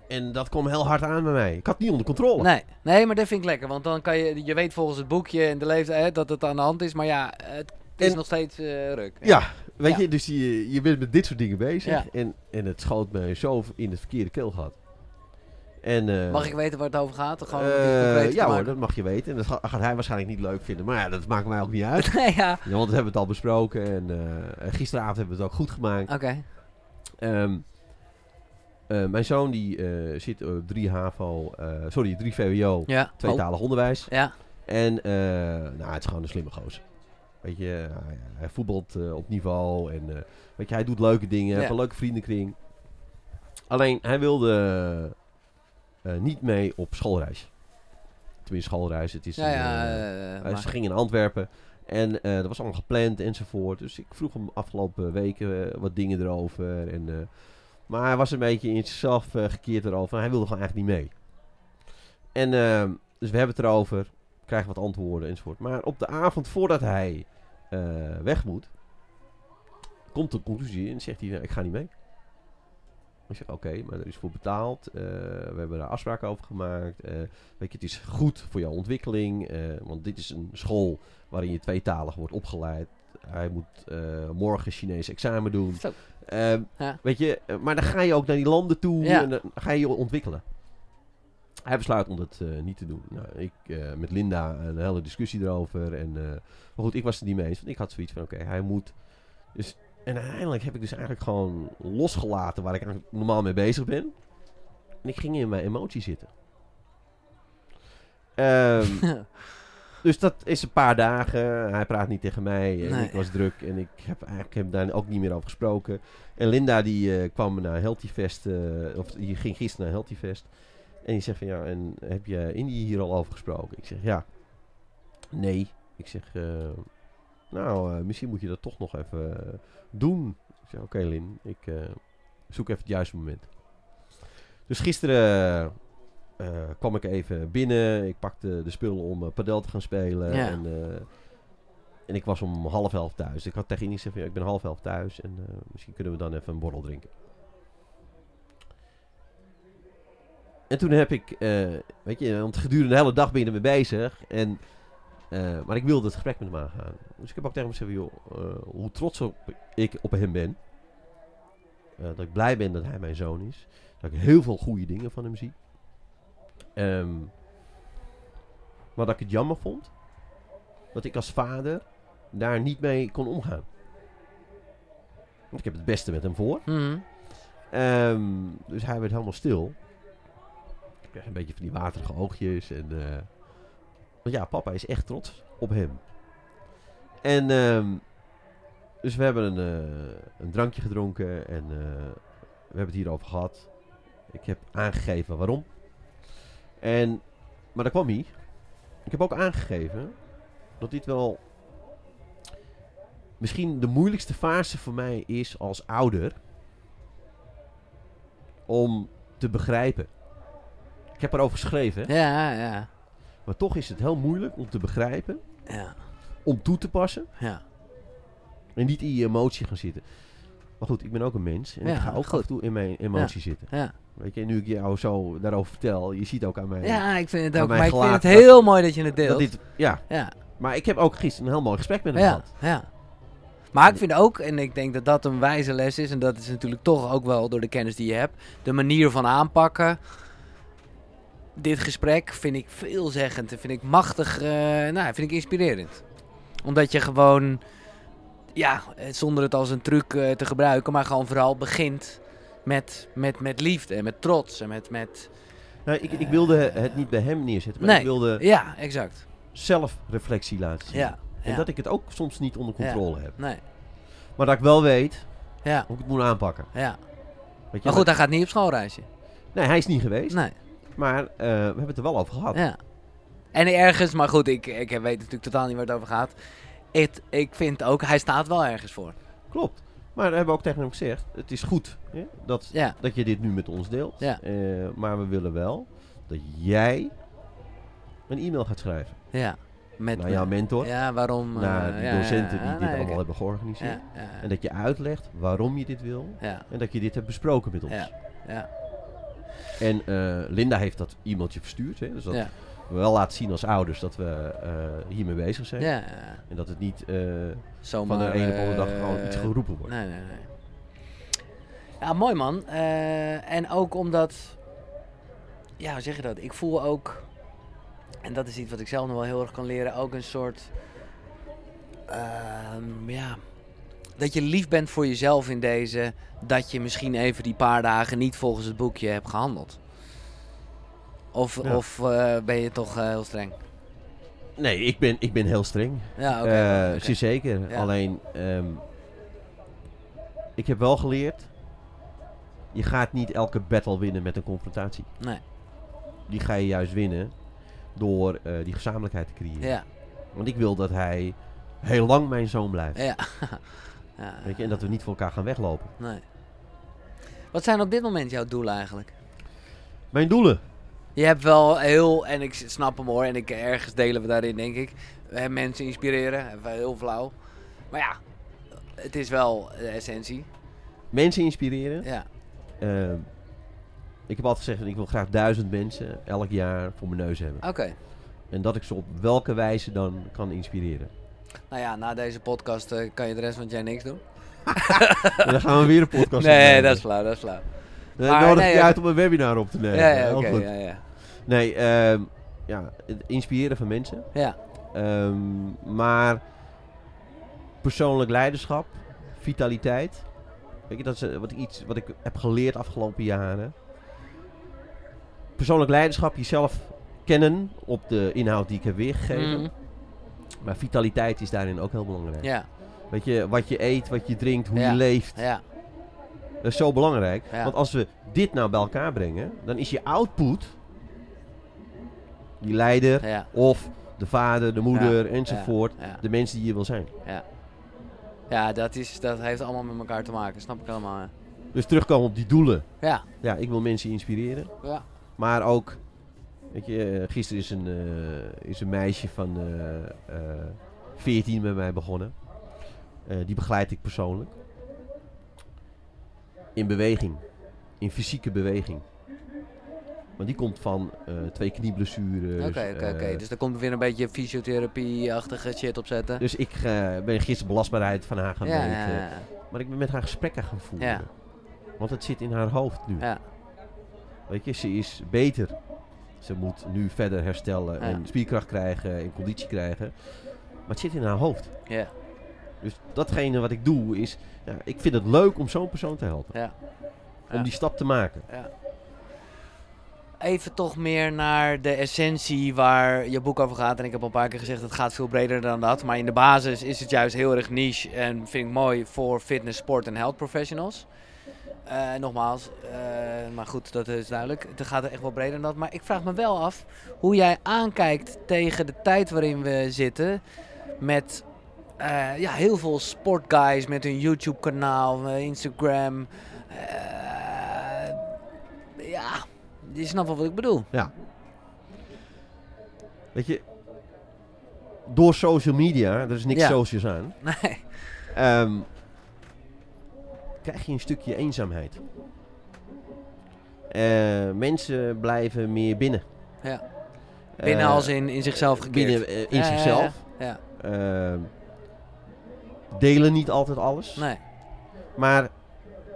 Speaker 2: en dat kwam heel hard aan bij mij. Ik had het niet onder controle.
Speaker 1: Nee, nee, maar dat vind ik lekker, want dan kan je, je weet volgens het boekje en de leeftijd hè, dat het aan de hand is, maar ja, het is
Speaker 2: En-
Speaker 1: nog steeds eh, ruk.
Speaker 2: Ja, weet
Speaker 1: Ja.
Speaker 2: je, dus je, je bent met dit soort dingen bezig.
Speaker 1: Ja.
Speaker 2: En, en het schoot mij zo in het verkeerde keelgat. En, eh,
Speaker 1: Mag ik weten waar het over gaat? Gewoon om het
Speaker 2: Eh,
Speaker 1: concreet te
Speaker 2: ja hoor,
Speaker 1: maken.
Speaker 2: dat mag je weten. En dat ga- gaat hij waarschijnlijk niet leuk vinden. Maar ja, dat maakt mij ook niet uit.
Speaker 1: Nee, ja.
Speaker 2: Ja, Want we hebben het al besproken. En eh, eh, gisteravond hebben we het ook goed gemaakt.
Speaker 1: Oké. Ah.
Speaker 2: Ehm, eh, mijn zoon die eh, zit op 3 HAVO, eh, sorry, 3 VWO,
Speaker 1: Ja. Oh.
Speaker 2: tweetalig onderwijs.
Speaker 1: Ja.
Speaker 2: En eh, nou, het is gewoon een slimme gozer. Weet je, hij, hij voetbalt eh, op niveau en eh, weet je, hij doet leuke dingen, hij
Speaker 1: Ja.
Speaker 2: heeft een leuke vriendenkring. Alleen hij wilde eh, niet mee op schoolreis. Tenminste, schoolreis, het is
Speaker 1: Ja,
Speaker 2: een,
Speaker 1: ja.
Speaker 2: eh,
Speaker 1: eh,
Speaker 2: hij
Speaker 1: maar-
Speaker 2: ze ging in Antwerpen. En eh, dat was allemaal gepland enzovoort. Dus ik vroeg hem afgelopen weken eh, wat dingen erover. En, eh, maar hij was een beetje in zichzelf eh, gekeerd erover. Hij wilde gewoon eigenlijk niet mee. En eh, dus we hebben het erover. Krijgen wat antwoorden enzovoort. Maar op de avond voordat hij eh, weg moet, komt de conclusie en zegt hij: "Nou, Ik ga niet mee. Ik zeg: Oké, maar er is voor betaald. eh, we hebben daar afspraken over gemaakt. eh, Weet je, het is goed voor jouw ontwikkeling. eh, want dit is een school waarin je tweetalig wordt opgeleid. Hij moet eh, morgen Chinees examen doen.
Speaker 1: Zo.
Speaker 2: Ehm,
Speaker 1: Ja.
Speaker 2: Weet je, eh, maar dan ga je ook naar die landen toe
Speaker 1: Ja.
Speaker 2: en dan ga je je ontwikkelen. Hij besluit om dat eh, niet te doen. Nou, ik eh, met Linda een hele discussie erover. En, eh, maar goed, ik was er niet mee eens. Want ik had zoiets van, oké, hij moet... Dus, en En uiteindelijk heb ik dus eigenlijk gewoon losgelaten waar ik eigenlijk normaal mee bezig ben. En ik ging in mijn emotie zitten. Ehm, dus dat is een paar dagen. Hij praat niet tegen mij. En
Speaker 1: Nee.
Speaker 2: ik was druk. En ik heb eigenlijk heb daar ook niet meer over gesproken. En Linda die eh, kwam naar Healthy Fest. eh, of die ging gisteren naar Healthy Fest. En die zegt van ja, en heb je Indië hier al over gesproken? Ik zeg ja. Nee. Ik zeg eh, nou, eh, misschien moet je dat toch nog even eh, doen. Ik zeg oké Lin, ik eh, zoek even het juiste moment. Dus gisteren eh, kwam ik even binnen. Ik pakte de spullen om eh, padel te gaan spelen.
Speaker 1: Ja.
Speaker 2: En, eh, en ik was om half elf thuis. Ik had tegen Ines gezegd, van, ja, ik ben half elf thuis. En eh, misschien kunnen we dan even een borrel drinken. En toen heb ik, eh, weet je, want gedurende de hele dag ben je ermee bezig. En, eh, maar ik wilde het gesprek met hem aangaan. Dus ik heb ook tegen hem gezegd, joh, eh, hoe trots op, ik op hem ben. Eh, dat ik blij ben dat hij mijn zoon is. Dat ik heel veel goede dingen van hem zie. Ehm, maar dat ik het jammer vond. Dat ik als vader daar niet mee kon omgaan. Want ik heb het beste met hem voor.
Speaker 1: Mhm.
Speaker 2: Ehm, dus hij werd helemaal stil. Ik kreeg een beetje van die waterige oogjes. En, eh, want ja, papa is echt trots op hem. En ehm, dus we hebben een, eh, een drankje gedronken en eh, we hebben het hierover gehad. Ik heb aangegeven waarom. En, maar daar kwam hij. Ik heb ook aangegeven dat dit wel misschien de moeilijkste fase voor mij is als ouder om te begrijpen. Ik heb erover geschreven, hè?
Speaker 1: Ja, ja,
Speaker 2: maar toch is het heel moeilijk om te begrijpen,
Speaker 1: ja,
Speaker 2: om toe te passen
Speaker 1: ja.
Speaker 2: en niet in je emotie gaan zitten. Maar goed, ik ben ook een mens en
Speaker 1: Ja,
Speaker 2: ik ga ook
Speaker 1: goed.
Speaker 2: af en toe in mijn emotie zitten.
Speaker 1: ja.
Speaker 2: Weet je, en nu ik jou zo daarover vertel, je ziet ook aan mij
Speaker 1: Ja, ik vind het
Speaker 2: Van
Speaker 1: ook.
Speaker 2: mij
Speaker 1: Maar ik vind het
Speaker 2: gelaten.
Speaker 1: heel mooi dat je het deelt.
Speaker 2: dat dit, ja.
Speaker 1: Ja,
Speaker 2: Maar ik heb ook gisteren een heel mooi gesprek met hem
Speaker 1: ja,
Speaker 2: gehad.
Speaker 1: ja. Maar ik vind ook, en ik denk dat dat een wijze les is, en dat is natuurlijk toch ook wel door de kennis die je hebt, de manier van aanpakken. Dit gesprek vind ik veelzeggend en vind ik machtig, eh, nou, vind ik inspirerend. Omdat je gewoon, ja, eh, zonder het als een truc eh, te gebruiken, maar gewoon vooral begint met, met, met liefde en met trots en met, met...
Speaker 2: Nou, ik, ik wilde het niet bij hem neerzetten, maar
Speaker 1: Nee.
Speaker 2: ik wilde
Speaker 1: Ja, exact.
Speaker 2: zelfreflectie laten zien.
Speaker 1: Ja,
Speaker 2: En
Speaker 1: ja.
Speaker 2: dat ik het ook soms niet onder controle heb.
Speaker 1: Nee,
Speaker 2: Maar dat ik wel weet
Speaker 1: ja,
Speaker 2: hoe ik het moet aanpakken.
Speaker 1: ja.
Speaker 2: Weet je,
Speaker 1: Maar goed, hij gaat niet op schoolreisje.
Speaker 2: Nee, hij is niet geweest,
Speaker 1: Nee.
Speaker 2: maar eh, we hebben het er wel over gehad.
Speaker 1: Ja. En ergens, maar goed, ik, ik weet natuurlijk totaal niet waar het over gaat. Het- ik vind ook, hij staat wel ergens voor.
Speaker 2: Klopt. Maar we hebben ook tegen hem gezegd, het is goed hè, dat,
Speaker 1: Ja,
Speaker 2: dat je dit nu met ons deelt.
Speaker 1: Ja.
Speaker 2: Eh, maar we willen wel dat jij een e-mail gaat schrijven
Speaker 1: ja. Met,
Speaker 2: naar jouw mentor,
Speaker 1: Ja, waarom... eh,
Speaker 2: naar Nou, die
Speaker 1: ja, ja,
Speaker 2: docenten
Speaker 1: ja,
Speaker 2: die
Speaker 1: ja,
Speaker 2: dit
Speaker 1: nee,
Speaker 2: allemaal
Speaker 1: oké.
Speaker 2: hebben georganiseerd.
Speaker 1: Ja, ja,
Speaker 2: En dat je uitlegt waarom je dit wil
Speaker 1: ja,
Speaker 2: en dat je dit hebt besproken met ons.
Speaker 1: Ja. ja,
Speaker 2: En eh, Linda heeft dat e-mailtje verstuurd, hè, dus dat
Speaker 1: Ja.
Speaker 2: we wel laten zien als ouders dat we eh, hiermee bezig zijn.
Speaker 1: ja, ja.
Speaker 2: En dat het niet eh,
Speaker 1: Zomaar...
Speaker 2: van de een op de andere dag gewoon
Speaker 1: eh,
Speaker 2: iets geroepen wordt.
Speaker 1: Nee, nee, nee. Ja, mooi man. Eh, en ook omdat... Ja, hoe zeg je dat? Ik voel ook... En dat is iets wat ik zelf nog wel heel erg kan leren. Ook een soort... ehm, ja... Dat je lief bent voor jezelf in deze... Dat je misschien even die paar dagen niet volgens het boekje hebt gehandeld. Of,
Speaker 2: Ja.
Speaker 1: of eh, ben je toch eh, heel streng?
Speaker 2: Nee, ik ben, ik ben heel streng.
Speaker 1: Ja, oké.
Speaker 2: Eh,
Speaker 1: oké.
Speaker 2: zeer zeker.
Speaker 1: Ja.
Speaker 2: Alleen, ehm, ik heb wel geleerd, je gaat niet elke battle winnen met een confrontatie.
Speaker 1: Nee.
Speaker 2: Die ga je juist winnen door eh, die gezamenlijkheid te creëren.
Speaker 1: Ja,
Speaker 2: Want ik wil dat hij heel lang mijn zoon blijft.
Speaker 1: ja. ja.
Speaker 2: Weet je, en dat we niet voor elkaar gaan weglopen.
Speaker 1: Nee. Wat zijn op dit moment jouw doelen eigenlijk?
Speaker 2: Mijn doelen.
Speaker 1: Je hebt wel heel, en ik snap hem hoor, en ik, ergens delen we daarin denk ik. Eh, Mensen inspireren, even heel flauw. Maar ja, het is wel de essentie.
Speaker 2: Mensen inspireren.
Speaker 1: Ja,
Speaker 2: Ehm, ik heb altijd gezegd, ik wil graag duizend mensen elk jaar voor mijn neus hebben.
Speaker 1: oké.
Speaker 2: En dat ik ze op welke wijze dan kan inspireren.
Speaker 1: Nou ja, na deze podcast eh, kan je de rest van het jaar niks doen.
Speaker 2: En dan gaan we weer een podcast
Speaker 1: Nee,
Speaker 2: opnemen.
Speaker 1: dat is flauw, dat is flauw.
Speaker 2: Dan
Speaker 1: Maar
Speaker 2: nodig
Speaker 1: nee,
Speaker 2: ik je
Speaker 1: oké.
Speaker 2: uit om een webinar op te nemen.
Speaker 1: ja, ja,
Speaker 2: Heel
Speaker 1: oké,
Speaker 2: goed.
Speaker 1: ja, ja.
Speaker 2: Nee, ehm, ja, het inspireren van mensen.
Speaker 1: Ja,
Speaker 2: Ehm, maar persoonlijk leiderschap vitaliteit. Weet je, dat is eh, wat, ik iets wat ik heb geleerd afgelopen jaren. Persoonlijk leiderschap, jezelf kennen op de inhoud die ik heb weergegeven.
Speaker 1: Mm.
Speaker 2: Maar vitaliteit is daarin ook heel belangrijk.
Speaker 1: Ja,
Speaker 2: Weet je, wat je eet, wat je drinkt, hoe
Speaker 1: Ja.
Speaker 2: je leeft.
Speaker 1: ja,
Speaker 2: Dat is zo belangrijk.
Speaker 1: Ja.
Speaker 2: Want als we dit nou bij elkaar brengen, dan is je output, die leider
Speaker 1: ja,
Speaker 2: of de vader, de moeder enzovoort,
Speaker 1: ja.
Speaker 2: de mensen die je wil zijn.
Speaker 1: Ja, dat, is, dat heeft allemaal met elkaar te maken, snap ik helemaal. ja.
Speaker 2: Dus terugkomen op die doelen.
Speaker 1: Ja,
Speaker 2: Ja, ik wil mensen inspireren.
Speaker 1: ja.
Speaker 2: Maar ook, weet je, eh, gisteren is een, eh, is een meisje van eh, eh, 14 met mij begonnen. Eh, die begeleid ik persoonlijk. In beweging. In fysieke beweging. Want die komt van eh, twee knieblessures.
Speaker 1: Oké, oké,
Speaker 2: eh,
Speaker 1: oké. Dus daar komt weer een beetje fysiotherapie-achtige shit op zetten.
Speaker 2: Dus ik eh, ben gisteren belastbaarheid van haar gaan
Speaker 1: ja,
Speaker 2: meten.
Speaker 1: ja, ja.
Speaker 2: Maar ik ben met haar gesprekken gaan voeren.
Speaker 1: Ja.
Speaker 2: Want het zit in haar hoofd nu.
Speaker 1: Ja.
Speaker 2: Weet je, ze is beter. Ze moet nu verder herstellen
Speaker 1: Ja.
Speaker 2: en spierkracht krijgen en conditie krijgen. Maar het zit in haar hoofd.
Speaker 1: Ja.
Speaker 2: Dus datgene wat ik doe is, ja, ik vind het leuk om zo'n persoon te helpen.
Speaker 1: Ja.
Speaker 2: Om
Speaker 1: Ja.
Speaker 2: die stap te maken.
Speaker 1: Even toch meer naar de essentie waar je boek over gaat. En ik heb al een paar keer gezegd, het gaat veel breder dan dat. Maar in de basis is het juist heel erg niche en vind ik mooi voor fitness, sport en health professionals. Eh, nogmaals, eh, maar goed, dat is duidelijk. Het gaat echt wel breder dan dat. Maar ik vraag me wel af hoe jij aankijkt tegen de tijd waarin we zitten. Met eh, ja, heel veel sportguys met hun YouTube-kanaal, eh, Instagram. Eh, ja, je snapt wel wat ik bedoel.
Speaker 2: Weet je, door social media, er is niks
Speaker 1: Ja.
Speaker 2: socials aan,
Speaker 1: Nee.
Speaker 2: ehm, krijg je een stukje eenzaamheid. Eh, mensen blijven meer binnen.
Speaker 1: Ja. Binnen
Speaker 2: Eh,
Speaker 1: als in, in zichzelf gekeerd.
Speaker 2: binnen eh, in
Speaker 1: Ja, ja, ja.
Speaker 2: zichzelf.
Speaker 1: Ja.
Speaker 2: Ehm, delen niet altijd alles.
Speaker 1: Nee.
Speaker 2: Maar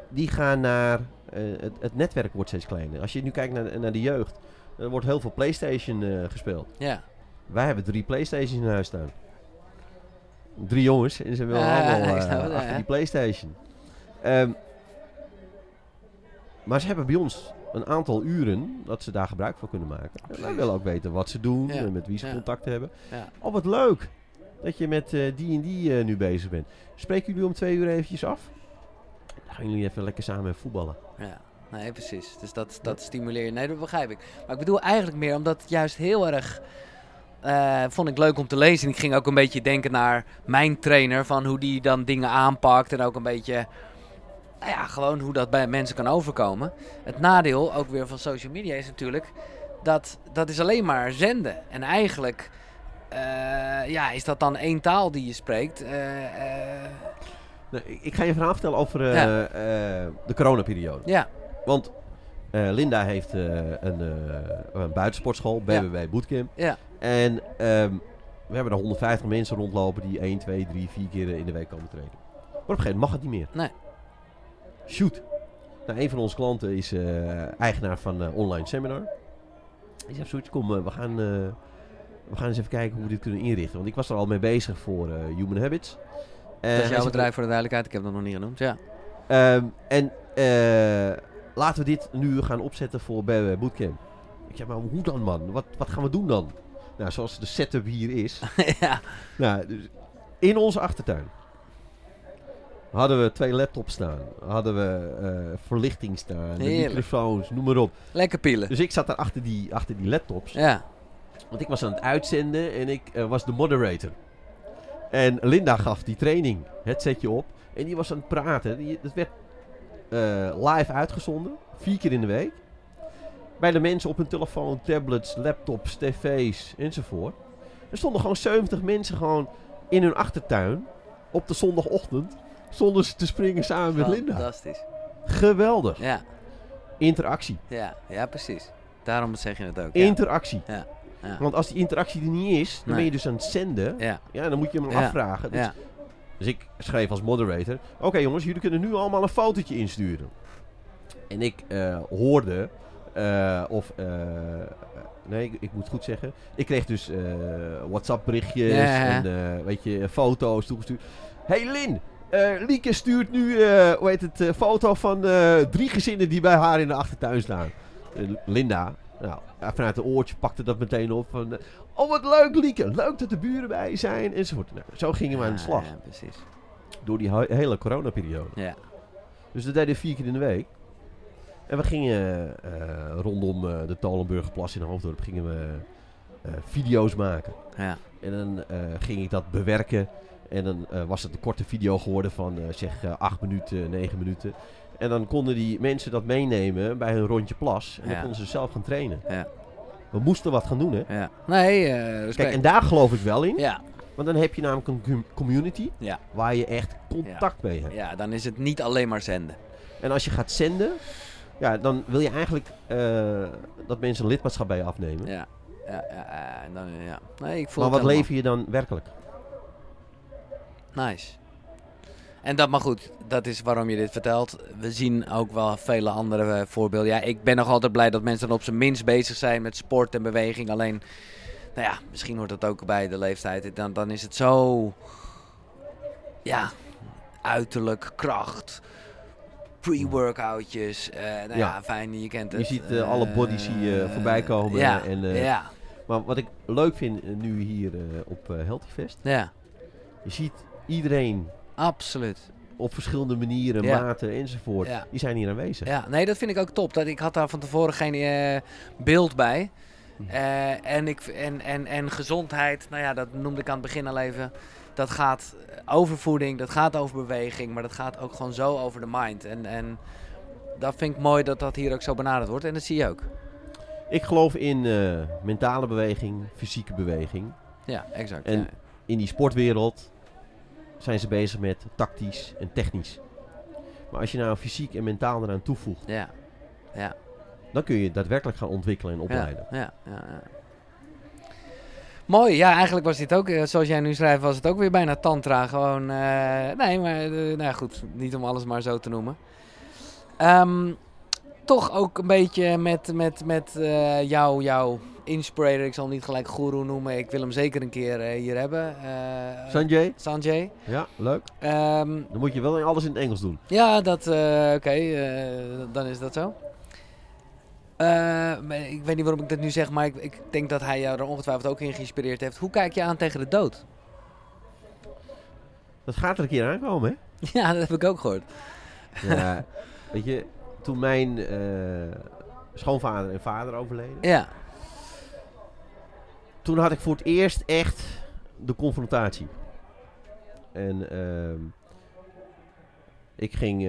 Speaker 2: die gaan naar. eh, het, het netwerk wordt steeds kleiner. Als je nu kijkt naar, naar de jeugd. Er wordt heel veel PlayStation eh, gespeeld.
Speaker 1: Ja.
Speaker 2: Wij hebben drie PlayStations in huis staan. Drie jongens en ze willen
Speaker 1: Ja, ja, Ah,
Speaker 2: allemaal
Speaker 1: ik
Speaker 2: eh,
Speaker 1: snap het, ja,
Speaker 2: achter
Speaker 1: ja.
Speaker 2: die PlayStation. Ehm, maar ze hebben bij ons een aantal uren dat ze daar gebruik van kunnen maken. En wij
Speaker 1: Precies.
Speaker 2: willen ook weten wat ze doen,
Speaker 1: Ja,
Speaker 2: en met wie ze
Speaker 1: ja.
Speaker 2: contacten hebben.
Speaker 1: Ja.
Speaker 2: Oh, wat leuk dat je met eh, die en die eh, nu bezig bent. Spreken jullie om twee uur eventjes af? Dan gaan jullie even lekker samen voetballen.
Speaker 1: ja. Nee, precies. Dus dat, dat stimuleer je. Nee, dat begrijp ik. Maar ik bedoel eigenlijk meer omdat het juist heel erg... eh, vond ik leuk om te lezen. En ik ging ook een beetje denken naar mijn trainer. Van hoe die dan dingen aanpakt. En ook een beetje... Nou ja, gewoon hoe dat bij mensen kan overkomen. Het nadeel ook weer van social media is natuurlijk... Dat, dat is alleen maar zenden. En eigenlijk... eh, ja, is dat dan één taal die je spreekt? Eh, eh,
Speaker 2: Nou, ik, ik ga je een verhaal vertellen over eh,
Speaker 1: Ja.
Speaker 2: eh, de coronaperiode.
Speaker 1: ja,
Speaker 2: Want eh, Linda heeft eh, een, eh, een buitensportschool,
Speaker 1: Ja.
Speaker 2: BBB Bootcamp.
Speaker 1: Ja.
Speaker 2: En ehm, we hebben er 150 mensen rondlopen die 1, 2, 3, 4 keer in de week komen trainen. Maar op een gegeven moment mag het niet meer.
Speaker 1: Nee.
Speaker 2: Shoot. Nou, een van onze klanten is eh, eigenaar van eh, Online Seminar. Ik zei, zoiets, kom, eh, we, gaan, eh, we gaan eens even kijken hoe we dit kunnen inrichten. Want ik was er al mee bezig voor eh, Human Habits.
Speaker 1: dat is
Speaker 2: Eh, hij
Speaker 1: jouw
Speaker 2: zei,
Speaker 1: bedrijf voor de duidelijkheid. Ik heb dat nog niet genoemd. Ja.
Speaker 2: Ehm, en eh, laten we dit nu gaan opzetten voor BBB Bootcamp. Ik zeg, maar hoe dan man? Wat, wat gaan we doen dan? Nou, zoals de setup hier is.
Speaker 1: ja.
Speaker 2: nou, dus in onze achtertuin hadden we twee laptops staan. Hadden we eh, verlichting staan, de
Speaker 1: Heerlijk.
Speaker 2: microfoons, noem maar op.
Speaker 1: Lekker pielen.
Speaker 2: Dus ik zat daar achter die, achter die laptops.
Speaker 1: Ja.
Speaker 2: Want ik was aan het uitzenden en ik eh, was de moderator. En Linda gaf die training, het setje op. En die was aan het praten. Die, dat werd eh, live uitgezonden, vier keer in de week. Bij de mensen op hun telefoon, tablets, laptops, tv's enzovoort. Er stonden gewoon 70 mensen gewoon in hun achtertuin op de zondagochtend. Zonder ze te springen samen met Linda.
Speaker 1: Fantastisch.
Speaker 2: Geweldig.
Speaker 1: Ja.
Speaker 2: Interactie.
Speaker 1: Ja. ja, precies. Daarom zeg je het ook. Ja.
Speaker 2: Interactie.
Speaker 1: Ja, ja.
Speaker 2: Want als die interactie er niet is,
Speaker 1: Nee.
Speaker 2: dan ben je dus aan het zenden.
Speaker 1: Ja.
Speaker 2: Ja, dan moet je hem
Speaker 1: Ja.
Speaker 2: afvragen. Dus
Speaker 1: Ja.
Speaker 2: Dus ik schreef als moderator: Oké jongens, jullie kunnen nu allemaal een fotootje insturen. En ik eh, hoorde, eh, of eh, nee, ik, ik moet goed zeggen. Ik kreeg dus eh, WhatsApp-berichtjes
Speaker 1: Ja, ja, ja.
Speaker 2: en eh, weet je, foto's toegestuurd. Hey Lin, eh, Eh, Lieke stuurt nu, eh, hoe heet het, eh, foto van eh, drie gezinnen die bij haar in de achtertuin staan. Eh, Linda, nou, ja, vanuit de oortje pakte dat meteen op. Van, eh, oh, wat leuk, Lieke. Leuk dat de buren bij zijn, enzovoort. Nou, zo gingen we aan de
Speaker 1: Ja,
Speaker 2: slag.
Speaker 1: Ja, precies.
Speaker 2: Door die hu- hele coronaperiode.
Speaker 1: Ja.
Speaker 2: Dus dat deden we vier keer in de week. En we gingen eh, rondom eh, de Tolenburgerplas in Hoofddorp gingen we, eh, video's maken.
Speaker 1: Ja.
Speaker 2: En dan eh, ging ik dat bewerken. En dan eh, was het een korte video geworden van eh, zeg eh, acht minuten, negen minuten. En dan konden die mensen dat meenemen bij hun rondje plas. En
Speaker 1: Ja.
Speaker 2: dan konden ze zelf gaan trainen.
Speaker 1: Ja.
Speaker 2: We moesten wat gaan doen, hè.
Speaker 1: ja. Nee, eh respect.
Speaker 2: Kijk, en daar geloof ik wel in.
Speaker 1: ja.
Speaker 2: Want dan heb je namelijk een com- community
Speaker 1: Ja.
Speaker 2: waar je echt contact mee hebt.
Speaker 1: ja, dan is het niet alleen maar zenden.
Speaker 2: En als je gaat zenden, ja, dan wil je eigenlijk eh, dat mensen een lidmaatschap bij je afnemen.
Speaker 1: Ja. Ja, ja, ja, en dan, ja. Nee, ik voel
Speaker 2: maar
Speaker 1: het
Speaker 2: wat
Speaker 1: helemaal.
Speaker 2: lever je dan werkelijk?
Speaker 1: Nice. En dat, maar goed, dat is waarom je dit vertelt. We zien ook wel vele andere eh, voorbeelden. Ja, ik ben nog altijd blij dat mensen dan op zijn minst bezig zijn met sport en beweging. Alleen, nou ja, misschien hoort dat ook bij de leeftijd. Dan, dan is het zo, ja, uiterlijk, kracht, pre-workoutjes. eh, nou ja.
Speaker 2: Ja.
Speaker 1: fijn, je kent
Speaker 2: Je
Speaker 1: het.
Speaker 2: ziet, eh, alle bodies zie je
Speaker 1: Eh,
Speaker 2: voorbij komen,
Speaker 1: Ja,
Speaker 2: eh, en, eh,
Speaker 1: ja,
Speaker 2: Maar wat ik leuk vind eh, nu hier eh, op eh, Healthy Fest,
Speaker 1: ja,
Speaker 2: je ziet iedereen
Speaker 1: absoluut.
Speaker 2: op verschillende manieren,
Speaker 1: Ja.
Speaker 2: maten enzovoort,
Speaker 1: Ja.
Speaker 2: die zijn hier aanwezig.
Speaker 1: Ja, nee, dat vind ik ook top. Dat, ik had daar van tevoren geen eh, beeld bij.
Speaker 2: Hm.
Speaker 1: Eh, en, ik, en, en, en gezondheid, nou ja, dat noemde ik aan het begin al even. Dat gaat over voeding, dat gaat over beweging, maar dat gaat ook gewoon zo over de mind. En, en dat vind ik mooi dat dat hier ook zo benaderd wordt. En dat zie je ook.
Speaker 2: Ik geloof in eh, mentale beweging, fysieke beweging.
Speaker 1: Ja, exact.
Speaker 2: En-
Speaker 1: ja.
Speaker 2: in die sportwereld zijn ze bezig met tactisch en technisch. Maar als je nou fysiek en mentaal eraan toevoegt,
Speaker 1: Ja,
Speaker 2: dan kun je daadwerkelijk gaan ontwikkelen en opleiden.
Speaker 1: ja, ja, ja, ja. Mooi, ja, eigenlijk was dit ook, eh, zoals jij nu schrijft, was het ook weer bijna tantra. Gewoon, eh, nee, maar eh, nou ja, goed, niet om alles maar zo te noemen. Ehm, toch ook een beetje met, met, met eh, jou, jouw inspirator. Ik zal hem niet gelijk guru noemen, ik wil hem zeker een keer eh, hier hebben. eh,
Speaker 2: Sanjay?
Speaker 1: Sanjay.
Speaker 2: Ja, leuk.
Speaker 1: Ehm,
Speaker 2: Dan moet je wel alles in het Engels doen.
Speaker 1: ja, dat, eh, oké, eh, dan is dat zo. Eh, maar ik weet niet waarom ik dat nu zeg, maar ik, ik denk dat hij jou er ongetwijfeld ook in geïnspireerd heeft. Hoe kijk je aan tegen de dood?
Speaker 2: Dat gaat er een keer aankomen, hè?
Speaker 1: Ja, dat heb ik ook gehoord.
Speaker 2: Ja, weet je, toen mijn eh, schoonvader en vader overleden,
Speaker 1: Ja,
Speaker 2: toen had ik voor het eerst echt de confrontatie. En ehm, ik ging eh,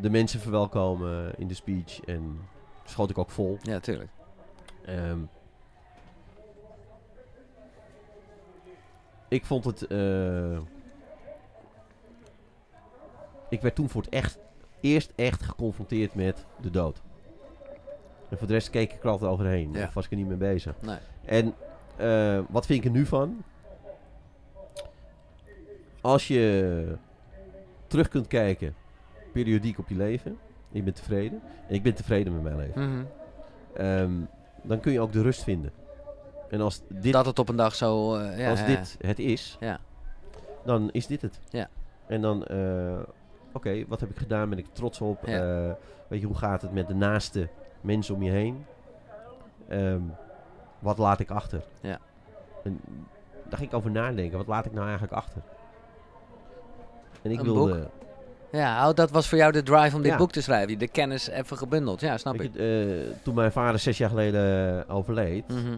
Speaker 2: de mensen verwelkomen in de speech en schoot ik ook vol.
Speaker 1: ja, tuurlijk.
Speaker 2: Ehm, ik vond het. eh, ik werd toen voor het echt, eerst echt geconfronteerd met de dood. En voor de rest keek ik er altijd overheen.
Speaker 1: Ja.
Speaker 2: Of was ik er niet mee bezig.
Speaker 1: Nee.
Speaker 2: En eh, wat vind ik er nu van? Als je terug kunt kijken, periodiek op je leven. en Je bent tevreden. En ik ben tevreden met mijn leven.
Speaker 1: Mhm.
Speaker 2: Ehm, dan kun je ook de rust vinden. En als dit,
Speaker 1: dat het op een dag zo... eh, ja,
Speaker 2: als
Speaker 1: ja,
Speaker 2: dit het is,
Speaker 1: Ja.
Speaker 2: dan is dit het.
Speaker 1: Ja.
Speaker 2: En dan, eh, oké, wat heb ik gedaan? Ben ik trots op?
Speaker 1: Ja.
Speaker 2: Eh, weet je, hoe gaat het met de naaste mensen om je heen? Ehm, wat laat ik achter?
Speaker 1: Ja.
Speaker 2: En daar ging ik over nadenken. Wat laat ik nou eigenlijk achter? En ik
Speaker 1: Een
Speaker 2: wilde...
Speaker 1: Ja, oh, dat was voor jou de drive om dit
Speaker 2: Ja.
Speaker 1: boek te schrijven. De kennis even gebundeld. Ja, snap
Speaker 2: weet
Speaker 1: ik.
Speaker 2: je, eh, toen mijn vader zes jaar geleden eh, overleed...
Speaker 1: Mhm.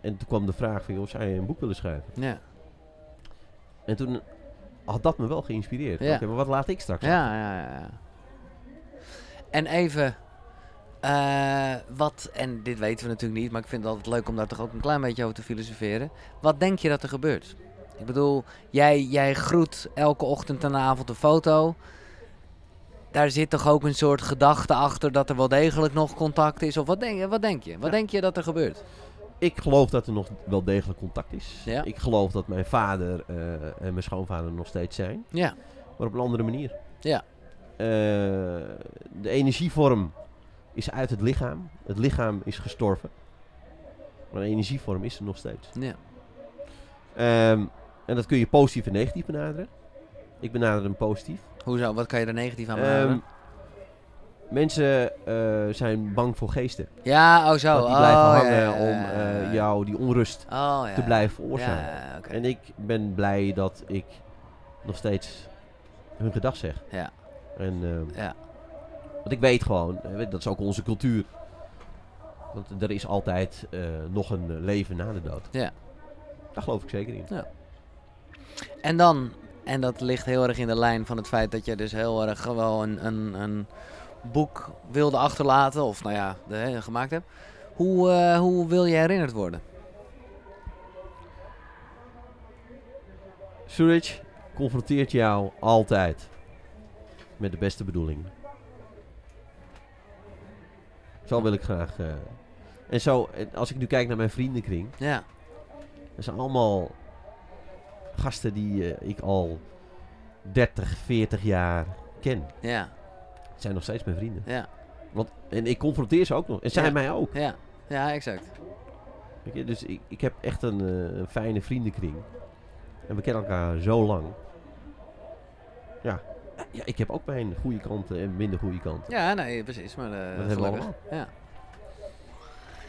Speaker 2: En toen kwam de vraag van, joh, zou je een boek willen schrijven?
Speaker 1: Ja,
Speaker 2: En toen had dat me wel geïnspireerd.
Speaker 1: Ja.
Speaker 2: Oké, maar wat laat ik straks? achter?
Speaker 1: ja, ja, ja, ja. En even... eh, wat, en dit weten we natuurlijk niet, maar ik vind het altijd leuk om daar toch ook een klein beetje over te filosoferen. Wat denk je dat er gebeurt? Ik bedoel, jij, jij groet elke ochtend en avond een foto. Daar zit toch ook een soort gedachte achter dat er wel degelijk nog contact is? Of wat denk, je- wat denk je? Wat
Speaker 2: Ja.
Speaker 1: denk je dat er gebeurt?
Speaker 2: Ik geloof dat er nog wel degelijk contact is.
Speaker 1: Ja.
Speaker 2: Ik geloof dat mijn vader eh, en mijn schoonvader nog steeds zijn.
Speaker 1: Ja,
Speaker 2: Maar op een andere manier.
Speaker 1: Ja.
Speaker 2: Eh, de energievorm is uit het lichaam. Het lichaam is gestorven. Maar de energievorm is er nog steeds.
Speaker 1: ja,
Speaker 2: Ehm, en dat kun je positief en negatief benaderen. Ik benader hem positief.
Speaker 1: Hoezo? Wat kan je er negatief aan
Speaker 2: Ehm,
Speaker 1: Nou, benaderen?
Speaker 2: mensen eh, zijn bang voor geesten.
Speaker 1: ja, oh zo.
Speaker 2: dat die
Speaker 1: oh,
Speaker 2: blijven
Speaker 1: ja,
Speaker 2: hangen
Speaker 1: ja, ja,
Speaker 2: om
Speaker 1: ja,
Speaker 2: eh,
Speaker 1: ja.
Speaker 2: jou die onrust
Speaker 1: Oh, ja.
Speaker 2: te blijven
Speaker 1: Ja,
Speaker 2: veroorzaken.
Speaker 1: ja, oké.
Speaker 2: En ik ben blij dat ik nog steeds hun gedag zeg.
Speaker 1: Ja.
Speaker 2: En, ehm,
Speaker 1: Ja.
Speaker 2: Want ik weet gewoon, eh, weet- dat is ook onze cultuur. Want er is altijd eh, nog een eh, leven na de dood.
Speaker 1: Ja.
Speaker 2: Daar geloof ik zeker in.
Speaker 1: En dan, en dat ligt heel erg in de lijn van het feit dat je dus heel erg gewoon een, een boek wilde achterlaten, of nou ja, de- hè, gemaakt hebt. Hoe, eh, hoe wil je herinnerd worden?
Speaker 2: Surridge confronteert jou altijd met de beste bedoelingen. Zo wil ik graag. eh, en zo, en als ik nu kijk naar mijn vriendenkring,
Speaker 1: Ja,
Speaker 2: dat zijn allemaal gasten die eh, ik al 30, 40 jaar ken.
Speaker 1: ja,
Speaker 2: Het zijn nog steeds mijn vrienden.
Speaker 1: ja,
Speaker 2: Want, en ik confronteer ze ook nog. En zij
Speaker 1: Ja.
Speaker 2: mij ook.
Speaker 1: ja, ja, exact.
Speaker 2: Weet je, dus ik, ik heb echt een, eh, een fijne vriendenkring. En we kennen elkaar zo lang. Ja. ja, ik heb ook mijn goede kanten en minder goede kanten.
Speaker 1: Ja, nee, precies, maar eh,
Speaker 2: hebben we
Speaker 1: gelukkig.
Speaker 2: allemaal.
Speaker 1: Ja.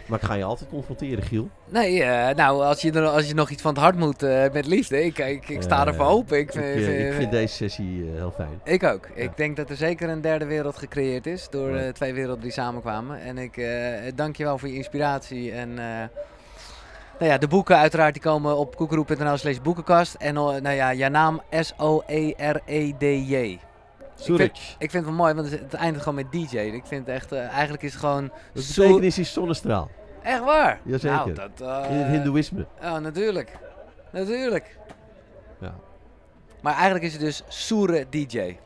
Speaker 2: Maar ik ga je altijd confronteren, Giel.
Speaker 1: Nee, eh, nou, als je, er, als je nog iets van het hart moet eh, met liefde, ik, ik, ik sta
Speaker 2: Eh,
Speaker 1: ervoor open. Ik,
Speaker 2: Ik,
Speaker 1: vind-
Speaker 2: eh,
Speaker 1: vind-
Speaker 2: ik vind deze sessie eh, heel fijn.
Speaker 1: Ik ook.
Speaker 2: Ja.
Speaker 1: Ik denk dat er zeker een derde wereld gecreëerd is door
Speaker 2: Mooi.
Speaker 1: eh, twee werelden die samenkwamen. En ik eh dank je wel voor je inspiratie. En eh, nou ja, de boeken uiteraard die komen op koekeroe.nl slash boekenkast. En eh, nou ja, jouw naam E S-O-E-R-E-D-J.
Speaker 2: Suraj.
Speaker 1: Ik vind het wel mooi, want het eindigt gewoon met DJ. Ik vind het echt, eh, eigenlijk is het gewoon...
Speaker 2: Dat
Speaker 1: Soer-
Speaker 2: betekenis is zonnestraal.
Speaker 1: Echt waar?
Speaker 2: Jazeker.
Speaker 1: Nou, dat... eh,
Speaker 2: In het hindoeïsme.
Speaker 1: Oh, natuurlijk. Natuurlijk.
Speaker 2: Ja.
Speaker 1: Maar eigenlijk is het dus Soere DJ.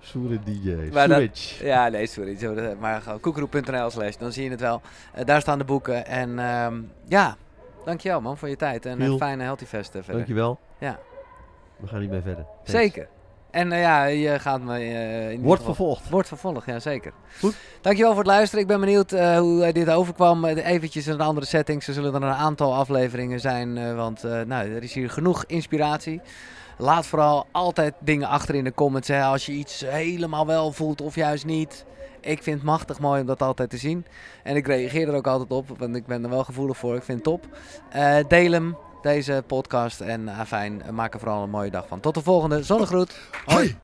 Speaker 2: Soere DJ.
Speaker 1: Maar dat-
Speaker 2: Suraj.
Speaker 1: Ja, nee, sorry. Zo, dat- Maar gewoon koekeroe.nl slash, dan zie je het wel. Eh, daar staan de boeken. En ehm ja, dankjewel man voor je tijd. En
Speaker 2: Giel.
Speaker 1: een fijne healthy fest eh, verder.
Speaker 2: Dankjewel.
Speaker 1: Ja.
Speaker 2: We gaan hiermee verder. Thanks.
Speaker 1: Zeker. En eh, ja, je gaat me... eh, in ieder
Speaker 2: Wordt
Speaker 1: geval-
Speaker 2: vervolgd.
Speaker 1: Wordt vervolgd, ja zeker.
Speaker 2: Goed.
Speaker 1: Dankjewel voor het luisteren. Ik ben benieuwd eh, hoe eh, dit overkwam. Eh, eventjes in een andere setting. Er zullen er een aantal afleveringen zijn. eh, want eh, nou, er is hier genoeg inspiratie. Laat vooral altijd dingen achter in de comments. Hè, als je iets helemaal wel voelt of juist niet. Ik vind het machtig mooi om dat altijd te zien. En ik reageer er ook altijd op. Want ik ben er wel gevoelig voor. Ik vind het top. Eh, deel hem. eh, Deze podcast en afijn, maak er vooral een mooie dag van. Tot de volgende. Zonnegroet.
Speaker 3: Hoi!